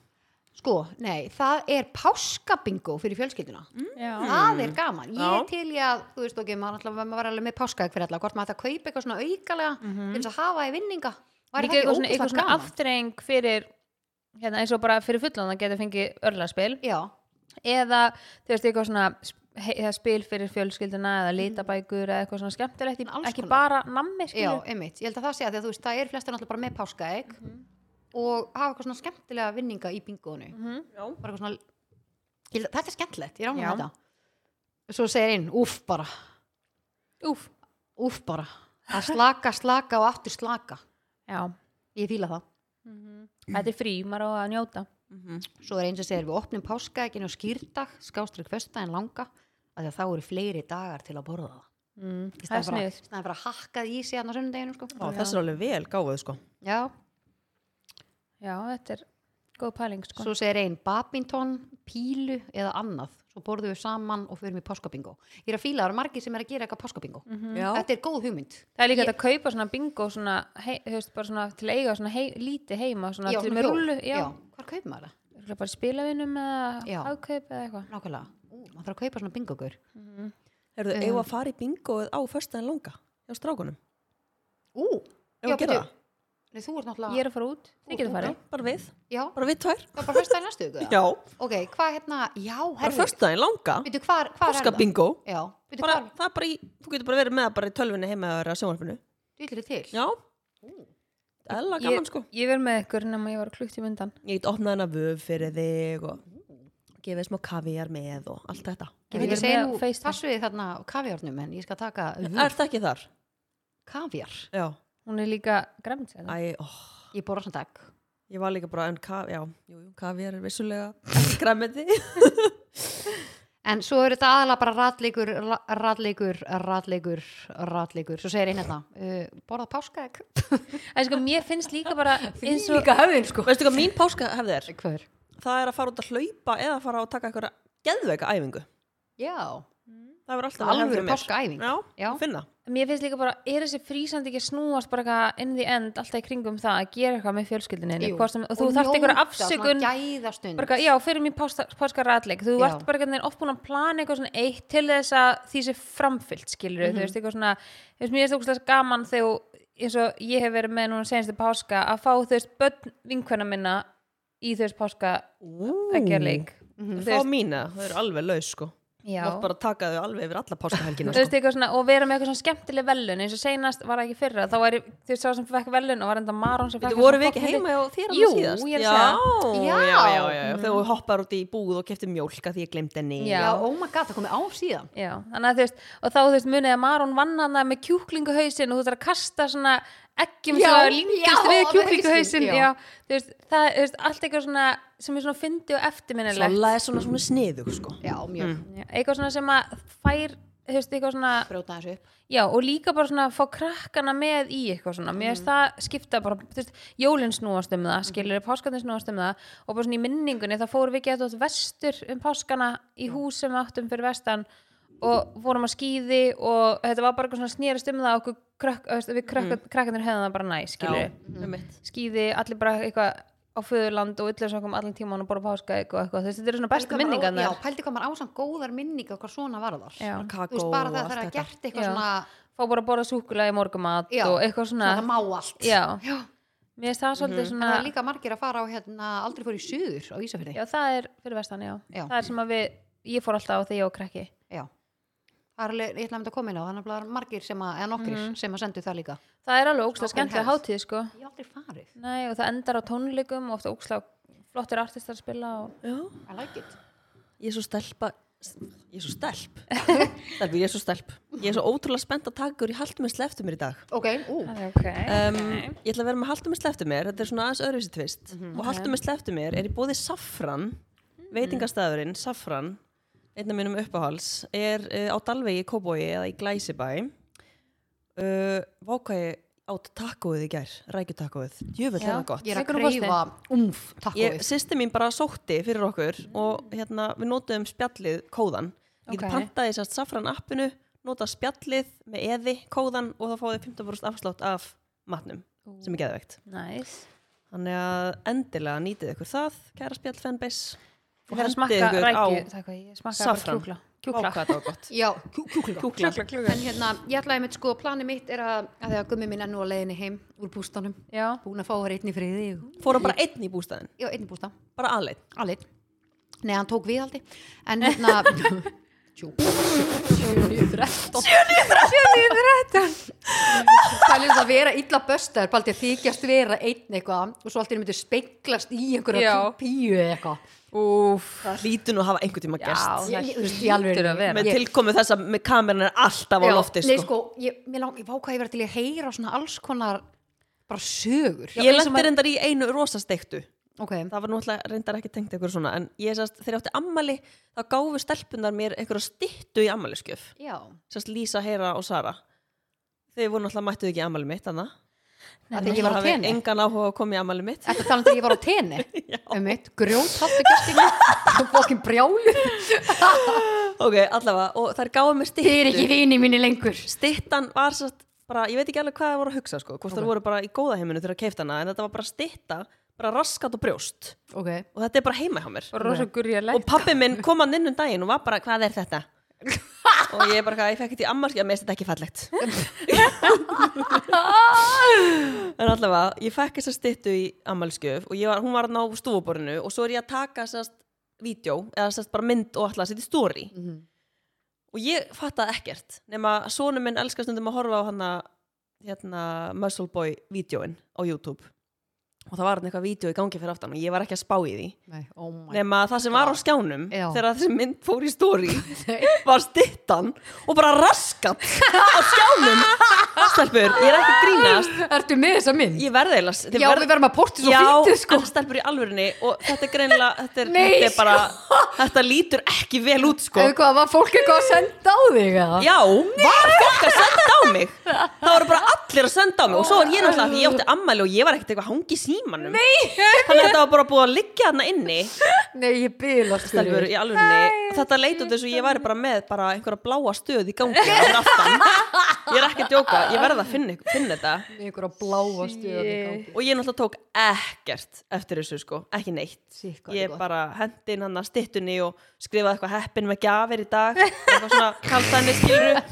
[SPEAKER 1] Sko, nei, það er páskabingo fyrir fjölskylduna
[SPEAKER 3] Já.
[SPEAKER 1] Það
[SPEAKER 3] Mm.
[SPEAKER 1] er gaman, ég
[SPEAKER 2] Já.
[SPEAKER 1] er til í að þú veist ok, maður alltaf maður var alveg með páskaegg fyrir alla hvort maður ætti að kaupa eitthvað svona aukalega til þess að hafa í vinninga Væri það
[SPEAKER 3] líka Mhm. eitthvað svona,
[SPEAKER 1] ógeðslega
[SPEAKER 3] eitthvað svona
[SPEAKER 1] gaman?
[SPEAKER 3] aftreng fyrir hérna, eins og bara fyrir fullan að geta fengið örlaspil
[SPEAKER 1] Já,
[SPEAKER 3] eða þú veist eitthvað svona sp- he- eða spil fyrir fjölskylduna eða litabækur eða eitthvað svona skemmtilegt
[SPEAKER 1] Mhm. Alls
[SPEAKER 3] ekki
[SPEAKER 1] konar.
[SPEAKER 3] bara nammi
[SPEAKER 1] já,
[SPEAKER 3] skilur
[SPEAKER 1] einmitt, ég held að það sé að því að þú veist það er flestur náttúrulega bara með páskaegg
[SPEAKER 3] Mhm.
[SPEAKER 1] og hafa eitthvað svona skemmtilega vinninga í bingoinu
[SPEAKER 2] Já.
[SPEAKER 1] bara eitthvað svona ég, held að- þetta er skemmtilegt, ég rána
[SPEAKER 3] Mhm. Já.
[SPEAKER 1] þetta Svo segir einn, úff bara
[SPEAKER 3] Úf,
[SPEAKER 1] úff bara, að slaka, slaka og aftur slaka,
[SPEAKER 3] já
[SPEAKER 1] ég fíla það Mhm.
[SPEAKER 3] Þetta er frí, maður á að njóta
[SPEAKER 1] Svo er eins og segir við opnum páskaegin og skýrdag, skástrík föstudaginn langa af því að þá eru fleiri dagar til að borða það.
[SPEAKER 3] mm,
[SPEAKER 1] Mhm. Í
[SPEAKER 3] Það er
[SPEAKER 1] staðinn bara-
[SPEAKER 3] snið
[SPEAKER 1] í staðinn fyrir að hakka í sig hann á sunnudeginu, sko.
[SPEAKER 2] Já, þessi er alveg vel gáfuð, sko.
[SPEAKER 1] Já,
[SPEAKER 3] Já, þetta er góð pæling sko.
[SPEAKER 1] svo segir einn badminton, pílu eða annað. Svo borðum við saman og förum í páskabingo. Ég er að fíla, það eru margir sem er að gera eitthvað páskabingo.
[SPEAKER 3] Mhm.
[SPEAKER 2] Já.
[SPEAKER 1] Þetta er góð hugmynd.
[SPEAKER 3] Það er líka þetta að kaupa svona bingo svona, hei, hefst, bara svona, til að eiga svona hei, lítið heima svona,
[SPEAKER 1] Já,
[SPEAKER 3] til
[SPEAKER 1] svona
[SPEAKER 3] með
[SPEAKER 1] hjól.
[SPEAKER 3] rúlu já.
[SPEAKER 1] Já, hvar kaupir maður það?
[SPEAKER 3] Já. bara spilavinum eða
[SPEAKER 1] Já.
[SPEAKER 3] ákaup eða eitthvað
[SPEAKER 1] Nákvæmlega. Ú, maður þarf að kaupa svona bingogur.
[SPEAKER 2] Eru þau eigum að fara í bingoið á föstudaginn langa? Já, strákunum.
[SPEAKER 1] Ú,
[SPEAKER 2] Ef
[SPEAKER 1] Já,
[SPEAKER 2] við gerum
[SPEAKER 1] bíddu.
[SPEAKER 2] það?
[SPEAKER 1] Nei, þú ert náttúrulega
[SPEAKER 3] Ég er að fara út, þið getur
[SPEAKER 2] Já,
[SPEAKER 3] farið
[SPEAKER 2] bara við,
[SPEAKER 1] Já,
[SPEAKER 2] bara við tvær
[SPEAKER 1] það er bara fyrst daginn næstu ykkur
[SPEAKER 2] Já,
[SPEAKER 1] Ok, hvað hérna, já,
[SPEAKER 2] bara
[SPEAKER 1] herri
[SPEAKER 2] förstæðin langa
[SPEAKER 1] Veitu, hvar, hvar er
[SPEAKER 2] Páska
[SPEAKER 1] það?
[SPEAKER 2] bingo
[SPEAKER 1] Já, veitu,
[SPEAKER 2] bara,
[SPEAKER 1] hvar,
[SPEAKER 2] það er bara í, Þú getur bara verið með það bara í tölvunni heima eða verið á sjónvarpinu
[SPEAKER 1] þú yllir til
[SPEAKER 2] Já, eða
[SPEAKER 3] Ég,
[SPEAKER 2] gaman sko
[SPEAKER 3] ég verð með ykkur nema ég var klukt í myndan
[SPEAKER 2] Ég get opnað hana vöf fyrir þig og gefið smá kaviar með og allt þetta
[SPEAKER 1] Ég veit
[SPEAKER 3] Ég
[SPEAKER 1] ekki
[SPEAKER 3] er
[SPEAKER 1] segja
[SPEAKER 3] með
[SPEAKER 1] nú,
[SPEAKER 3] FaceTime.
[SPEAKER 1] passu þið þarna á kaviarnum en ég skal taka
[SPEAKER 2] Er það ekki þar?
[SPEAKER 1] kaviar
[SPEAKER 2] Já,
[SPEAKER 3] Hún er líka græmt
[SPEAKER 2] Æ, ó,
[SPEAKER 1] Ég borða svona dag
[SPEAKER 2] ég var líka bara en ka, já, jú, jú, kaviar er vissulega græmiti
[SPEAKER 1] En svo eru þetta aðalega bara ratleikur, ra- ratleikur, ratleikur, ratleikur. Svo segir einn þetta, uh, borða páskaegg?
[SPEAKER 3] En sko, mér finnst líka bara eins og
[SPEAKER 1] líka höfðin, sko.
[SPEAKER 2] Veistu hvað mín páska hefði er?
[SPEAKER 1] Hver?
[SPEAKER 2] Það er að fara út að hlaupa eða að fara að taka eitthvað geðveika æfingu
[SPEAKER 1] Já,
[SPEAKER 2] Það verður alltaf hefð
[SPEAKER 1] alvöru
[SPEAKER 2] hjá mér.
[SPEAKER 1] páskaæfing.
[SPEAKER 2] Já,
[SPEAKER 1] Já.
[SPEAKER 2] finna
[SPEAKER 3] Mér finnst líka bara, er þessi frísandi ekki að snúast bara eitthvað inn í end alltaf í kringum það að gera eitthvað með fjölskyldinni
[SPEAKER 1] Jú.
[SPEAKER 3] sem, og þú þarft einhverja afsökun
[SPEAKER 1] Og njóta svona gæðastund.
[SPEAKER 3] bara eitthvað, já, fyrir mér páska ratleik þú
[SPEAKER 1] Já.
[SPEAKER 3] ert bara einhvern veginn oft búin að plana eitthvað svona eitt til þess að því sé framfyllt skilur
[SPEAKER 1] Mhm.
[SPEAKER 3] þú veist, eitthvað svona þú veist, mér er stókstlega gaman þegar eins og ég hef verið með núna senstu páska að fá þú veist, börn vinkvæna minna í þú veist páska að gera leik
[SPEAKER 1] Mhm.
[SPEAKER 3] þú
[SPEAKER 2] Fá
[SPEAKER 3] veist,
[SPEAKER 2] mína, þau eru alveg laus sko
[SPEAKER 3] já
[SPEAKER 2] Þú mátt bara taka þau alveg yfir alla páskahelgina sko.
[SPEAKER 3] Þú veist, eitthvað svona, og vera með eitthvað svona skemmtileg velun eins og seinast var það ekki fyrra þá var ég, þú veist, sá sem fekk velun og var enda Maron sem fekk
[SPEAKER 2] Þú
[SPEAKER 3] þessa
[SPEAKER 2] voru við ekki
[SPEAKER 3] fucking-
[SPEAKER 2] heima og þér
[SPEAKER 3] Jú,
[SPEAKER 2] alveg síðast
[SPEAKER 3] ég er að
[SPEAKER 2] já,
[SPEAKER 1] segja.
[SPEAKER 2] já, já, já, já.
[SPEAKER 1] Já.
[SPEAKER 2] Þegar þú hoppar út í búð og keftir mjólka því ég glemt henni
[SPEAKER 1] Já,
[SPEAKER 3] Já.
[SPEAKER 1] oh my god, það komið ár síðan.
[SPEAKER 3] Já, þannig að þú veist, og þá þú veist munið að Maron vann hana með kjúklinguhausin og þú þarf að kasta svona eggjum
[SPEAKER 1] Já,
[SPEAKER 3] sem að
[SPEAKER 1] já,
[SPEAKER 3] líkast við
[SPEAKER 1] alveg
[SPEAKER 3] kjúklinguhausin
[SPEAKER 1] hausinn,
[SPEAKER 3] já.
[SPEAKER 1] já.
[SPEAKER 3] þú veist, það, þú veist, allt eitthvað svona sem er svona fyndi og eftirminnilegt
[SPEAKER 2] Sola er svona svona sniðug sko
[SPEAKER 1] Já, mjög. Mm.
[SPEAKER 3] Já, eitthvað svona sem að fær þú veist, eitthvað svona,
[SPEAKER 1] Brjóta þessu upp.
[SPEAKER 3] já, og líka bara svona að fá krakkana með í eitthvað svona mér finnst það skipta bara, þú veist, jólin snúast um það, skilur við páskarnir snúast um það og bara svona í minningunni, þá fórum við getur vestur um páskana í hús sem við áttum fyrir vestan og fórum að skýði og þetta var bara eitthvað svona snerist um það að okkur krökk, þú veist, við krökk, krakkanir höfðum það bara næ, skilur
[SPEAKER 2] mm.
[SPEAKER 3] skýði, allir bara eitthvað á föðurland og yllir okkur allan tíman og borða páska eitthvað, eitthvað. þú veist, þetta eru svona bestu minningar
[SPEAKER 1] Já, pældi hvað maður ásamt góðar minningar hvað svona varðar.
[SPEAKER 3] Já.
[SPEAKER 1] Þú
[SPEAKER 2] Kakó
[SPEAKER 1] veist,
[SPEAKER 2] og
[SPEAKER 1] bara það
[SPEAKER 2] allt
[SPEAKER 1] þegar að
[SPEAKER 2] þetta
[SPEAKER 1] gert eitthvað
[SPEAKER 3] Já.
[SPEAKER 1] svona,
[SPEAKER 3] fá bara að borða súkulega í morgumat
[SPEAKER 1] já,
[SPEAKER 3] og eitthvað svona,
[SPEAKER 1] það má allt.
[SPEAKER 3] Já.
[SPEAKER 1] já.
[SPEAKER 3] mér finnst það
[SPEAKER 2] Mhm.
[SPEAKER 3] svolítið
[SPEAKER 1] En það er
[SPEAKER 3] svona
[SPEAKER 1] líka margir að fara á hérna, aldrei fór í suður á Ísafjörði.
[SPEAKER 3] já, það er fyrir vestan, já.
[SPEAKER 1] Já.
[SPEAKER 3] það er sem að við, ég fór alltaf á þegar ég og krakki
[SPEAKER 1] Já. Það er alveg, ég ætla að mynda að koma inn á, þannig að það er margir sem að, eða nokkrir
[SPEAKER 3] Mhm.
[SPEAKER 1] sem að sendu það líka.
[SPEAKER 3] það er alveg ókslega
[SPEAKER 1] Open
[SPEAKER 3] skemmtilega
[SPEAKER 1] house.
[SPEAKER 3] hátíð sko.
[SPEAKER 1] Ég hef aldrei farið.
[SPEAKER 3] Nei, og það endar á tónleikum og ofta ókslega flottir artistar spila og...
[SPEAKER 2] Já,
[SPEAKER 1] I like it.
[SPEAKER 2] ég er svo stelpa Ég er svo stelp Stelpi, ég er svo stelp Ég er svo ótrúlega spennt að taka úr í haldumessle eftir mér í dag
[SPEAKER 1] Ok, ú.
[SPEAKER 3] okay.
[SPEAKER 2] um, Ég ætla að vera með haldumessle eftir mér Þetta er svona aðeins öðruvísi tvist
[SPEAKER 3] Mhm.
[SPEAKER 2] Og haldumessle eftir mér er í bóði Safran
[SPEAKER 3] Mm.
[SPEAKER 2] Veitingastæðurinn, Safran Einn af mínum uppáhals Er uh, á Dalvegi í Kóbói eða í Glæsibæ uh, Vákvæði át takkóið í gær Rækjutakóið, jöfull
[SPEAKER 3] Já.
[SPEAKER 2] hefða gott
[SPEAKER 1] Ég er að
[SPEAKER 3] Tekur þú postið?
[SPEAKER 1] greifa umf, takk og
[SPEAKER 2] ég, sýsti mín bara sótti fyrir okkur og hérna við notuðum spjallið kóðan ég okay.
[SPEAKER 3] Mm. Ok.
[SPEAKER 2] pantaði sérst safran appinu nota spjallið með eði kóðan og þá fáið þið 15% afslátt af matnum sem er geðveikt
[SPEAKER 3] nice.
[SPEAKER 2] þannig að endilega nýtið ykkur það kæra spjall fanbase
[SPEAKER 3] ég fer að smakka rækju það er hvað, ég smakka bara
[SPEAKER 2] Saffran.
[SPEAKER 3] kjúkla
[SPEAKER 2] kjúkla
[SPEAKER 3] kjúkla,
[SPEAKER 2] það var gott
[SPEAKER 1] Já, kjú- kjúklinga.
[SPEAKER 2] kjúkla
[SPEAKER 1] En hérna, ég ætla einmitt sko, planið mitt er að, að þegar gummi minn er nú á leiðinni heim úr bústanum,
[SPEAKER 3] já,
[SPEAKER 1] búin að fá hér einn í friði,
[SPEAKER 2] fóra bara einn í bústæðin
[SPEAKER 1] já, einn í bústan,
[SPEAKER 2] bara aðleitt
[SPEAKER 1] alveg. Nei, hann tók viðhaldi, en hérna, tjú, tjú, þrettán. Það er að vera illa böstar Baldi þykjast vera einn eitthvað og svo allt er myndið speiklast í einhverja
[SPEAKER 3] Já.
[SPEAKER 1] píu eða eitthvað
[SPEAKER 3] úf
[SPEAKER 2] lítur nú að hafa einhvern tíma
[SPEAKER 3] Já,
[SPEAKER 2] gest
[SPEAKER 3] það
[SPEAKER 1] Ég- ég- þú veist, í alvörunni.
[SPEAKER 3] hlýtur að vera
[SPEAKER 2] með tilkomu þess að með kameran er alltaf á
[SPEAKER 1] Já,
[SPEAKER 2] lofti
[SPEAKER 1] Nei
[SPEAKER 2] sko.
[SPEAKER 1] sko, ég, mér lang, ég váka ég verið til að heyra svona alls konar bara sögur
[SPEAKER 2] ég
[SPEAKER 3] eins og
[SPEAKER 2] lendi reyndar í einu rosastektu
[SPEAKER 1] Ok,
[SPEAKER 2] það var náttúrulega reyndar ekki tengt eitthvað svona en ég sérst, þegar ég átti ammali þá gáfu stelpunar mér einhverja stittu í ammaliskjöf
[SPEAKER 1] já
[SPEAKER 2] sérst Lísa, Hera og Sara þau voru náttúrulega mættuð ekki í ammali mitt þannig
[SPEAKER 1] Það er ég var á tenni
[SPEAKER 2] engan áhuga að koma í ammali mitt
[SPEAKER 1] Þetta talandi um þegar ég var á tenni Um mitt, grjót hattu gestinni Fokkin brjálu
[SPEAKER 2] ok, allavega, og þær gáfu mér
[SPEAKER 1] Þið er
[SPEAKER 2] stittu
[SPEAKER 1] ekki vini mínu lengur
[SPEAKER 2] stittan var sérst bara, ég veit ekki alveg hvað það voru að hugsa sko, hvort okay. það voru bara í góða heiminu þegar að keifta hana en þetta var bara stitta, bara raskat og brjóst
[SPEAKER 1] Ok,
[SPEAKER 2] og þetta er bara heima hjá mér
[SPEAKER 3] rosa gurja
[SPEAKER 2] og pappi minn kom hann inn um daginn og var bara, hvað er þetta? og ég er bara, eitthvað, ég fekk þetta í ammarski að mér finnst þetta ekki fallegt en allavega, ég fekk þess að styttu í ammalskjöf og ég var, hún var þarna á stofuborinu og svo er ég að taka sérst vídjó, eða sérst bara mynd og alltaf að setja í story og ég fattaði ekkert nema sonu minn elskar stundum að horfa á hana hérna Muscle Boy vídjóin á YouTube og það var hann eitthvað vídjó í gangi fyrir aftan og ég var ekki að spá í því
[SPEAKER 1] Nei, oh my
[SPEAKER 2] nema það sem var á skjánum
[SPEAKER 1] Já.
[SPEAKER 2] þegar þessi mynd fór í stóri var stittan og bara raskat á skjánum stelpur, ég er ekki að grínast
[SPEAKER 1] Ertu með þessa mynd?
[SPEAKER 2] ég verði eiginlega þið
[SPEAKER 1] Já,
[SPEAKER 2] verð-
[SPEAKER 1] við verðum að porti svo
[SPEAKER 2] Já,
[SPEAKER 1] fítið sko
[SPEAKER 2] en stelpur í alvörinni og þetta er greinilega þetta, er,
[SPEAKER 1] Nei,
[SPEAKER 2] þetta, er bara, þetta lítur ekki vel út sko
[SPEAKER 1] Eða hvað, var fólk eitthvað að senda á þig eða?
[SPEAKER 2] Já, var fólk að senda á mig Það voru bara allir að senda á mig Og svo var ég náttúrulega því ég átti ammæli og ég var ekkert eitthvað hangi í símanum Nei. Þannig að þetta var bara búið að liggja þarna inni
[SPEAKER 1] Nei, ég bylast
[SPEAKER 2] Stelfur í alvörinni Þetta leit út eins og ég væri bara með bara einhverja bláa stöð í gangi fyrir aftan. Ég er ekki að djóka, ég verð að finna, finna þetta
[SPEAKER 1] Með ykkur að bláa stöðum í gangi
[SPEAKER 2] Og ég náttúrulega tók ekkert eftir þessu sko, ekki neitt
[SPEAKER 1] Sitt, hvað er
[SPEAKER 2] Ég
[SPEAKER 1] gott.
[SPEAKER 2] bara hendi inn hann að stittunni og skrifaði eitthvað heppin með gjafir í dag Eitthvað svona kaltæni skilur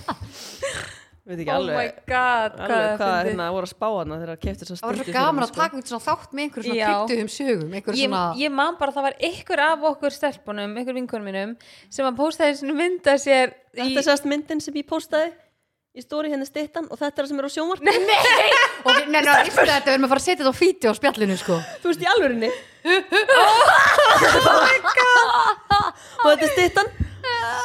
[SPEAKER 2] Veit ekki
[SPEAKER 3] Oh my
[SPEAKER 2] alveg
[SPEAKER 3] god, hvað
[SPEAKER 2] alveg hvað
[SPEAKER 3] það
[SPEAKER 2] hérna voru að spá hana þegar að kefti
[SPEAKER 1] Það
[SPEAKER 2] svo
[SPEAKER 1] var svo
[SPEAKER 2] stilti
[SPEAKER 1] gaman að taka einhvern svona þátt með einhverjum svona
[SPEAKER 3] Já.
[SPEAKER 1] kryttuðum sögum Einhverjum
[SPEAKER 3] Ég,
[SPEAKER 1] svona
[SPEAKER 3] ég man bara að það var ykkur af okkur stelpunum, ykkur vinkunum mínum sem að postaði sinni mynda sér í,
[SPEAKER 2] Þetta er sérst myndin sem ég postaði í stóri henni stittan og þetta er það sem er á sjónvarpinu
[SPEAKER 1] Og við- Nei, nei, nei, þetta við erum að fara að setja þetta á fítið á spjallinu sko
[SPEAKER 2] Þú veist í alvörinni Og þetta er stittan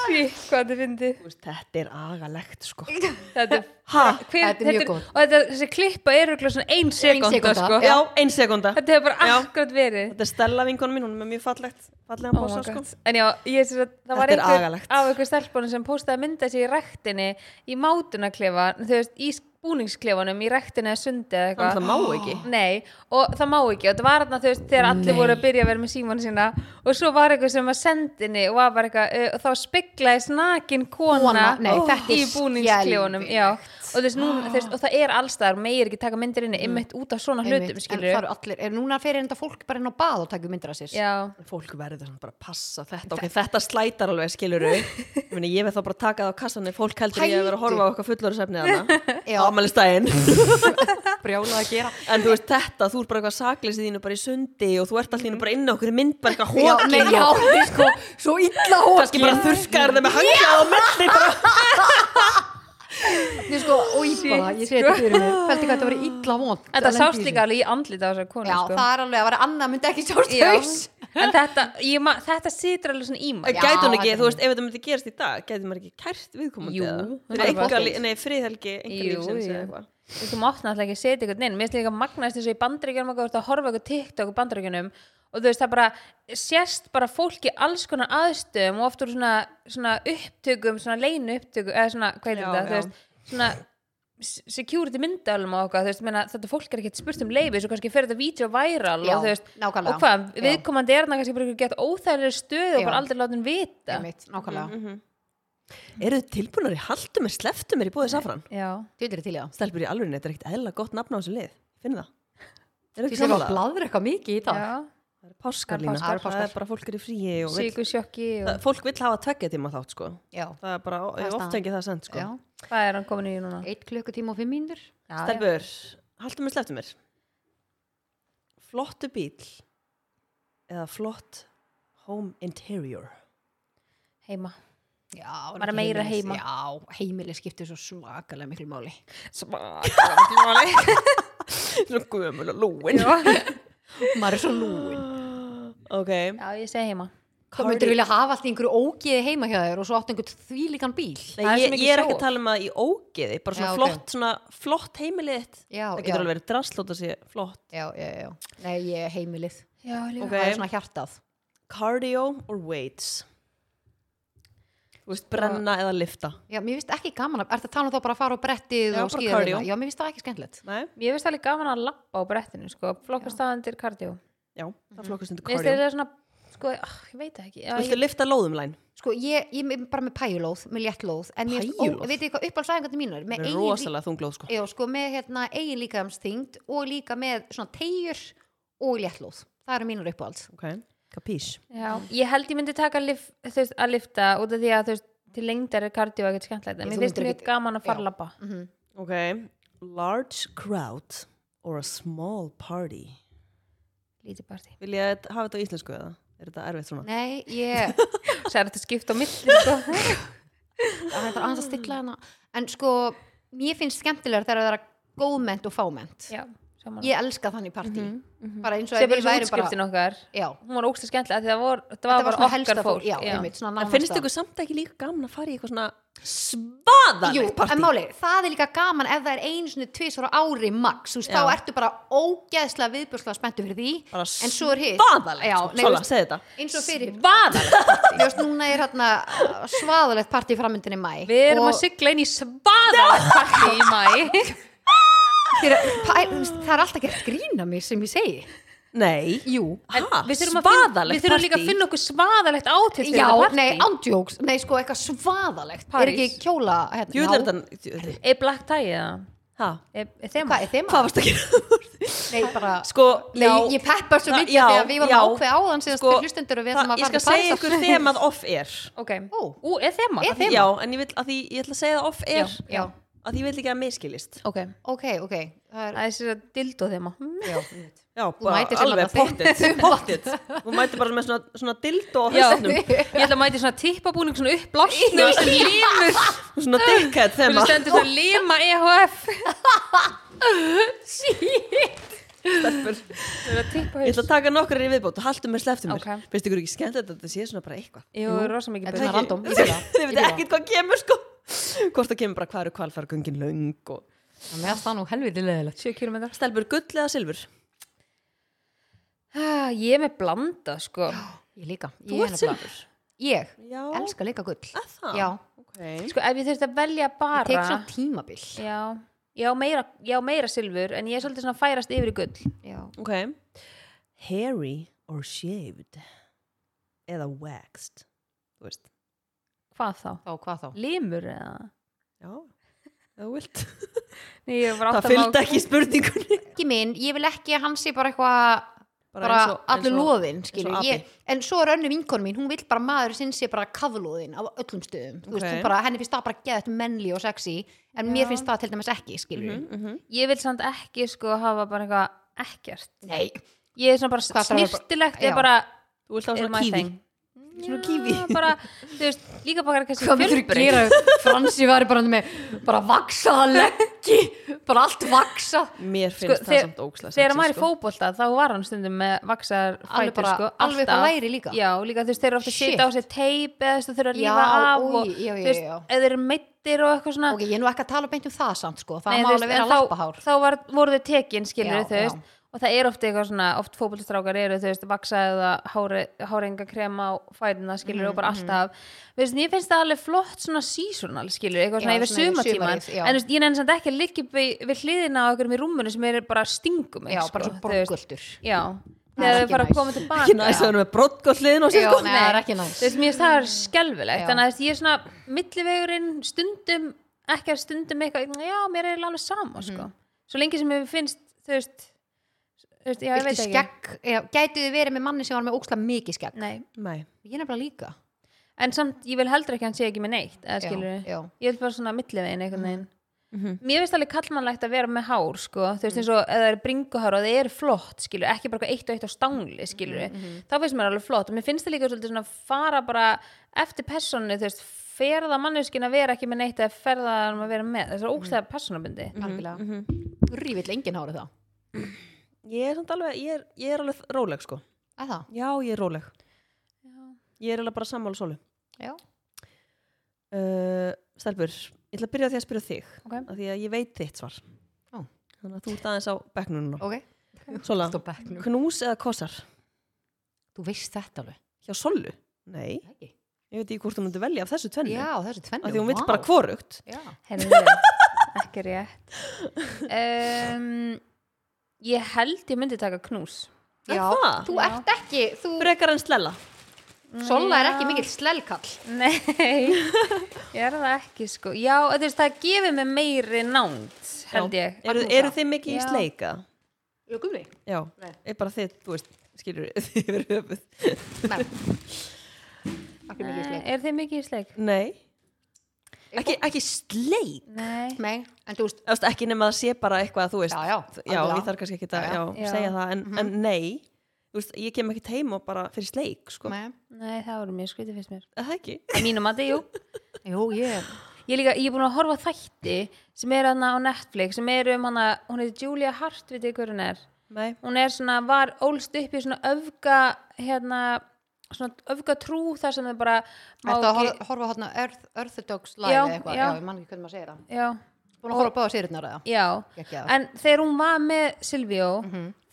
[SPEAKER 3] Shit, hvað þið fyndi
[SPEAKER 2] Þú veist, Þetta er agalegt sko
[SPEAKER 3] Þetta er
[SPEAKER 2] ha,
[SPEAKER 3] hver,
[SPEAKER 1] Þetta er mjög gott.
[SPEAKER 3] og þetta, þessi klippa er örugglega svona ein sekunda,
[SPEAKER 1] sekúnda,
[SPEAKER 3] sko.
[SPEAKER 2] Já, ein sekunda
[SPEAKER 3] þetta hefur bara
[SPEAKER 2] Já.
[SPEAKER 3] akkurat verið
[SPEAKER 2] Þetta er Stella vinkonum mín, hún er með mjög fallegt fallegan
[SPEAKER 3] Oh
[SPEAKER 2] posa
[SPEAKER 3] my
[SPEAKER 2] sko
[SPEAKER 3] god. en já, ég sé að það var
[SPEAKER 2] Þetta er
[SPEAKER 3] einhver
[SPEAKER 2] agalegt.
[SPEAKER 3] af einhver stelpunum sem postaði mynda sér í rektinni í mátunaklefa, þú veist, í búningsklefanum í rektinni eða sundi
[SPEAKER 2] Þannig
[SPEAKER 3] eða
[SPEAKER 2] að
[SPEAKER 3] eitthvað
[SPEAKER 2] það má ekki
[SPEAKER 3] Nei, og það má ekki og það var þarna, þú veist, þegar allir voru að byrja að vera með síman sína og svo var eitthvað sem var sendinni og var bara eitthvað, uh, og þá speklaði snakin kona
[SPEAKER 1] Kona, nei, þetta er
[SPEAKER 3] í búningskljónum já, og, þú veist, nú, þú veist, og það er allstaðar, megir ekki taka myndir
[SPEAKER 2] Mm.
[SPEAKER 3] inni ymmit út af svona hlutum,
[SPEAKER 1] Einmitt, En það
[SPEAKER 3] skilur
[SPEAKER 1] eru allir, er núna fyrir enda fólk bara inn á bað og takja myndir af sér
[SPEAKER 3] Já,
[SPEAKER 2] Fólk verður samt bara að passa þetta okay, Þetta slætar alveg skiluru Ég meina, ég verð þá bara að taka það á kassanni Fólk heldur ég að vera að horfa á eitthvað fullorðsefni
[SPEAKER 1] Já.
[SPEAKER 2] þarna Ámælistæðin
[SPEAKER 1] brjálað að gera
[SPEAKER 2] En þú veist þetta, þú ert bara eitthvað sakleysið þínu bara í sundi og þú ert allir bara inn á okkur mynd bara eitthvað
[SPEAKER 1] Já, nei,
[SPEAKER 2] hókin
[SPEAKER 1] já, sko, svo illa
[SPEAKER 2] Kannski bara þurrkaðir þeim með hangað á milli bara
[SPEAKER 1] Nei, sko, og íbáða, ég sé þetta fyrir mér Fælti hvað þetta var illa vond
[SPEAKER 3] þetta sást líka alveg í andlit á þessar konu
[SPEAKER 1] Já,
[SPEAKER 3] sko.
[SPEAKER 1] það er alveg að vera annað myndi ekki sjást
[SPEAKER 3] Já.
[SPEAKER 1] haus
[SPEAKER 3] En þetta, ég ma- þetta situr alveg svona í maður
[SPEAKER 2] Gæti hún ekki,
[SPEAKER 1] þetta-
[SPEAKER 2] þú veist, ef þetta myndi gerast í dag gæti maður ekki kært viðkomandi
[SPEAKER 3] Jú,
[SPEAKER 2] eða?
[SPEAKER 3] það er
[SPEAKER 2] Fyrir
[SPEAKER 3] bara
[SPEAKER 2] einkalí-
[SPEAKER 1] fólk.
[SPEAKER 2] Nei, friðhelgi, einkalífsins eða eitthvað
[SPEAKER 3] Þú þú mátt náttúrulega ekki setja eitthvað inn Mér finnst líka magnast þess að í bandaríkjum og þú ert að horfa á eitthvað TikTok í bandaríkjunum og þú veist það bara sérst bara fólki alls konar aðstöðum og oft úr svona, svona upptökum svona leinu upptökum, eða svona, hvað
[SPEAKER 2] Já,
[SPEAKER 3] heitir þetta
[SPEAKER 2] já.
[SPEAKER 3] þú veist, svona s- security myndalum og okkar, þú veist, meina, þetta fólk er ekki spurt um leifi, svo kannski fer þetta vídeo viral
[SPEAKER 1] Já,
[SPEAKER 3] og þú veist,
[SPEAKER 1] nákvæmlega.
[SPEAKER 3] og hvað,
[SPEAKER 1] Já.
[SPEAKER 3] viðkomandi er þarna kannski bara gett óþægilega stöð og
[SPEAKER 1] Já.
[SPEAKER 3] bara aldrei láta hann vita
[SPEAKER 1] Einmitt,
[SPEAKER 2] Mhm,
[SPEAKER 1] nákvæmlega,
[SPEAKER 2] Eru þið tilbúnar í haldum er sleftum er í búið safran?
[SPEAKER 3] Já,
[SPEAKER 1] þú veitir til í það
[SPEAKER 2] Stelpur í alveg, þetta er ekkert eðla gott nafn á þessu lið. Finn það. Er
[SPEAKER 1] Þú
[SPEAKER 2] ekki
[SPEAKER 1] sér að
[SPEAKER 2] samanlega?
[SPEAKER 1] bladra eitthvað mikið í dag
[SPEAKER 3] já,
[SPEAKER 2] Það er
[SPEAKER 1] Það
[SPEAKER 2] páskar
[SPEAKER 1] eru
[SPEAKER 2] lína.
[SPEAKER 1] páskar.
[SPEAKER 2] Það er bara fólk er í fríi og vill.
[SPEAKER 3] síkusjokki
[SPEAKER 2] Það-
[SPEAKER 3] og
[SPEAKER 2] Fólk vil hafa tveggja tíma þátt, sko.
[SPEAKER 1] Já,
[SPEAKER 2] Það er bara,
[SPEAKER 1] er
[SPEAKER 2] ég oft
[SPEAKER 1] staðan.
[SPEAKER 2] tengi það sent, sko.
[SPEAKER 1] já,
[SPEAKER 3] hvað er hann komin í núna?
[SPEAKER 1] eitt klukkutíma og fimm mínútur
[SPEAKER 3] Já, já.
[SPEAKER 2] Stelpur, haldum er sleftum er. Flottu bíl eða flott home interior.
[SPEAKER 3] heima
[SPEAKER 1] Já, en
[SPEAKER 3] Bara meira
[SPEAKER 1] heimilis-
[SPEAKER 3] heima.
[SPEAKER 1] Já, heimili skiptir svo svakalega miklu máli
[SPEAKER 3] smakmáli
[SPEAKER 2] Svo gömul og lúin.
[SPEAKER 1] Maður er svo lúin
[SPEAKER 2] Ok.
[SPEAKER 3] já ég segi heima
[SPEAKER 1] Hvað myndir vilja hafa allt í einhverju ógiði heima hjá þér og svo áttu einhvern þvílíkan bíl
[SPEAKER 2] Nei,
[SPEAKER 3] Það er svo
[SPEAKER 2] ég,
[SPEAKER 3] mikið
[SPEAKER 2] ég er ekki
[SPEAKER 3] show-off.
[SPEAKER 2] að tala um að í ógeði, bara
[SPEAKER 1] Já,
[SPEAKER 2] svona
[SPEAKER 1] ok.
[SPEAKER 2] flott, svona flott heimilið þitt.
[SPEAKER 1] Já,
[SPEAKER 2] það
[SPEAKER 1] já.
[SPEAKER 2] getur alveg verið drasslót að sé flott.
[SPEAKER 1] Já, já, já, nei, ég er heimilið
[SPEAKER 3] já líka
[SPEAKER 2] Ok.
[SPEAKER 1] Það er svona hjartað
[SPEAKER 2] Cardio or weights? Þú veist, brenna eða lifta?
[SPEAKER 1] Já, mér finnst ekki gaman að, ertu að tala um þá bara að fara á brettið
[SPEAKER 2] Já,
[SPEAKER 1] og
[SPEAKER 2] bara
[SPEAKER 1] skýða
[SPEAKER 2] cardio.
[SPEAKER 1] Já, mér finnst það ekki skemmtilegt
[SPEAKER 2] Nei?
[SPEAKER 3] ég veist alveg gaman að lappa á brettinu sko flokkast það undir kardió
[SPEAKER 2] Já, það flokkast undir
[SPEAKER 3] ég veist það
[SPEAKER 2] cardio.
[SPEAKER 3] er svona sko ah, ég veit það ekki já,
[SPEAKER 2] Viltu
[SPEAKER 3] ég,
[SPEAKER 2] lifta lóðumlæn?
[SPEAKER 1] Sko, ég, ég er bara með pæjulóð, með léttlóð En ég,
[SPEAKER 2] Pæjulóð?
[SPEAKER 1] veit ég hvað uppáhaldsæðingarnir mínar Með
[SPEAKER 2] Það er
[SPEAKER 1] eigin lí-
[SPEAKER 2] rosalega þunglóð, sko.
[SPEAKER 1] Já, sko, með hérna eigin líkamsþyngd og líka með svona tegjur og léttlóð. Það eru mínur uppáhalds.
[SPEAKER 2] Ok, kapís.
[SPEAKER 3] já, ég held ég myndi taka lif, þú veist, að lifta út af því að þú veist til lengdar er kardio ekkert skemmtilegt
[SPEAKER 1] Ég,
[SPEAKER 3] en mér
[SPEAKER 1] þú
[SPEAKER 3] finnst
[SPEAKER 1] myndir
[SPEAKER 3] mjög
[SPEAKER 1] ekkert-
[SPEAKER 3] gaman að
[SPEAKER 1] Já.
[SPEAKER 3] farlappa
[SPEAKER 1] Mhm.
[SPEAKER 2] Ok, large crowd or a small party
[SPEAKER 3] lítið partí
[SPEAKER 2] Vil ég hafa þetta á íslensku eða? Er þetta erfitt svona?
[SPEAKER 1] Nei, ég
[SPEAKER 3] það er þetta skipt á milli sko.
[SPEAKER 1] það er bara aðeins að stilla hana en sko, mér finnst skemmtilegar þegar það er góðment og fáment
[SPEAKER 3] já, saman
[SPEAKER 1] ég elska þannig partí bara eins og
[SPEAKER 3] sem
[SPEAKER 1] ef
[SPEAKER 3] bara
[SPEAKER 1] við værum
[SPEAKER 3] svo
[SPEAKER 1] bara
[SPEAKER 3] útskriftin okkar
[SPEAKER 1] já,
[SPEAKER 3] hún var ógstu skemmtilega af því það vor, það
[SPEAKER 1] þetta
[SPEAKER 3] var
[SPEAKER 1] var
[SPEAKER 3] bara
[SPEAKER 1] svona
[SPEAKER 3] okkar
[SPEAKER 1] helsta
[SPEAKER 3] fólk
[SPEAKER 1] fólk já, einmitt, svona
[SPEAKER 2] En
[SPEAKER 1] nánasta.
[SPEAKER 2] finnst ykkur samt ekki líka gaman að fara í eitthvað svona svaðalegt
[SPEAKER 1] Jú,
[SPEAKER 2] partí?
[SPEAKER 1] en máli, það er líka gaman ef það er einu svona tvisvara ári max, þú veist,
[SPEAKER 2] Já.
[SPEAKER 1] þá ertu bara ógeðslega viðbjörslega spenntu fyrir því
[SPEAKER 2] Bara
[SPEAKER 1] en svo er hitt
[SPEAKER 2] Svaðalegt,
[SPEAKER 1] Já,
[SPEAKER 2] sko.
[SPEAKER 1] nei,
[SPEAKER 2] Sola,
[SPEAKER 1] veist,
[SPEAKER 2] segðu þetta
[SPEAKER 1] eins og fyrir,
[SPEAKER 3] svaðalegt
[SPEAKER 1] þú veist, núna er hérna uh, svaðalegt partí framöndin í mæ
[SPEAKER 3] við erum
[SPEAKER 1] og
[SPEAKER 3] að sigla inn í svaðalegt partí í mæ
[SPEAKER 1] þeir, pæ, þú veist, það er alltaf gert grína mér sem ég segi
[SPEAKER 2] Nei,
[SPEAKER 1] Jú,
[SPEAKER 3] En
[SPEAKER 2] ha,
[SPEAKER 3] við þurfum, að finna,
[SPEAKER 2] svaðalegt
[SPEAKER 3] við þurfum líka að
[SPEAKER 2] partí?
[SPEAKER 3] finna okkur svaðalegt átill
[SPEAKER 1] Já, nei, ándjóks, nei sko eitthvað svaðalegt Er
[SPEAKER 3] París.
[SPEAKER 1] ekki kjóla hérna,
[SPEAKER 2] Jú,
[SPEAKER 1] já.
[SPEAKER 2] þetta er þetta
[SPEAKER 3] er black tie eða
[SPEAKER 2] Ha,
[SPEAKER 3] er, er þema
[SPEAKER 1] Hvað er þeim?
[SPEAKER 2] hvað varst að gera?
[SPEAKER 1] Nei, bara,
[SPEAKER 2] Sko,
[SPEAKER 1] nei, ég, ég peppa svo
[SPEAKER 2] það-
[SPEAKER 1] mikið
[SPEAKER 2] já,
[SPEAKER 1] þegar við varum
[SPEAKER 2] já.
[SPEAKER 1] ákveð áðan síðast sko, hlustendur og við ætlum
[SPEAKER 2] það-
[SPEAKER 1] að fara
[SPEAKER 2] Ég skal
[SPEAKER 1] til
[SPEAKER 2] segja
[SPEAKER 1] Parísar.
[SPEAKER 2] ykkur þemað off-air
[SPEAKER 3] ok,
[SPEAKER 1] Ó.
[SPEAKER 3] ú, er þema
[SPEAKER 1] Er
[SPEAKER 2] Já, en ég vil, að því, ég ætla að segja það off-air
[SPEAKER 3] Já,
[SPEAKER 1] Já,
[SPEAKER 2] að því ég vil ekki að miskiljist
[SPEAKER 3] ok,
[SPEAKER 1] ok, ok Það er,
[SPEAKER 3] það er sér að dildo þema
[SPEAKER 1] já,
[SPEAKER 2] Já,
[SPEAKER 1] mætir
[SPEAKER 2] bara
[SPEAKER 1] sem
[SPEAKER 2] alveg
[SPEAKER 1] annað þema.
[SPEAKER 2] pottit pottit. Þú mætir bara með svona, svona dildó á
[SPEAKER 3] Já,
[SPEAKER 2] hausnum
[SPEAKER 3] ég ætla að mæti svona tippabúning svona uppblásnum sem límur
[SPEAKER 2] Svona dickhead
[SPEAKER 3] sem
[SPEAKER 2] þema
[SPEAKER 3] stendur svona lima E EHF
[SPEAKER 2] stelpur.
[SPEAKER 3] Það er að tippa
[SPEAKER 2] Ég ætla
[SPEAKER 3] haus
[SPEAKER 2] að taka nokkrar í viðbót og haltu mér sleftum mér
[SPEAKER 3] Ok.
[SPEAKER 2] Finnst ykkur ekki skemmt að þetta sé svona bara eitthvað
[SPEAKER 3] Jú, rosa mikið
[SPEAKER 1] Þetta
[SPEAKER 3] betra.
[SPEAKER 1] er random, ég fíla það,
[SPEAKER 2] Þið
[SPEAKER 1] ég
[SPEAKER 2] veit
[SPEAKER 1] fíla
[SPEAKER 2] ekkert hvað kemur sko Hvort það kemur bara hvað eru kvalfargöngin löng og...
[SPEAKER 1] það Mér það nú helviti leðilegt
[SPEAKER 3] 7 km
[SPEAKER 2] Stelpur gull eða silfur
[SPEAKER 3] Ah, Ég er með blanda sko
[SPEAKER 1] Ég líka,
[SPEAKER 2] Þú
[SPEAKER 1] ég
[SPEAKER 2] ert
[SPEAKER 1] nefnilega-
[SPEAKER 2] silfur
[SPEAKER 1] Ég,
[SPEAKER 2] Já, Ah.
[SPEAKER 1] elska líka gull
[SPEAKER 2] að það
[SPEAKER 1] Já,
[SPEAKER 2] okay.
[SPEAKER 3] Sko ef ég þurfti að velja bara
[SPEAKER 1] ég tek svona tímabil
[SPEAKER 3] Já, ég á meira, ég á meira silfur en ég er svolítið svona að færast yfir í gull
[SPEAKER 1] Já,
[SPEAKER 2] ok Hairy or shaved Eða waxed Þú veist
[SPEAKER 3] Hvað þá?
[SPEAKER 1] þá hvað þá?
[SPEAKER 3] Limur eða?
[SPEAKER 2] Já, eða þú vilt
[SPEAKER 3] Nei, ég var
[SPEAKER 2] Það fylgdi ekki spurningunni
[SPEAKER 1] Ekki minn, ég vil ekki að hann sé bara eitthvað bara
[SPEAKER 2] eins og-
[SPEAKER 1] allur
[SPEAKER 2] eins og-
[SPEAKER 1] loðinn skilur
[SPEAKER 2] eins og api.
[SPEAKER 1] ég, en svo er önnu vinkonu mín hún vil bara að maður sinn sé bara kaflóðinn af öllum stöðum, þú veist,
[SPEAKER 2] Ok.
[SPEAKER 1] hún bara, henni finnst það bara geðt mennli og sexy, en mér finnst það til dæmis ekki, skilur
[SPEAKER 2] Mhm, mhm.
[SPEAKER 3] Ég vil samt ekki sko hafa bara eitthvað ekkert
[SPEAKER 1] nei,
[SPEAKER 3] Ég er svona
[SPEAKER 1] Hvað
[SPEAKER 3] bara
[SPEAKER 1] þarf að-
[SPEAKER 3] snirtilegt er
[SPEAKER 1] Já.
[SPEAKER 3] bara
[SPEAKER 2] Þú vilt hafa
[SPEAKER 3] er
[SPEAKER 2] svona
[SPEAKER 3] my
[SPEAKER 2] kífi
[SPEAKER 3] thing
[SPEAKER 2] Svona kífi
[SPEAKER 3] Já, bara, þú veist, líka bara kannski
[SPEAKER 1] hvað myndur þú
[SPEAKER 3] fjölbreytt.
[SPEAKER 1] gera Fransi var bara með, bara vaksaða leggi, bara allt vaksa
[SPEAKER 2] Mér finnst það
[SPEAKER 3] þegar-
[SPEAKER 2] samt ókslega
[SPEAKER 3] Þegar
[SPEAKER 2] sexy,
[SPEAKER 3] hann var í
[SPEAKER 2] sko.
[SPEAKER 3] fótbolta þá var hann stundum með vaksar
[SPEAKER 1] Alveg
[SPEAKER 3] fætur
[SPEAKER 1] bara-
[SPEAKER 3] sko,
[SPEAKER 1] alveg upp á
[SPEAKER 3] alltaf.
[SPEAKER 1] læri líka.
[SPEAKER 3] Já, líka þú veist, þeir eru ofta að
[SPEAKER 1] Shit.
[SPEAKER 3] sita á sér teip eða þú veist, þau þurfa að
[SPEAKER 1] Já,
[SPEAKER 3] rífa af
[SPEAKER 1] új,
[SPEAKER 3] og
[SPEAKER 1] já, já,
[SPEAKER 3] þú veist,
[SPEAKER 1] já.
[SPEAKER 3] ef þeir eru meittir og eitthvað svona
[SPEAKER 1] ok, ég er nú ekki að tala beint um það samt sko, það
[SPEAKER 3] Nei,
[SPEAKER 1] má
[SPEAKER 3] þú
[SPEAKER 1] alveg vera
[SPEAKER 3] en þá-
[SPEAKER 1] lappahár
[SPEAKER 3] Þá var, voru þau tekin, skilur
[SPEAKER 1] Já,
[SPEAKER 3] þau veist, og það er ofta eitthvað svona, oft fótbolstrákar eru þau veist, vaksa eða hárenga krema á fætina, skilur og
[SPEAKER 1] Mhm,
[SPEAKER 3] bara alltaf Þú veist, ég finnst það alveg flott svona seasonal, skilur, eitthvað svona
[SPEAKER 1] Já,
[SPEAKER 3] yfir
[SPEAKER 1] svona yfir
[SPEAKER 3] sumatíman,
[SPEAKER 1] sumarið, já.
[SPEAKER 3] en þú veist, ég nefnir samt ekki að liggja við, við hliðina á okkur í rúmunu sem er bara um stingum,
[SPEAKER 1] já, bara svo borguldur
[SPEAKER 3] sko, Já,
[SPEAKER 1] er ekki
[SPEAKER 3] þegar þau fara
[SPEAKER 1] næs.
[SPEAKER 3] að koma tilbaka
[SPEAKER 2] ekki næst að vera með brottgóð hliðin á sér
[SPEAKER 1] já,
[SPEAKER 2] sko
[SPEAKER 1] nei, það er ekki næst
[SPEAKER 3] Þú veist, mér finnst það er skelfilegt
[SPEAKER 1] Já.
[SPEAKER 3] þannig að þú veist, ég er svona millivegurinn stundum, ekki að stundum eitthvað, já, mér er alveg sama sko.
[SPEAKER 1] Mhm.
[SPEAKER 3] svo lengi sem mér finnst þú veist, þú veist já, ég veit
[SPEAKER 1] Viltu
[SPEAKER 3] ekki
[SPEAKER 1] skegg, já, gætu þið verið með manni sem var með óksla mikið skegg
[SPEAKER 3] Nei.
[SPEAKER 2] nei,
[SPEAKER 1] ég er nefnilega líka
[SPEAKER 3] en samt, ég vil heldur ekki að hann sé ekki með neitt eða
[SPEAKER 1] Já,
[SPEAKER 3] skilur
[SPEAKER 1] já.
[SPEAKER 3] ég vil bara svona millivegin einhvern veginn
[SPEAKER 2] Mhm.
[SPEAKER 3] Mér finnst alveg kallmannlegt að vera með hár sko, þú veist eins og ef það er bringuhár og það er flott skilur, ekki bara eitthvað eitt og eitt á stangli skilur,
[SPEAKER 2] Mhm,
[SPEAKER 3] þá finnst mér alveg flott og mér finnst það líka svolítið svona fara bara eftir personu, þú veist, ferða manneskin að vera ekki með neitt eða ferða hann að vera með, það er
[SPEAKER 2] Mhm.
[SPEAKER 3] ógstæða personabundi
[SPEAKER 1] algjörlega mm vill enginn hárið það
[SPEAKER 2] ég er samt alveg, ég er, ég er alveg róleg sko
[SPEAKER 1] að það,
[SPEAKER 2] já, ég er róleg ég er alveg bara sammála sólu
[SPEAKER 1] já,
[SPEAKER 2] uh, stelpur, ég ætla að byrja á því að spyrja þig
[SPEAKER 3] Ok.
[SPEAKER 2] af því að ég veit þitt svar
[SPEAKER 1] Ó.
[SPEAKER 2] þannig að þú ert aðeins á bekknununa
[SPEAKER 1] ok
[SPEAKER 2] Sola,
[SPEAKER 1] Stop backnum.
[SPEAKER 2] knús eða kossar
[SPEAKER 1] þú veist þetta alveg
[SPEAKER 2] hjá Solu? Nei,
[SPEAKER 1] Ekki.
[SPEAKER 2] ég veit ekki hvort þú myndi velja af þessu tvennu
[SPEAKER 1] já, þessu tvennu
[SPEAKER 2] af því hún vill
[SPEAKER 1] vá.
[SPEAKER 2] bara kvorugt
[SPEAKER 1] Já.
[SPEAKER 3] Heyrðu, ekki rétt um, Ég held ég myndi taka knús
[SPEAKER 2] Er
[SPEAKER 1] Já,
[SPEAKER 2] það?
[SPEAKER 1] þú
[SPEAKER 3] Já.
[SPEAKER 1] ert ekki þú,
[SPEAKER 2] frekar en slella
[SPEAKER 1] Sola er ekki mikill slelkall
[SPEAKER 3] Nei, ég er það ekki sko Já, þú veist, það gefur mér meiri nánd held ég
[SPEAKER 2] eru,
[SPEAKER 3] Magnúsa.
[SPEAKER 2] eru þið mikið í
[SPEAKER 3] Já.
[SPEAKER 2] sleika?
[SPEAKER 1] Jökumni
[SPEAKER 2] já,
[SPEAKER 1] Nei.
[SPEAKER 2] er bara þið, þú veist skilur þið yfir höfuð
[SPEAKER 1] Nei, ekki mikill
[SPEAKER 3] Nei,
[SPEAKER 1] sleik
[SPEAKER 3] Eru þið mikið í sleik?
[SPEAKER 2] Nei, ekki, ekki sleik
[SPEAKER 3] Nei.
[SPEAKER 1] Nei, en þú veist,
[SPEAKER 2] Þú veist, ekki nema að sé bara eitthvað þú veist
[SPEAKER 1] já, já,
[SPEAKER 2] já,
[SPEAKER 1] algjörlega.
[SPEAKER 2] ég þarf kannski ekki að
[SPEAKER 1] Já,
[SPEAKER 2] já,
[SPEAKER 1] já.
[SPEAKER 3] Já. Mhm.
[SPEAKER 2] segja það, en, en nei þú veist, ég kem ekki heim og bara fyrir sleik sko.
[SPEAKER 1] Nei.
[SPEAKER 3] Nei, það voru mjög skrítið fyrst mér.
[SPEAKER 2] Er það ekki
[SPEAKER 3] Að mínum að jú.
[SPEAKER 1] Jú, ég,
[SPEAKER 3] Ég er líka, ég er búin að horfa á þætti sem er hana á Netflix, sem er um hana, hún heitir Julia Hart, veit ég hver hún er.
[SPEAKER 2] nei,
[SPEAKER 3] Hún er svona, var ólst upp í svona öfga, hérna, svona öfga trú þar sem þau bara má
[SPEAKER 1] ertu að
[SPEAKER 3] ekki-
[SPEAKER 1] horfa- horfa hérna Earth, Orthodox live
[SPEAKER 3] Já,
[SPEAKER 1] eða eitthvað, já.
[SPEAKER 3] já.
[SPEAKER 1] ég man ekki hvernig maður segir það
[SPEAKER 3] Já,
[SPEAKER 1] Búin að horfa báða sérutnar eða
[SPEAKER 3] já.
[SPEAKER 1] Geggjað.
[SPEAKER 3] En þegar hún var með Silvíó,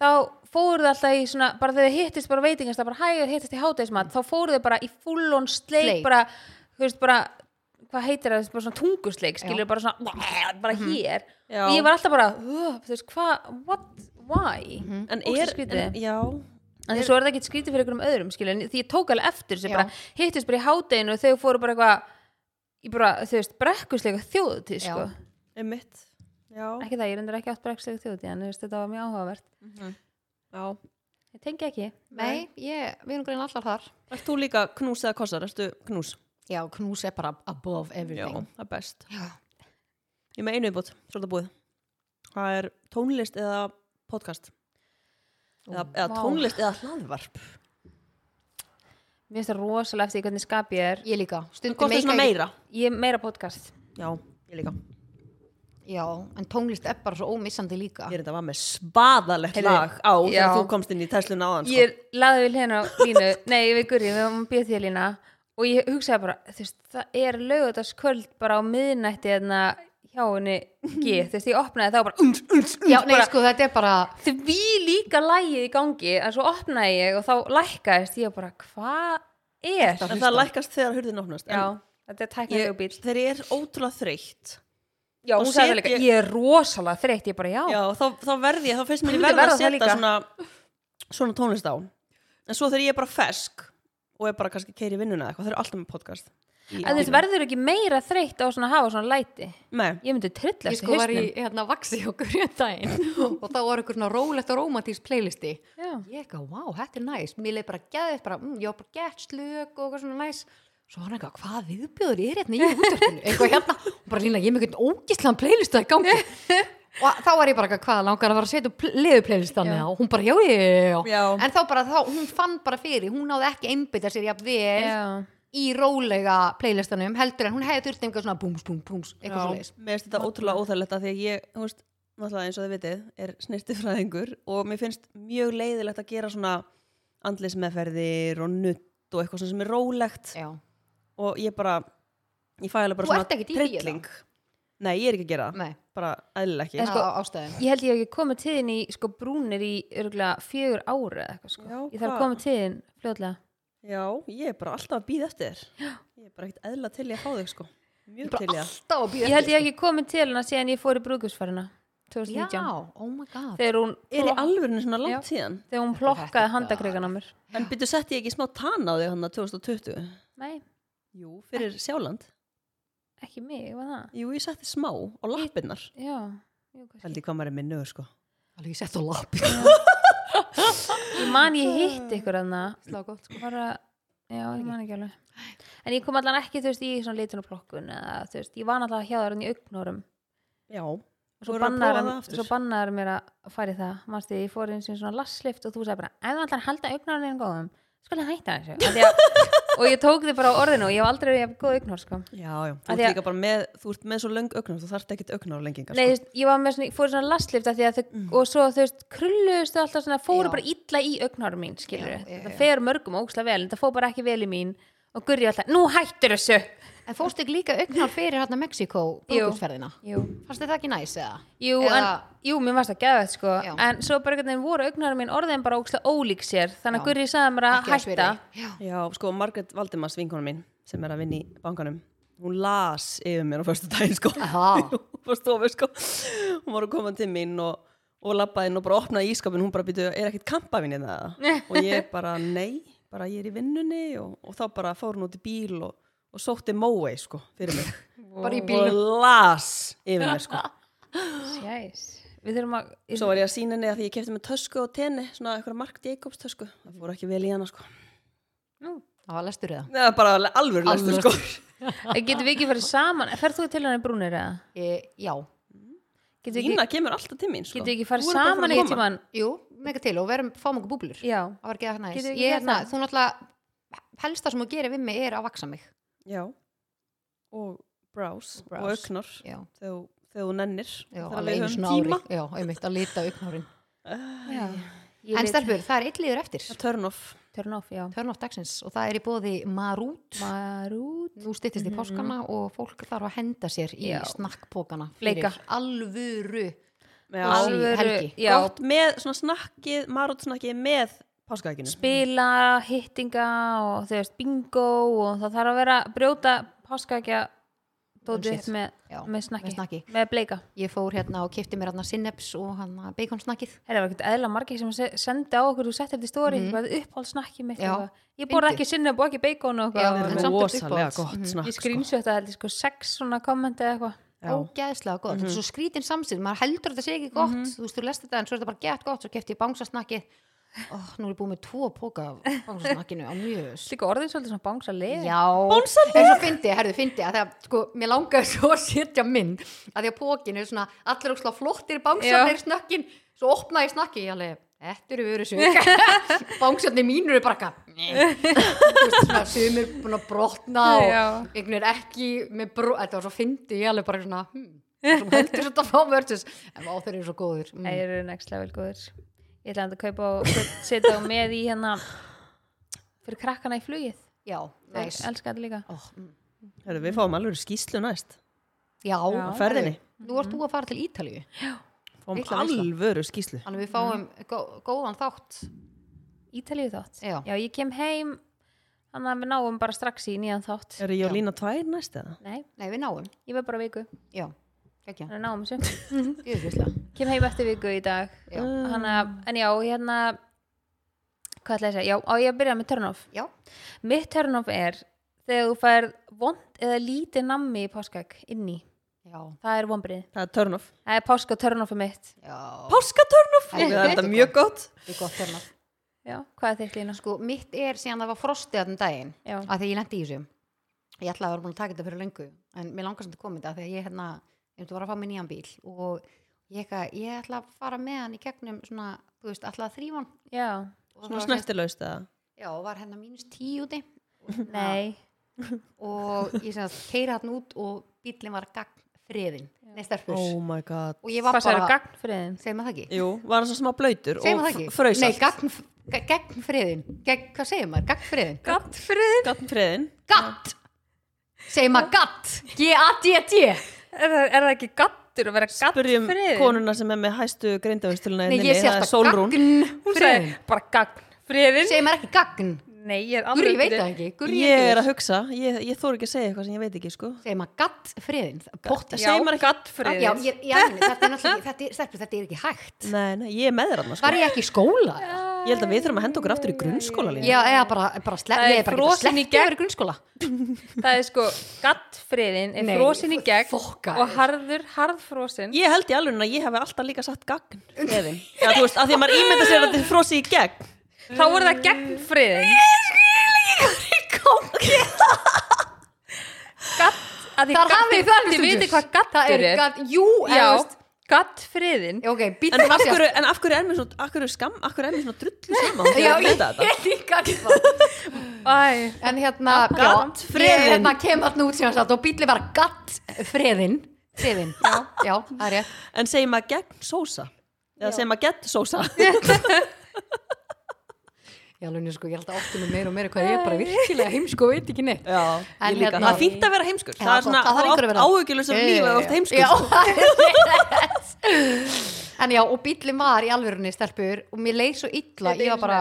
[SPEAKER 3] þá fóru þau alltaf í svona, bara þegar þau hittist bara veitingast, það bara hægur hittist í hátægismat, þá fóru þau bara í fullon sleik,
[SPEAKER 1] Sleik.
[SPEAKER 3] bara, þú veist, bara, hvað heitir það, bara svona tungusleik, skilur bara svona, bara hér.
[SPEAKER 2] Já.
[SPEAKER 3] Og ég var alltaf bara, "Ugh," þú veist, hvað, what, why?
[SPEAKER 2] Mhm. en
[SPEAKER 3] Ógeðslega
[SPEAKER 2] er
[SPEAKER 3] skrítið.
[SPEAKER 2] en, já,
[SPEAKER 3] En þess að það ekki skrítið fyrir einhverjum öðrum skilur, en því ég tók alveg eftir þessu
[SPEAKER 1] Já.
[SPEAKER 3] bara hittist bara í hádeginu og þau fóru bara eitthvað í bara, þau veist, brekkuslega þjóðutíð
[SPEAKER 1] Já.
[SPEAKER 3] sko.
[SPEAKER 2] um mitt já,
[SPEAKER 3] ekki það, ég reyndar ekki átt brekkuslega þjóðutíð en þú veist, þetta var mjög áhugavert
[SPEAKER 2] já
[SPEAKER 3] ég tengi ekki
[SPEAKER 1] Nei, ég, við erum grein allar þar
[SPEAKER 2] Ert þú líka knús eða kossar, erstu knús?
[SPEAKER 1] Já, knús er bara above
[SPEAKER 2] Já,
[SPEAKER 1] everything
[SPEAKER 2] það er best.
[SPEAKER 1] Já,
[SPEAKER 2] Ég er með einu viðbútt, svolítið búið. Það er tónlist eða podcast. Eða, eða
[SPEAKER 3] Vá.
[SPEAKER 2] tónlist eða hlaðvarp.
[SPEAKER 3] mér finnst það rosalega eftir því hvernig skap ég er
[SPEAKER 1] ég líka Stundum
[SPEAKER 2] Hvort er
[SPEAKER 1] meika
[SPEAKER 2] svona
[SPEAKER 1] ekki-
[SPEAKER 2] meira?
[SPEAKER 3] ég er meira podcast
[SPEAKER 2] Já, ég líka.
[SPEAKER 1] Já, en tónlist er bara svo ómissandi líka
[SPEAKER 2] Ég er þetta var með svaðalegt
[SPEAKER 3] Heyrðu,
[SPEAKER 2] lag á
[SPEAKER 3] já.
[SPEAKER 2] þegar þú komst inn í Teslun áðan. Sko.
[SPEAKER 3] ég laði við hérna á línu nei, við gurri, við varum að býða því að lína og ég hugsaði bara, þú veist, það er lögutaskvöld bara á miðnætti hérna hjá henni G þú veist, ég opnaði þá bara uns, uns, uns,
[SPEAKER 1] Já, nei,
[SPEAKER 3] bara
[SPEAKER 1] sko, þetta er bara
[SPEAKER 3] því líka lægið í gangi en svo opnaði ég og þá lækkaðist ég bara, hvað er
[SPEAKER 1] Þetta-
[SPEAKER 2] en
[SPEAKER 1] hlusta.
[SPEAKER 2] það lækast þegar hurðin opnast.
[SPEAKER 3] já, þetta er
[SPEAKER 2] en
[SPEAKER 3] tæknilegu bíl
[SPEAKER 2] ég, þegar ég er ótrúlega þreytt,
[SPEAKER 3] já,
[SPEAKER 2] og
[SPEAKER 3] hún sagði
[SPEAKER 2] set
[SPEAKER 3] það líka,
[SPEAKER 2] ég-
[SPEAKER 3] ég er rosalega þreytt ég bara, já,
[SPEAKER 2] já, þá, þá verð ég, þá finnst mér ég
[SPEAKER 3] Þú
[SPEAKER 2] verð
[SPEAKER 3] myndir
[SPEAKER 2] að
[SPEAKER 3] verða það
[SPEAKER 2] setja
[SPEAKER 3] líka.
[SPEAKER 2] svona, svona tónlist á. En svo þegar ég er bara fesk og er bara kannski keiri vinnuna eða eitthvað, þeir eru alltaf með um podcast. í
[SPEAKER 3] en þú veist,
[SPEAKER 2] bílnum.
[SPEAKER 3] verður ekki meira þreytt á svona að hafa svona læti
[SPEAKER 2] Nei.
[SPEAKER 3] ég myndi trillast
[SPEAKER 1] Ég sko var í hérna vaksi okkur í daginn og þá var eitthvað svona rólegt og rómatísk playlisti
[SPEAKER 3] já,
[SPEAKER 1] ég eitthvað, vá, þetta er næs mér leið bara gæðið, bara, mm, ég var bara gett slök og eitthvað svona næs svo var hann eitthvað, hvað viðbjöður er hérna í útdörfinu eitthvað hérna, og bara lína, ég er með eitthvað ógislan playlista í gangi og þá var ég bara eitthvað, hvað langar að fara að setja pl- liðu playlistan
[SPEAKER 3] Já.
[SPEAKER 1] og hún bara, já, já, já, já
[SPEAKER 2] Já.
[SPEAKER 1] en þá bara, þá, hún fann bara fyrir hún náði ekki einbytta sér jafn vel
[SPEAKER 3] já,
[SPEAKER 1] í rólega playlistanum heldur en hún hefði þurft einhver svona búms, búms, búms, eitthvað svo leis
[SPEAKER 2] Mér finnst þetta ótrúlega óþægilegt að því að ég, þú veist, náttúrulega eins og þið vitið, er snirtifræðingur og mér finnst mjög leiðilegt að gera svona andlismeðferðir og nutt og eitthvað svona sem er rólegt
[SPEAKER 1] já,
[SPEAKER 2] og ég bara, ég fæ alveg
[SPEAKER 1] Þú
[SPEAKER 2] bara
[SPEAKER 1] ert ekkert í því,
[SPEAKER 2] trilling. hérna? Nei, ég er ekki að gera það,
[SPEAKER 1] nei,
[SPEAKER 2] bara eðlilega ekki.
[SPEAKER 3] En sko-
[SPEAKER 1] á ástæðum
[SPEAKER 3] ég held ég hef ekki komið tíðin í sko brúnir í örgulega fjögur ára eða eitthvað sko,
[SPEAKER 2] Já,
[SPEAKER 3] ég þarf
[SPEAKER 2] hvað?
[SPEAKER 3] að koma tíðin fljótlega
[SPEAKER 2] Já, ég er bara alltaf að býða eftir þér. Ég er bara ekkert eðla til ég að fá þig, sko.
[SPEAKER 1] Ég
[SPEAKER 2] Mjög
[SPEAKER 1] bara
[SPEAKER 2] til ég að.
[SPEAKER 1] alltaf að býða
[SPEAKER 3] ég held ég hef ekki komið til hana síðan ég fór í brúðgjöfsfarina
[SPEAKER 1] Já,
[SPEAKER 3] 2019
[SPEAKER 1] oh my god
[SPEAKER 3] þegar hún
[SPEAKER 2] Er í alvörinu svona
[SPEAKER 3] Já.
[SPEAKER 2] langt síðan?
[SPEAKER 3] þegar hún
[SPEAKER 1] Þetta er
[SPEAKER 3] plokkaði handakreikan á mér
[SPEAKER 2] En byrju, setti ég ekki smá tann á þig hann 2020?
[SPEAKER 3] nei,
[SPEAKER 2] Jú, fyrir Sjáland.
[SPEAKER 3] ekki mig, var það
[SPEAKER 2] Jú, ég setti smá á lappinnar.
[SPEAKER 3] já, jú, kannski.
[SPEAKER 2] Haldi hvað maður er minnuður sko
[SPEAKER 1] Alveg ég sett á lapi
[SPEAKER 3] ég man ég hitt ykkur aðna
[SPEAKER 1] Slag gott sko
[SPEAKER 3] bara, já, ég man ekki alveg en ég kom allan ekki, þú veist, í svona litun og plokkun eða, þú veist, ég var allan hjá þar hann í augnórum
[SPEAKER 2] Já
[SPEAKER 3] og svo
[SPEAKER 2] Voru að prófa
[SPEAKER 3] bannar
[SPEAKER 2] það aftur?
[SPEAKER 3] svo bannar mér að fara í það mannstu, ég fór eins og svona lasslift og þú sagði bara ef þú ætlar að halda augnárunum góðum skulle hætta þessu Af því að, og ég tók þið bara á orðinu og ég hef aldrei verið jafn góð augnár sko.
[SPEAKER 2] Já, já Þú
[SPEAKER 3] Af
[SPEAKER 2] ert
[SPEAKER 3] því að-
[SPEAKER 2] líka bara með, þú ert með svo löng augnar þú þarft ekkit augnar lengingar
[SPEAKER 3] Nei, þú veist, ég var með svona, ég fór í svona lasslift af því að þau, og svo þú veist, krulluðustu alltaf svona, fóru
[SPEAKER 1] Já.
[SPEAKER 3] bara illa í augnárum mín, skilur
[SPEAKER 1] Já, já,
[SPEAKER 3] það
[SPEAKER 1] já.
[SPEAKER 3] fer mörgum ókslega vel, en það fór bara ekki vel í mín og gurri alltaf, nú hættur þessu
[SPEAKER 1] En fórst ekki líka augnar fyrir hérna Mexiko brúkulsferðina?
[SPEAKER 3] Jú,
[SPEAKER 1] Fannst þið það ekki næs eða?
[SPEAKER 3] Jú,
[SPEAKER 1] Eða-
[SPEAKER 3] en, jú mér varst að gefa þetta sko
[SPEAKER 1] Já.
[SPEAKER 3] en svo bara einhvern veginn voru augnarum mín orðin bara ókslega ólík sér
[SPEAKER 1] Já.
[SPEAKER 3] þannig að Gurri sagði mér að
[SPEAKER 1] Ekki þess
[SPEAKER 3] hætta
[SPEAKER 1] virði. Já,
[SPEAKER 2] Já, sko, Margaret Valdimars vinkona mín sem er að vinna í bankanum hún las yfir mér á förstu daginn sko
[SPEAKER 1] Aha.
[SPEAKER 2] hún var stofu sko hún var að koma til mín og, og labbaði inn og bara opnaði ískapin hún bara býtu, er ekkit kampavín í það og ég bara, nei, bara ég er í vinnunni og, og þá bara fór hún út í bíl og, og sótti mói sko fyrir mig
[SPEAKER 1] bara í
[SPEAKER 2] og
[SPEAKER 1] bílnum
[SPEAKER 2] las yfir mér sko
[SPEAKER 3] Jæs, við þurfum að
[SPEAKER 2] Svo var ég að sína henni að því ég kefti með tösku og tenni, svona eitthvað Mark Jacobs tösku. Það fór ekki vel í hana, sko.
[SPEAKER 3] Nú,
[SPEAKER 1] Það var lestur eða?
[SPEAKER 2] Nei, það var bara alveg lestur, sko.
[SPEAKER 3] Getum við ekki farið saman? Ferð þú til henni brúnir eða?
[SPEAKER 1] e, já,
[SPEAKER 3] Getum við
[SPEAKER 2] Lína
[SPEAKER 3] ekki,
[SPEAKER 2] kemur alltaf til mín sko.
[SPEAKER 3] getum við ekki
[SPEAKER 2] Þú
[SPEAKER 3] farið
[SPEAKER 2] er bara
[SPEAKER 3] saman
[SPEAKER 2] farin að
[SPEAKER 3] eitt
[SPEAKER 2] koma.
[SPEAKER 3] tímann?
[SPEAKER 1] jú, mega til og verum fáum okkur búblur
[SPEAKER 3] Já,
[SPEAKER 1] það var ekki það næst
[SPEAKER 3] Getum við ekki
[SPEAKER 1] ég,
[SPEAKER 3] gert
[SPEAKER 1] na,
[SPEAKER 3] það?
[SPEAKER 1] þú náttúrulega, helsta sem þú gerir við mig er að vaksa mig
[SPEAKER 2] Já, og brás
[SPEAKER 1] Og brows.
[SPEAKER 2] og augnar
[SPEAKER 1] já,
[SPEAKER 2] þegar þú- þegar þú nennir
[SPEAKER 1] já
[SPEAKER 2] Það
[SPEAKER 1] alveg
[SPEAKER 2] er alveg
[SPEAKER 1] einu
[SPEAKER 2] um
[SPEAKER 1] svona
[SPEAKER 2] tíma.
[SPEAKER 1] ári já, einmitt að lita augnárin
[SPEAKER 3] já. Ég
[SPEAKER 1] en
[SPEAKER 3] veit-
[SPEAKER 1] stelpur, það er eitt liður eftir
[SPEAKER 2] Það turn off
[SPEAKER 3] Turn off, já.
[SPEAKER 1] törn of dagsins og það er í bóði Marút
[SPEAKER 3] Marút.
[SPEAKER 1] nú styttist í páskana og fólk þarf að henda sér í
[SPEAKER 3] Mhm. Já.
[SPEAKER 1] snakkpókana
[SPEAKER 3] Fleika.
[SPEAKER 1] fyrir alvöru
[SPEAKER 2] Já.
[SPEAKER 1] Alveg helgi.
[SPEAKER 3] já,
[SPEAKER 2] Gott með svona snakkið, marút snakkið með páskaækinu
[SPEAKER 3] spila, hittinga og þú veist, bingo og það þarf að vera brjóta páskaækja dótið
[SPEAKER 1] Bullshit.
[SPEAKER 3] upp með,
[SPEAKER 1] Um Já,
[SPEAKER 3] með snakki,
[SPEAKER 1] með snakki.
[SPEAKER 3] bleika
[SPEAKER 1] ég fór hérna og kefti mér hérna sinneps og hérna baconsnakkið
[SPEAKER 3] Það var ekkert eðla margir sem se- sendi á okkur og setti þetta í stóri, mm. það upphald snakki mitt
[SPEAKER 1] Mhm. Já,
[SPEAKER 3] eitthvað. Ég borði
[SPEAKER 1] fyndið.
[SPEAKER 3] ekki sinna og ekki bacon
[SPEAKER 1] Já,
[SPEAKER 3] og eitthvað
[SPEAKER 1] en
[SPEAKER 2] Það
[SPEAKER 3] og-
[SPEAKER 2] er
[SPEAKER 1] samt er þetta
[SPEAKER 2] rosalega
[SPEAKER 1] uppáhalds.
[SPEAKER 2] gott snakk
[SPEAKER 3] Ég skrýnsjötta held ég sko sex svona kommenti eða eitthvað
[SPEAKER 2] Já.
[SPEAKER 1] ógeðslega gott,
[SPEAKER 3] Mhm.
[SPEAKER 1] þetta er svo skrítin samsýð maður heldur að þetta sé ekki gott, þú veist, þú lest þetta en svo er þetta bara gett gott, svo kefti ég bangsasnakkið oh, nú er ég búið með tvo póka af bangsasnakkinu á mjög
[SPEAKER 3] Líka orðin svolítið svona bangsa leið
[SPEAKER 1] Já,
[SPEAKER 2] Bónsaleg.
[SPEAKER 1] en svo fyndi, ég, herðu, fyndi að það, sko, mér langaði svo að setja mynd að því að pókin er svona allir óslega flottir bánsarnir snökkin svo opnaði ég snakki, ég alveg Þetta eru vöru sög Bánsarnir mínur eru bara eitthvað meh. Þú veist, svona, Sumir búin að brotna og
[SPEAKER 3] Já.
[SPEAKER 1] einhvern er ekki með bró Þetta var svo fyndi, ég alveg bara svona hmm, sem heldur þetta fá versus en á þeir eru svo góður
[SPEAKER 3] Það
[SPEAKER 1] mm.
[SPEAKER 3] eru next level góður Ég ætla að kaupa og set- setja á með í hérna fyrir krakkana í flugið
[SPEAKER 1] Já,
[SPEAKER 3] Ég
[SPEAKER 1] næs
[SPEAKER 3] elska þetta líka
[SPEAKER 1] oh, mm.
[SPEAKER 2] Hörru, Við fáum alveg skýslu næst
[SPEAKER 1] Já,
[SPEAKER 3] Á
[SPEAKER 2] ferðinni.
[SPEAKER 1] Nú ert þú að fara til Ítalíu
[SPEAKER 2] Fáum
[SPEAKER 1] Mikla veisla.
[SPEAKER 2] alvöru skýslu
[SPEAKER 1] Þannig við fáum
[SPEAKER 3] Mm.
[SPEAKER 1] gó góðan þátt
[SPEAKER 3] Ítalíu þátt
[SPEAKER 1] Já.
[SPEAKER 3] ég kem heim þannig að við náum bara strax í nýjan þátt
[SPEAKER 2] Eru ég og Lína tvær næst eða?
[SPEAKER 3] Nei,
[SPEAKER 1] Nei, við náum,
[SPEAKER 3] ég verð bara viku
[SPEAKER 1] já, ekki,
[SPEAKER 3] þannig að náum þessu
[SPEAKER 1] yfirvislega.
[SPEAKER 3] kem heim eftir viku í dag
[SPEAKER 1] Já.
[SPEAKER 2] Eh,
[SPEAKER 3] Hanna, en já, hérna hvað ætla ég að segja, já, á ég að byrja með turn off
[SPEAKER 1] Já,
[SPEAKER 3] mitt turn off er þegar þú færð vond eða lítið nammi í páskak inni,
[SPEAKER 1] já,
[SPEAKER 3] það er vonbrið
[SPEAKER 2] Það er turn off
[SPEAKER 3] það er páska turn offi mitt
[SPEAKER 1] já,
[SPEAKER 2] Páska turn off
[SPEAKER 1] Helviti
[SPEAKER 2] Það er þetta
[SPEAKER 1] gott.
[SPEAKER 2] mjög gott
[SPEAKER 1] þetta er gott þennan.
[SPEAKER 3] já, hvað er þitt lína?
[SPEAKER 1] Sko, mitt er síðan það var frostið þannig daginn,
[SPEAKER 3] Já.
[SPEAKER 1] að því ég lendi í þessu. Ég ætlaði að vera búin að taka þetta fyrir lengu, en mér langar sem þetta komið þetta, því að ég hérna, ég myndi var að fá mér nýjan bíl og ég, eitthvað- ég ætla að fara með hann í gegnum svona, þú veist, ætla að þrýfa hann.
[SPEAKER 3] já,
[SPEAKER 1] Og
[SPEAKER 2] Svona
[SPEAKER 1] var
[SPEAKER 2] snertilaust eða?
[SPEAKER 1] hérna- Já, og var hérna mínus tíu úti hérna-
[SPEAKER 3] nei
[SPEAKER 1] og ég sem að keira hann út og bílinn var gagn friðin, neistarfurs.
[SPEAKER 2] Oh my god
[SPEAKER 1] Og ég var
[SPEAKER 3] hvað sér
[SPEAKER 1] bara,
[SPEAKER 3] gagn fyrir þeim?
[SPEAKER 1] segir maður það ekki?
[SPEAKER 2] Jú, var hann svo smá blöytur
[SPEAKER 1] segir maður
[SPEAKER 2] og
[SPEAKER 1] það ekki?
[SPEAKER 2] fröysalt
[SPEAKER 1] Nei, gagn, ga- gegn friðin gegn, hvað segir maður? Gagn friðin
[SPEAKER 3] gagn fyrir þeim?
[SPEAKER 2] Gatn friðin
[SPEAKER 1] Gatt segir maður gatt G-A-D-D
[SPEAKER 3] Er, það- er það ekki gattur að vera gagn
[SPEAKER 2] Byrjum
[SPEAKER 3] fyrir þeim?
[SPEAKER 2] konuna sem er með hæstu greindavistiluna
[SPEAKER 1] Nei, ég sé
[SPEAKER 2] Það er
[SPEAKER 1] alltaf
[SPEAKER 2] Sólrún
[SPEAKER 1] gagn
[SPEAKER 3] hún
[SPEAKER 1] friðin
[SPEAKER 3] sagði bara gagn friðin
[SPEAKER 1] segir maður ekki gagn
[SPEAKER 3] nei, ég er
[SPEAKER 1] Guri,
[SPEAKER 3] aldrei
[SPEAKER 1] ég veit það ekki Guri,
[SPEAKER 2] Ég er að hugsa, ég, ég þóru ekki að segja eitthvað sem ég veit ekki sko
[SPEAKER 1] segir maður gatt friðin Pótt
[SPEAKER 3] já,
[SPEAKER 2] Segir maður ekki-
[SPEAKER 3] gagn
[SPEAKER 1] Já,
[SPEAKER 3] friðin
[SPEAKER 1] ég, já, þetta er náttúrulega ekki- þetta, er- stelpur, þetta er ekki hægt
[SPEAKER 2] Nei, nei, ég er með þér annars sko
[SPEAKER 1] Var ég ekki í skóla? eða?
[SPEAKER 2] Ég held að við þurfum að henda okkur aftur í grunnskóla líka
[SPEAKER 1] Já, eða bara, bara slepp
[SPEAKER 3] Það
[SPEAKER 1] Ég
[SPEAKER 3] er
[SPEAKER 1] er bara ekki
[SPEAKER 3] frosin í
[SPEAKER 1] sleppt að vera í grunnskóla
[SPEAKER 3] það er sko gattfriðin er
[SPEAKER 1] Nei,
[SPEAKER 3] frosin í gegn
[SPEAKER 1] fokka
[SPEAKER 3] og
[SPEAKER 1] þér.
[SPEAKER 3] harður, harðfrosin
[SPEAKER 2] Ég held í alveg að ég hef alltaf líka satt gagn Eðin Já, þú veist, að því að maður ímynda sér að þetta er frosi í gegn
[SPEAKER 3] þá voru það gegnfriðin gatt að því
[SPEAKER 1] Þar hafið þið það
[SPEAKER 3] gatt- þið viti
[SPEAKER 1] hlustendur.
[SPEAKER 3] hvað
[SPEAKER 1] Það
[SPEAKER 3] gattur
[SPEAKER 1] er
[SPEAKER 3] er
[SPEAKER 1] gatt, jú, eða
[SPEAKER 3] já,
[SPEAKER 1] þú veist-
[SPEAKER 3] gattfriðin
[SPEAKER 1] Já, Ok,
[SPEAKER 2] En
[SPEAKER 1] býtum
[SPEAKER 2] af hverju, en af hverju er mér svona, af hverju er skam, af hverju er mér svona drullu sama Því
[SPEAKER 1] Já,
[SPEAKER 2] að
[SPEAKER 1] ég
[SPEAKER 2] vita þetta
[SPEAKER 1] er líka gatt
[SPEAKER 3] Æ,
[SPEAKER 1] En hérna,
[SPEAKER 2] Gatt
[SPEAKER 1] já,
[SPEAKER 2] friðinn.
[SPEAKER 1] ég hérna kem alltaf út sem sagt og bíli var gatt freðin, freðin, já, já, það er rétt.
[SPEAKER 2] En segir maður gegn sósa Eða segir maður gegn sósa
[SPEAKER 1] Ég alveg nýr sko, ég held að ofta með meira og meira hvað ég er bara virkilega heimsko og veit ekki neitt.
[SPEAKER 2] Já,
[SPEAKER 1] En
[SPEAKER 2] ég líka
[SPEAKER 1] hérna-
[SPEAKER 2] Það er fínt að vera heimskur
[SPEAKER 1] Já,
[SPEAKER 2] Það er
[SPEAKER 1] gott, það
[SPEAKER 2] svona,
[SPEAKER 1] þarf einhver að vera.
[SPEAKER 2] áhugilusum lífið og oft heimskur
[SPEAKER 1] Já,
[SPEAKER 2] sko.
[SPEAKER 1] það er rétt. En já, og bíli var í alvörunni stelpur og mér leið svo illa, ég var bara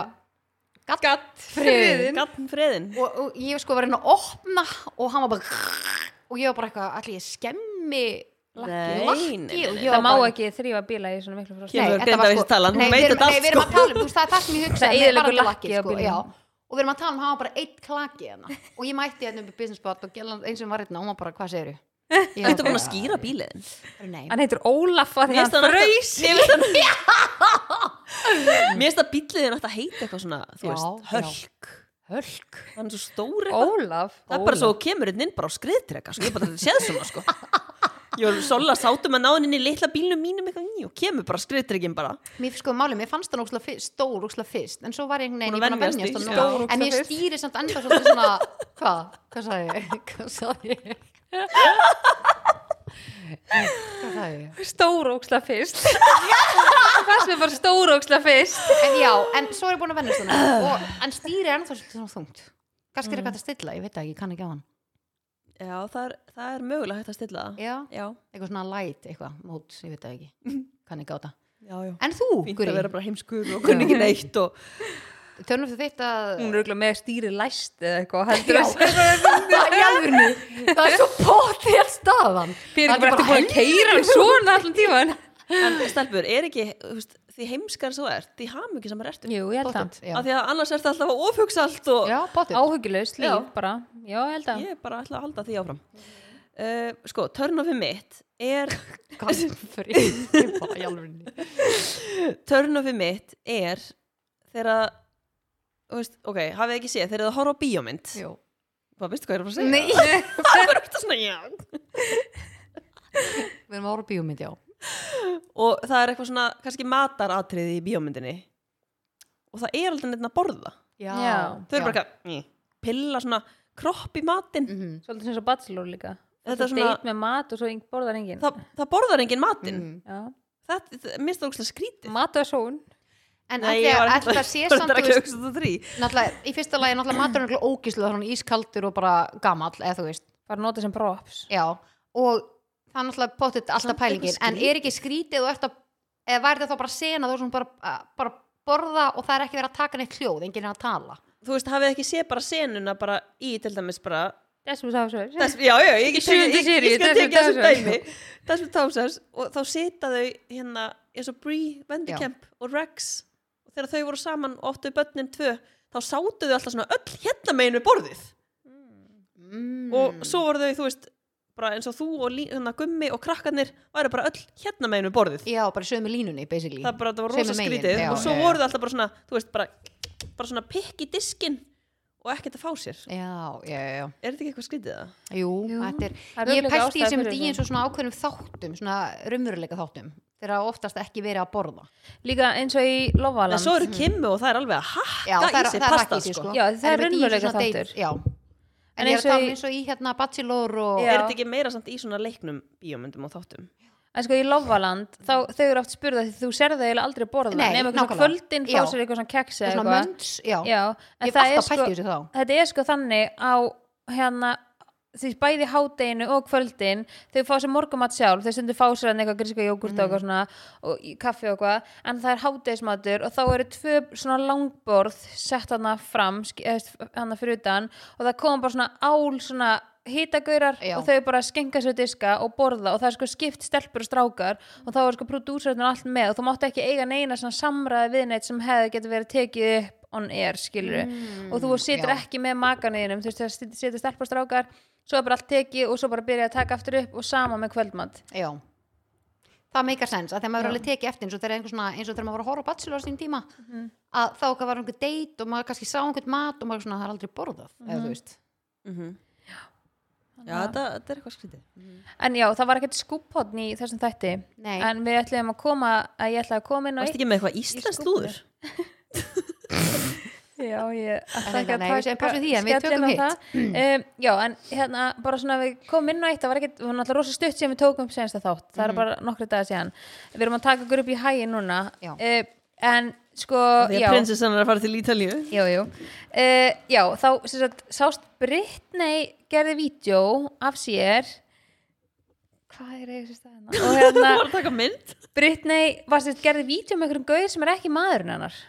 [SPEAKER 1] gatt, friðinn.
[SPEAKER 2] Gagn friðin
[SPEAKER 1] og, og ég sko var að reyna að opna og hann var bara og ég var bara eitthvað, allir ég skemmi
[SPEAKER 2] Nei,
[SPEAKER 1] lakki
[SPEAKER 2] nei, nei,
[SPEAKER 1] og
[SPEAKER 2] nei.
[SPEAKER 1] ég
[SPEAKER 3] það
[SPEAKER 1] var
[SPEAKER 3] má
[SPEAKER 1] bara-
[SPEAKER 3] ekki þrýfa bíla í svona miklu frosti
[SPEAKER 1] Nei,
[SPEAKER 2] Kemur
[SPEAKER 1] þetta var
[SPEAKER 2] greind
[SPEAKER 1] sko-
[SPEAKER 2] af þessu talan, hún
[SPEAKER 1] Nei, við
[SPEAKER 2] veit
[SPEAKER 1] erum-
[SPEAKER 2] þetta
[SPEAKER 1] Nei,
[SPEAKER 2] allt,
[SPEAKER 1] við erum
[SPEAKER 2] sko.
[SPEAKER 1] að tala um, þú veist, það er það sem ég hugsa
[SPEAKER 3] Það eyðileggur
[SPEAKER 1] lakki
[SPEAKER 3] lakkið á
[SPEAKER 1] sko,
[SPEAKER 3] bílnum.
[SPEAKER 1] já. Og við erum að tala um, hann var bara eitt klaki hérna Og ég mætti hérna upp í business spot og gellan eins og var hérna, hún var bara, hvað segirðu?
[SPEAKER 2] Þetta búin að skýra bíliðin
[SPEAKER 1] Nei,
[SPEAKER 3] hann heitur Ólaf að því
[SPEAKER 2] Mér
[SPEAKER 3] hann fröys
[SPEAKER 2] finnst það bíliðin ætti að heita eitthvað svona, þú
[SPEAKER 1] Já,
[SPEAKER 2] veist,
[SPEAKER 1] já.
[SPEAKER 2] hölk
[SPEAKER 1] Hölk
[SPEAKER 2] hann er svo stór eitthvað
[SPEAKER 3] Ólaf
[SPEAKER 2] það er bara svo kemur einn inn bara á skriðtreka sko. ég bara þetta séð svona sko ég var sola sátum að náðin inn í litla bílnum mínum eitthvað ný og kemur bara skriðtrekin bara
[SPEAKER 1] Mér sko málið, mér fannst hann ókslega fyrst, stór ókslega fyrst en svo var ég
[SPEAKER 2] Búin
[SPEAKER 1] einhvern
[SPEAKER 2] að
[SPEAKER 1] veginn, ég búin að venjast
[SPEAKER 2] venjast því,
[SPEAKER 1] honum
[SPEAKER 3] stór
[SPEAKER 1] núna. en ég
[SPEAKER 3] ógeðslega fyrst.
[SPEAKER 1] stýri samt enda svolítið svona hvað, hvað sagði ég hvað sagði ég hvað sagði ég
[SPEAKER 3] stóróksla fyrst fannst mér bara stóróksla fyrst
[SPEAKER 1] en já, en svo er ég búin að venjast honum og, en stýri er ennþá svolítið svona þungt kannski
[SPEAKER 2] Mm.
[SPEAKER 1] er eitthvað að stilla, ég veit það ekki, ég kann ekki á hann
[SPEAKER 2] já það er, það er mögulega hægt að stilla það
[SPEAKER 1] já,
[SPEAKER 2] já,
[SPEAKER 1] eitthvað svona light, eitthvað, mót, ég veit það ekki kann ekki á það,
[SPEAKER 2] já, já.
[SPEAKER 1] en þú,
[SPEAKER 2] fínt að
[SPEAKER 1] Guri
[SPEAKER 2] vera bara heimskur og kunni ekki neitt og
[SPEAKER 1] tölum fyrir þitt að
[SPEAKER 3] hún er auðvitað með stýri læst eða eitthvað heldur
[SPEAKER 1] Já,
[SPEAKER 3] að
[SPEAKER 1] það, í alvörunni, það er svo potið staðan
[SPEAKER 3] fyrir
[SPEAKER 1] Það
[SPEAKER 3] ekki bara ertu búin að keira hann svona allan tíman
[SPEAKER 2] en stelpur, er ekki þú veist, því heimskar þú ert, því hamingi samar ertu
[SPEAKER 3] jú, ég held það
[SPEAKER 1] Pottet, já.
[SPEAKER 2] af því að annars ertu alltaf að ofhugsa allt og
[SPEAKER 1] Já, potið
[SPEAKER 3] áhyggjulegst líf
[SPEAKER 2] Já.
[SPEAKER 3] bara já, ég held það
[SPEAKER 2] ég er bara alltaf að halda því áfram uh, sko, törnofið mitt er
[SPEAKER 1] Ég
[SPEAKER 2] törnofið mitt er þegar að þú veist, ok, hafið þið ekki séð, þegar það horfa á bíómynd hvað veistu hvað ég er að fara að segja?
[SPEAKER 3] Nei.
[SPEAKER 2] það var eftir svona, já
[SPEAKER 1] Við erum ára bíómynd, já
[SPEAKER 2] og það er eitthvað svona, kannski mataratriði í bíómyndinni og það er aldrei neitt að borða
[SPEAKER 1] Já,
[SPEAKER 3] Já.
[SPEAKER 2] þau eru bara eitthvað, "Mm", pilla svona kropp í matinn
[SPEAKER 1] mm -hmm.
[SPEAKER 3] svolítið sem svo bachelor líka
[SPEAKER 2] Þetta er
[SPEAKER 3] Svo
[SPEAKER 2] svona-
[SPEAKER 3] deit með mat og svo eng- borðar enginn
[SPEAKER 2] það, það borðar enginn matinn mm.
[SPEAKER 3] Já.
[SPEAKER 2] það, það, mér stóð okkur skrítið
[SPEAKER 3] mat og són
[SPEAKER 1] En alltaf það sé samt
[SPEAKER 2] Það
[SPEAKER 1] þú
[SPEAKER 2] er ekki að
[SPEAKER 1] veist,
[SPEAKER 2] hugsa þetta þrý
[SPEAKER 1] náttúrulega, Í fyrsta lagi, náttúrulega maturinn er náttúrulega ógíslu Það er hann ískaldur og bara gamall Eða þú veist,
[SPEAKER 3] bara nota sem props
[SPEAKER 1] já Og það er náttúrulega potið alltaf
[SPEAKER 2] Samt eitthvað
[SPEAKER 1] pælingin En er ekki skrítið og ert að Eða væri það þá bara sena þú sem bara, að- bara borða Og það er ekki verið að taka neitt hljóð Enginn er að tala
[SPEAKER 2] Þú veist, hafið þið ekki séð bara senuna bara í til dæmis bara
[SPEAKER 3] þessum sá svo
[SPEAKER 2] Þess, já, já, ég,
[SPEAKER 3] Í
[SPEAKER 2] ég, ég,
[SPEAKER 3] sjöundu
[SPEAKER 2] ég,
[SPEAKER 3] seríu,
[SPEAKER 2] ég skal tekið
[SPEAKER 3] Desperate
[SPEAKER 2] þessum
[SPEAKER 3] Housewives.
[SPEAKER 2] dæmi Desperate Housewives og þá sita þau hérna eins og Bree, Vanderkamp og Rex og þegar þau voru saman og áttu börnin tvö þá sátu þau alltaf svona öll hérna meginu við borðið
[SPEAKER 1] mm.
[SPEAKER 2] og svo voru þau, þú veist bara eins og þú og lí, hérna, Gummi og krakkarnir væru bara öll hérna meginu við borðið
[SPEAKER 1] Já, bara sögum í línunni, basically
[SPEAKER 2] það bara, það var
[SPEAKER 1] Sömu
[SPEAKER 2] rosa
[SPEAKER 1] megin,
[SPEAKER 2] skrítið
[SPEAKER 1] já,
[SPEAKER 2] og svo
[SPEAKER 1] já, já.
[SPEAKER 2] voru þau alltaf bara svona, þú veist, bara bara svona pikk í diskin og ekkert að fá sér
[SPEAKER 1] Já, já, já, já
[SPEAKER 2] er þetta ekki eitthvað skrítið það?
[SPEAKER 1] Jú,
[SPEAKER 3] Jú.
[SPEAKER 1] þetta
[SPEAKER 3] Það
[SPEAKER 1] er,
[SPEAKER 3] er
[SPEAKER 1] ég pæsti í
[SPEAKER 3] örugglega ástæða
[SPEAKER 1] þessum
[SPEAKER 3] fyrir
[SPEAKER 1] dýi
[SPEAKER 3] þessu.
[SPEAKER 1] eins og svona ákveðnum þáttum, svona raunveruleika þáttum þegar oftast ekki verið að borða
[SPEAKER 3] líka eins og í
[SPEAKER 2] En
[SPEAKER 3] Lovaland
[SPEAKER 2] svo eru kimmu og það er alveg að hakka
[SPEAKER 1] Mm. Já, það er,
[SPEAKER 2] í
[SPEAKER 1] það
[SPEAKER 2] sig
[SPEAKER 1] er
[SPEAKER 2] pasta,
[SPEAKER 1] ekki í sig, sko.
[SPEAKER 3] Já, það er
[SPEAKER 1] En einmitt í
[SPEAKER 3] raunveruleika
[SPEAKER 1] svona date-
[SPEAKER 3] þáttur.
[SPEAKER 1] Já, en, ég er
[SPEAKER 3] eins
[SPEAKER 1] að
[SPEAKER 3] og
[SPEAKER 1] tala
[SPEAKER 3] í-
[SPEAKER 1] eins og í hérna Bachelor og
[SPEAKER 3] Já.
[SPEAKER 2] Er þetta ekki meira samt í svona leiknum bíómyndum og þáttum?
[SPEAKER 3] En sko í Lofaland, þá þau eru oft spurða því þú serðu það eiginlega aldrei borða
[SPEAKER 1] Nei,
[SPEAKER 3] nema eitthvað svona
[SPEAKER 1] nákvæmlega.
[SPEAKER 3] kvöldin fá
[SPEAKER 1] Já.
[SPEAKER 3] sér eitthvað svona keks eða
[SPEAKER 1] svona
[SPEAKER 3] eitthvað
[SPEAKER 1] mönns, já,
[SPEAKER 3] Já,
[SPEAKER 1] Ég
[SPEAKER 3] en
[SPEAKER 1] hef
[SPEAKER 3] það er
[SPEAKER 1] alltaf
[SPEAKER 3] sko
[SPEAKER 1] pælt í þessu þá
[SPEAKER 3] þetta er sko þannig á hérna því bæði hádeginu og kvöldin þau fá sér morgumat sjálf, þau stundu fá sér þarna eitthvað gríska jógurt og eitthvað svona og í- kaffi og eitthvað, en það er hádegismatur og þá eru tvö svona langborð sett hana fram, sk- eða þú veist, hana fyrir utan og það koma bara svona ál svona hitagaurar
[SPEAKER 1] Já.
[SPEAKER 3] og þau bara skenka sér diska og borða og það er sko skipt stelpur og strákar og þá er sko prodúsörðin allt með og þú mátt ekki eiga neina svona samræði við neitt sem hefði getur verið tekið upp on air skilur og þú situr
[SPEAKER 1] Mm, já.
[SPEAKER 3] ekki með maganiðinum þú veist það sit- situr stelpur og strákar svo er bara allt tekið og svo bara byrja að taka aftur upp og sama með kvöldmatt
[SPEAKER 1] Já, það meikar sens að þegar maður er alveg tekið eftir eins og þegar einhver svona eins og þegar maður var að horfa á Bachelor á sín tíma
[SPEAKER 3] Mhm.
[SPEAKER 1] að þá okkar var einhver date og maður kannski sá einhvern mat og maður svona það er aldrei borðað
[SPEAKER 3] Mhm.
[SPEAKER 1] eða þú veist
[SPEAKER 2] Já, þetta, þetta er eitthvað skrítið.
[SPEAKER 3] en já það var ekkert skúphotn í þessum þætti
[SPEAKER 1] Nei.
[SPEAKER 3] en við ætlum að koma að ég ætla að koma inn og
[SPEAKER 2] Varst ekki með eitthvað íslensk slúður?
[SPEAKER 3] Já, ég ætla
[SPEAKER 1] Nei,
[SPEAKER 3] ekki að
[SPEAKER 1] nei, nei,
[SPEAKER 3] taka
[SPEAKER 1] sem passum því, en við tökum
[SPEAKER 3] skellinn á
[SPEAKER 1] hitt.
[SPEAKER 3] það. um, Já, en hérna bara svona við komum inn á eitt það var ekkit, það var náttúrulega rosa stutt sem við tókum upp senasta þátt, það
[SPEAKER 1] Mhm.
[SPEAKER 3] er bara nokkri dagar síðan Við erum að taka ykkur upp í hægin núna
[SPEAKER 1] Já.
[SPEAKER 3] um, En sko,
[SPEAKER 2] Þegar
[SPEAKER 3] já
[SPEAKER 2] prinsessan er að fara til Ítalíu.
[SPEAKER 3] Jú, jú uh, Já, þá sem sagt, sást Brittany gerði vídeo af sér Hvað er eiginlega staðina? Og
[SPEAKER 2] Þú
[SPEAKER 3] hérna,
[SPEAKER 2] var að taka mynd.
[SPEAKER 3] Brittany var sem sagt, gerði vídeo með einhverjum gauðir sem er ekki maðurinn hennar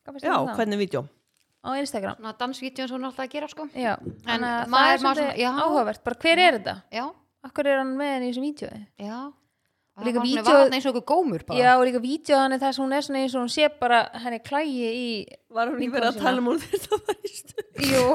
[SPEAKER 3] Hvað finnst
[SPEAKER 2] Já,
[SPEAKER 3] þér um það?
[SPEAKER 2] hvernig vídeo?
[SPEAKER 3] Á Instagram
[SPEAKER 1] svona dansvítjum sem hún er alltaf að gera sko
[SPEAKER 3] Já, en
[SPEAKER 1] maður-
[SPEAKER 3] það er
[SPEAKER 1] maður
[SPEAKER 3] svolítið
[SPEAKER 1] svona- já.
[SPEAKER 3] áhugavert bara hver er þetta?
[SPEAKER 1] Já,
[SPEAKER 3] Akkur er hann með henni í þessu vídjói?
[SPEAKER 1] já
[SPEAKER 3] Og líka
[SPEAKER 1] Hann er
[SPEAKER 3] vídeó-
[SPEAKER 1] varna eins og einhver gómur bara
[SPEAKER 3] Já, og líka vídjói hann er það sem hún er svona eins og hún sé bara henni klægi í
[SPEAKER 2] Var hún ekki
[SPEAKER 3] Vinkonu
[SPEAKER 2] verið að
[SPEAKER 3] sína.
[SPEAKER 2] tala um hún þegar það var í stöð?
[SPEAKER 3] Jú,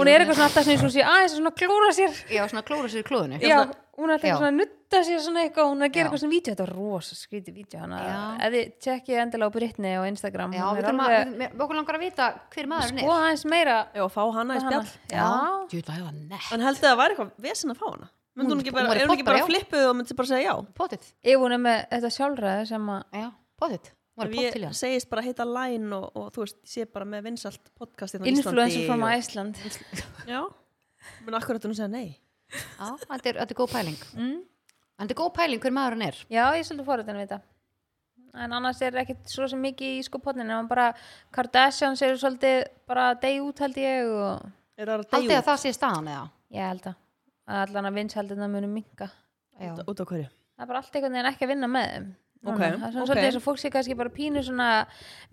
[SPEAKER 3] hún er eitthvað svona alltaf sem eins og hún sé aðeins að svona klóra sér
[SPEAKER 1] Já, svona klóra sér í klóðinu
[SPEAKER 3] já, hún er alltaf
[SPEAKER 1] Já.
[SPEAKER 3] eitthvað svona að nutta sér svona eitthvað hún er að
[SPEAKER 1] Já.
[SPEAKER 3] gera eitthvað svona vídeo, þetta er rosa skrítið vídeo hana,
[SPEAKER 1] Já.
[SPEAKER 3] eða tjekkið endilega á Brittany og Instagram
[SPEAKER 1] Já, við
[SPEAKER 3] hún er
[SPEAKER 1] þurfum að,
[SPEAKER 3] alveg
[SPEAKER 1] við- okkur langar að vita hver maðurinn
[SPEAKER 3] sko
[SPEAKER 1] er
[SPEAKER 3] aðeins meira um
[SPEAKER 2] Já, fá hana í
[SPEAKER 3] hana.
[SPEAKER 2] spjall.
[SPEAKER 3] já,
[SPEAKER 1] Djúla, ég var nett
[SPEAKER 2] En heldur það að væri eitthvað vesen að fá hana? Myndi
[SPEAKER 1] Hún-
[SPEAKER 2] hún ekki
[SPEAKER 1] hún
[SPEAKER 2] bara,
[SPEAKER 1] væri
[SPEAKER 2] er hún ekki
[SPEAKER 1] poppari,
[SPEAKER 2] bara
[SPEAKER 1] já.
[SPEAKER 2] flippuð og myndi bara segja já?
[SPEAKER 1] Pottit,
[SPEAKER 3] ef hún er með þetta sjálfræði sem að
[SPEAKER 1] já, pottit Hún var
[SPEAKER 2] Ef
[SPEAKER 1] pott til í
[SPEAKER 2] Ég
[SPEAKER 1] hann
[SPEAKER 2] segist bara heita Line og, og þú veist, ég sé bara með vinsalt podcast hérna á
[SPEAKER 3] influencer from
[SPEAKER 2] og-
[SPEAKER 3] Iceland
[SPEAKER 2] Já, menn akkur þetta nú segja nei
[SPEAKER 1] Já, þetta er, þetta er góð pæling
[SPEAKER 3] Mm.
[SPEAKER 1] Þetta er góð pæling hver maðurinn er
[SPEAKER 3] já, ég er svolítið fóruðin við þetta en annars er ekkit svo sem mikið í sko potninu en bara Kardashians eru svolítið bara degi út held ég og
[SPEAKER 2] Er það að
[SPEAKER 1] Haldið
[SPEAKER 2] deyja
[SPEAKER 1] að það sé staðan eða?
[SPEAKER 3] ég held að að allan að vinshaldina munum minka
[SPEAKER 1] Já,
[SPEAKER 2] út- út á hverju?
[SPEAKER 3] það er bara allt einhvern veginn ekki að vinna með þeim
[SPEAKER 2] Ok,
[SPEAKER 3] Núna. það er svona
[SPEAKER 2] ok.
[SPEAKER 3] svolítið eins og fólk sé kannski bara pínu svona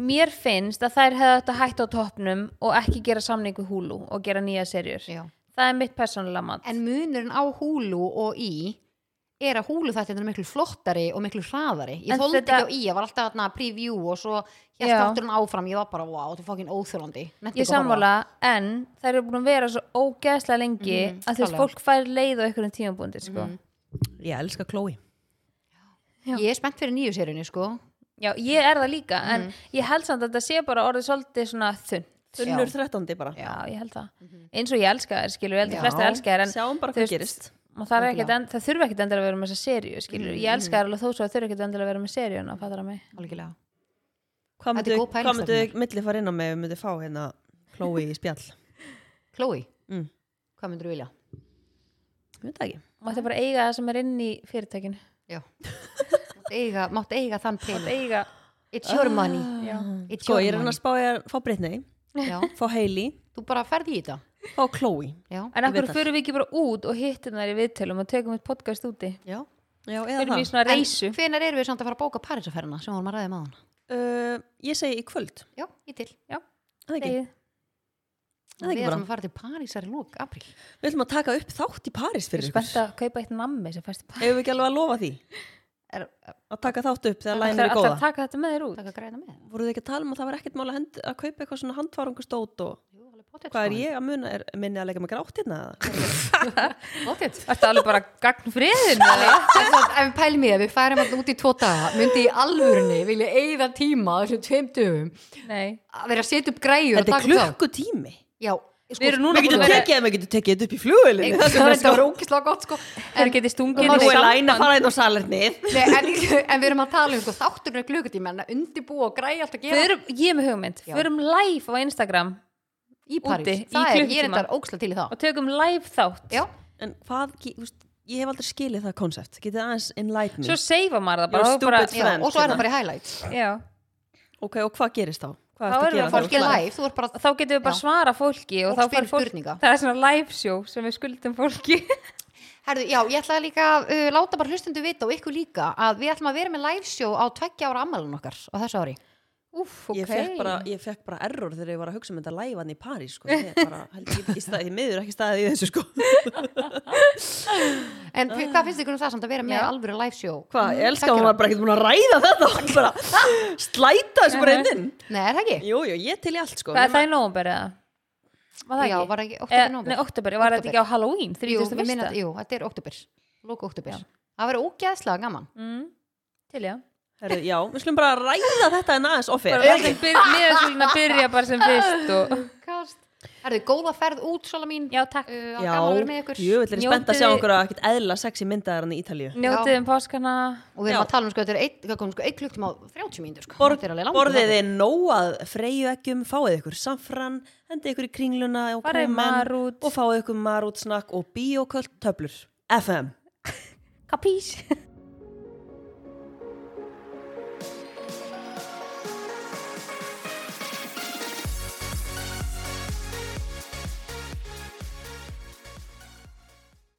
[SPEAKER 3] mér finnst að þær hefðu þetta hætt á toppnum og ekki gera samning við húlu og gera nýja serjur
[SPEAKER 1] já
[SPEAKER 3] það er mitt persónulega mat
[SPEAKER 1] En munurinn á húlu og í er að húlu þetta er miklu flottari og miklu hraðari. Ég
[SPEAKER 3] En
[SPEAKER 1] þóldi
[SPEAKER 3] þetta-
[SPEAKER 1] ekki á í, ég var alltaf að preview og svo hélt
[SPEAKER 3] Já.
[SPEAKER 1] aftur hann áfram, ég var bara, wow, þetta er fokkin óþjólandi.
[SPEAKER 3] ég sammála, en þær eru búin að vera svo ógeðslega lengi
[SPEAKER 1] Mhm,
[SPEAKER 3] að þess
[SPEAKER 1] klálega.
[SPEAKER 3] fólk fær leið á einhverjum tímabúndi sko.
[SPEAKER 2] Ég elska Chloe
[SPEAKER 1] Ég er spennt fyrir nýju sérunni, sko.
[SPEAKER 3] já, ég er það líka, en ég held samt að þetta sé bara orðið svolítið svona þunn
[SPEAKER 2] Þunnur 13. bara
[SPEAKER 3] já, ég held það, eins og ég elska þær skilur, ég held
[SPEAKER 1] Já.
[SPEAKER 3] að flestir elska þær en
[SPEAKER 2] Sjáum bara
[SPEAKER 3] þú
[SPEAKER 2] hvað
[SPEAKER 3] veist,
[SPEAKER 2] gerist
[SPEAKER 3] maður þarf ekkert en- það þurfa ekkert endilega að vera með þessa serju skilur,
[SPEAKER 2] Mm-hmm.
[SPEAKER 3] ég elska þær alveg þó svo að þurfa ekkert endilega að vera með serjuna fattar það mig,
[SPEAKER 1] Algjörlega.
[SPEAKER 2] Hvað
[SPEAKER 1] Þetta er
[SPEAKER 2] myndu,
[SPEAKER 1] góð pæling,
[SPEAKER 2] hvað myndu
[SPEAKER 1] stelpurnar.
[SPEAKER 2] milli fara inn á með myndu fá hérna Chloe í spjall?
[SPEAKER 1] Chloe,
[SPEAKER 2] Mm.
[SPEAKER 1] hvað myndur þú vilja?
[SPEAKER 2] Ég veit það ekki
[SPEAKER 3] maður þetta bara eiga það sem er inn í fyrirtækinu,
[SPEAKER 1] Já. Mátt eiga, mátt eiga þann pening.
[SPEAKER 3] eiga
[SPEAKER 1] It's your money.
[SPEAKER 3] já,
[SPEAKER 1] It's
[SPEAKER 2] Sko, ég
[SPEAKER 1] your
[SPEAKER 2] er hann
[SPEAKER 1] money.
[SPEAKER 2] að spá ég að fá Britney,
[SPEAKER 1] Já,
[SPEAKER 2] fá Hailey,
[SPEAKER 1] þú bara ferði í þetta.
[SPEAKER 2] fá Chloe
[SPEAKER 1] Já,
[SPEAKER 3] en af hverju
[SPEAKER 2] Viðtal.
[SPEAKER 3] fyrir við ekki bara út og hittum þær í viðtölum og tökum eitt podcast úti
[SPEAKER 1] já.
[SPEAKER 2] Já, eða
[SPEAKER 3] erum í
[SPEAKER 2] það
[SPEAKER 3] svona reysu
[SPEAKER 1] Hvenær erum við samt að fara að bóka Parísaferðina sem vorum að ræða um maður?
[SPEAKER 2] uh, Ég segi í kvöld
[SPEAKER 1] Já, ég til.
[SPEAKER 2] Það er ekki,
[SPEAKER 3] Degið.
[SPEAKER 2] það er
[SPEAKER 1] Við
[SPEAKER 2] ekki
[SPEAKER 1] erum
[SPEAKER 2] bara
[SPEAKER 1] að fara til Parísar í lók, april.
[SPEAKER 2] Við ætlum að taka upp þátt í París
[SPEAKER 3] Ég er
[SPEAKER 2] fyrir ykkur
[SPEAKER 3] spennt að kaupa eitt nammi sem fæst í París.
[SPEAKER 2] Hefur við ekki alveg að lofa því?
[SPEAKER 1] Er,
[SPEAKER 2] Að taka þátt upp þegar læn
[SPEAKER 3] Ætlar
[SPEAKER 2] er
[SPEAKER 3] ætlar
[SPEAKER 2] góða?
[SPEAKER 3] að taka þetta með þér út
[SPEAKER 1] taka græna með
[SPEAKER 2] voru þið ekki að tala um að það var ekkert mál að, hend, að kaupa eitthvað svona handvarungustót og
[SPEAKER 1] Jú, alveg pottet,
[SPEAKER 2] hvað er
[SPEAKER 1] sko.
[SPEAKER 2] ég að muna, er minni að leika með grátt hérna eða?
[SPEAKER 1] Pottet.
[SPEAKER 3] Ertu alveg bara gagn friðin eða?
[SPEAKER 1] Sem sagt, ef við pælum í að við færum alltaf út í tvo daga myndi í alvörunni vilja eigða tíma á þessum tveim dögum
[SPEAKER 3] Nei,
[SPEAKER 1] að vera að setja upp græjur og
[SPEAKER 2] þetta er
[SPEAKER 1] taka upp þátt.
[SPEAKER 2] klukkutími
[SPEAKER 1] Já,
[SPEAKER 3] Við erum núna
[SPEAKER 2] við getum
[SPEAKER 3] búin að vera-
[SPEAKER 2] tekið það, við getum tekið þetta upp í flugulinu
[SPEAKER 1] Nei, það var þetta var ógislega gott sko
[SPEAKER 3] þeir geti
[SPEAKER 1] Nú
[SPEAKER 3] stungið inn
[SPEAKER 1] er
[SPEAKER 3] í
[SPEAKER 1] samband.
[SPEAKER 2] læna að fara einn á salernið
[SPEAKER 1] Nei, en, en við erum að tala um sko, þátturinn er klukkutíma en að undibúa og græja allt að gera
[SPEAKER 3] Förum, ég er með hugmynd,
[SPEAKER 1] Já.
[SPEAKER 3] förum live á Instagram
[SPEAKER 1] í París,
[SPEAKER 3] úti, í
[SPEAKER 1] það er, ég er
[SPEAKER 3] klukkutíma.
[SPEAKER 1] þetta ógislega til í það
[SPEAKER 3] og tökum live þátt
[SPEAKER 1] Já,
[SPEAKER 2] en hvað, ge- þú veist, ég hef aldrei skilið það konsept getið aðeins enlighten me
[SPEAKER 3] svo seifa maður það
[SPEAKER 2] You're
[SPEAKER 3] bara, og bara
[SPEAKER 2] stupid.
[SPEAKER 1] já,
[SPEAKER 2] Friends,
[SPEAKER 1] og svo er
[SPEAKER 2] hérna.
[SPEAKER 1] það bara í highlights
[SPEAKER 3] já,
[SPEAKER 2] ok, og hvað gerist þá?
[SPEAKER 3] Þá
[SPEAKER 2] hvað ertu að gera
[SPEAKER 3] erum við að
[SPEAKER 2] þá?
[SPEAKER 1] fólk er live, þú ert bara
[SPEAKER 3] þá getum við bara
[SPEAKER 1] Já.
[SPEAKER 3] svara fólki og,
[SPEAKER 1] Og
[SPEAKER 3] þá
[SPEAKER 1] spyrja
[SPEAKER 3] fær fólk,
[SPEAKER 1] spurninga.
[SPEAKER 3] það er svona live show sem við skuldum fólki
[SPEAKER 1] Herðu, já, ég ætlaði líka að uh, láta bara hlustundu vita og ykkur líka að við ætlum að vera með live show á tveggja ára ammælun okkar á þessu ári
[SPEAKER 3] Úff, ok
[SPEAKER 2] ég fekk bara, ég fekk bara error þegar ég var að hugsa um þetta live hann í París sko. ég bara, held ég, ég, stað, ég miður ekki staðið í þessu sko.
[SPEAKER 3] Ah.
[SPEAKER 1] En uh. hvað finnst ykkur um það samt að vera með alvöru live show?
[SPEAKER 2] hvað, ég elska
[SPEAKER 1] Tveggja
[SPEAKER 2] að hún var
[SPEAKER 1] ára?
[SPEAKER 2] bara ekkert búin að ræða þetta Hún bara, slæta þessu bara inn inn
[SPEAKER 1] Nei, er það ekki?
[SPEAKER 2] Jú, jú, ég til í allt sko
[SPEAKER 3] hvað er það í nóvumber eða? var það
[SPEAKER 1] Já,
[SPEAKER 3] ekki?
[SPEAKER 1] var ekki oktober,
[SPEAKER 3] Eh,
[SPEAKER 1] nóvember?
[SPEAKER 3] nei, oktober, var þetta
[SPEAKER 1] Október.
[SPEAKER 3] ekki á Halloween
[SPEAKER 1] Jú, við minna,
[SPEAKER 3] 31.
[SPEAKER 1] jú, þetta er oktober Lóka oktober Það verður ógeðslega gaman
[SPEAKER 3] Mm, til já
[SPEAKER 2] Herru, já, við skulum bara ræða þetta en aðeins ofir
[SPEAKER 3] bara látum miðasölun að byrja bara sem fyrst og
[SPEAKER 1] Kast Herðu, góða ferð út, Sola mín
[SPEAKER 3] já, takk,
[SPEAKER 1] Uh,
[SPEAKER 2] Já,
[SPEAKER 1] á gaman að vera með ykkur
[SPEAKER 2] jöfull er ég spennt að sjá
[SPEAKER 3] Njótið-
[SPEAKER 2] einhverja ekkert eðla sexy myndaðar hann í Ítalíu
[SPEAKER 3] njótið um páskana
[SPEAKER 1] Og við erum að tala um sko, þetta er eitt, hvað kom, sko, eitt klukktum á 30 mínútur sko.
[SPEAKER 2] Bor,
[SPEAKER 1] Þetta er alveg langur
[SPEAKER 2] Borðið
[SPEAKER 1] þáttur.
[SPEAKER 2] er nóg að freyju eggjum, fáið ykkur safran, hendið ykkur í kringluna og
[SPEAKER 3] Farið í
[SPEAKER 2] kúmen
[SPEAKER 3] marút.
[SPEAKER 2] og fáið ykkur marút snakk og bíoköld töflur. FM
[SPEAKER 3] kapís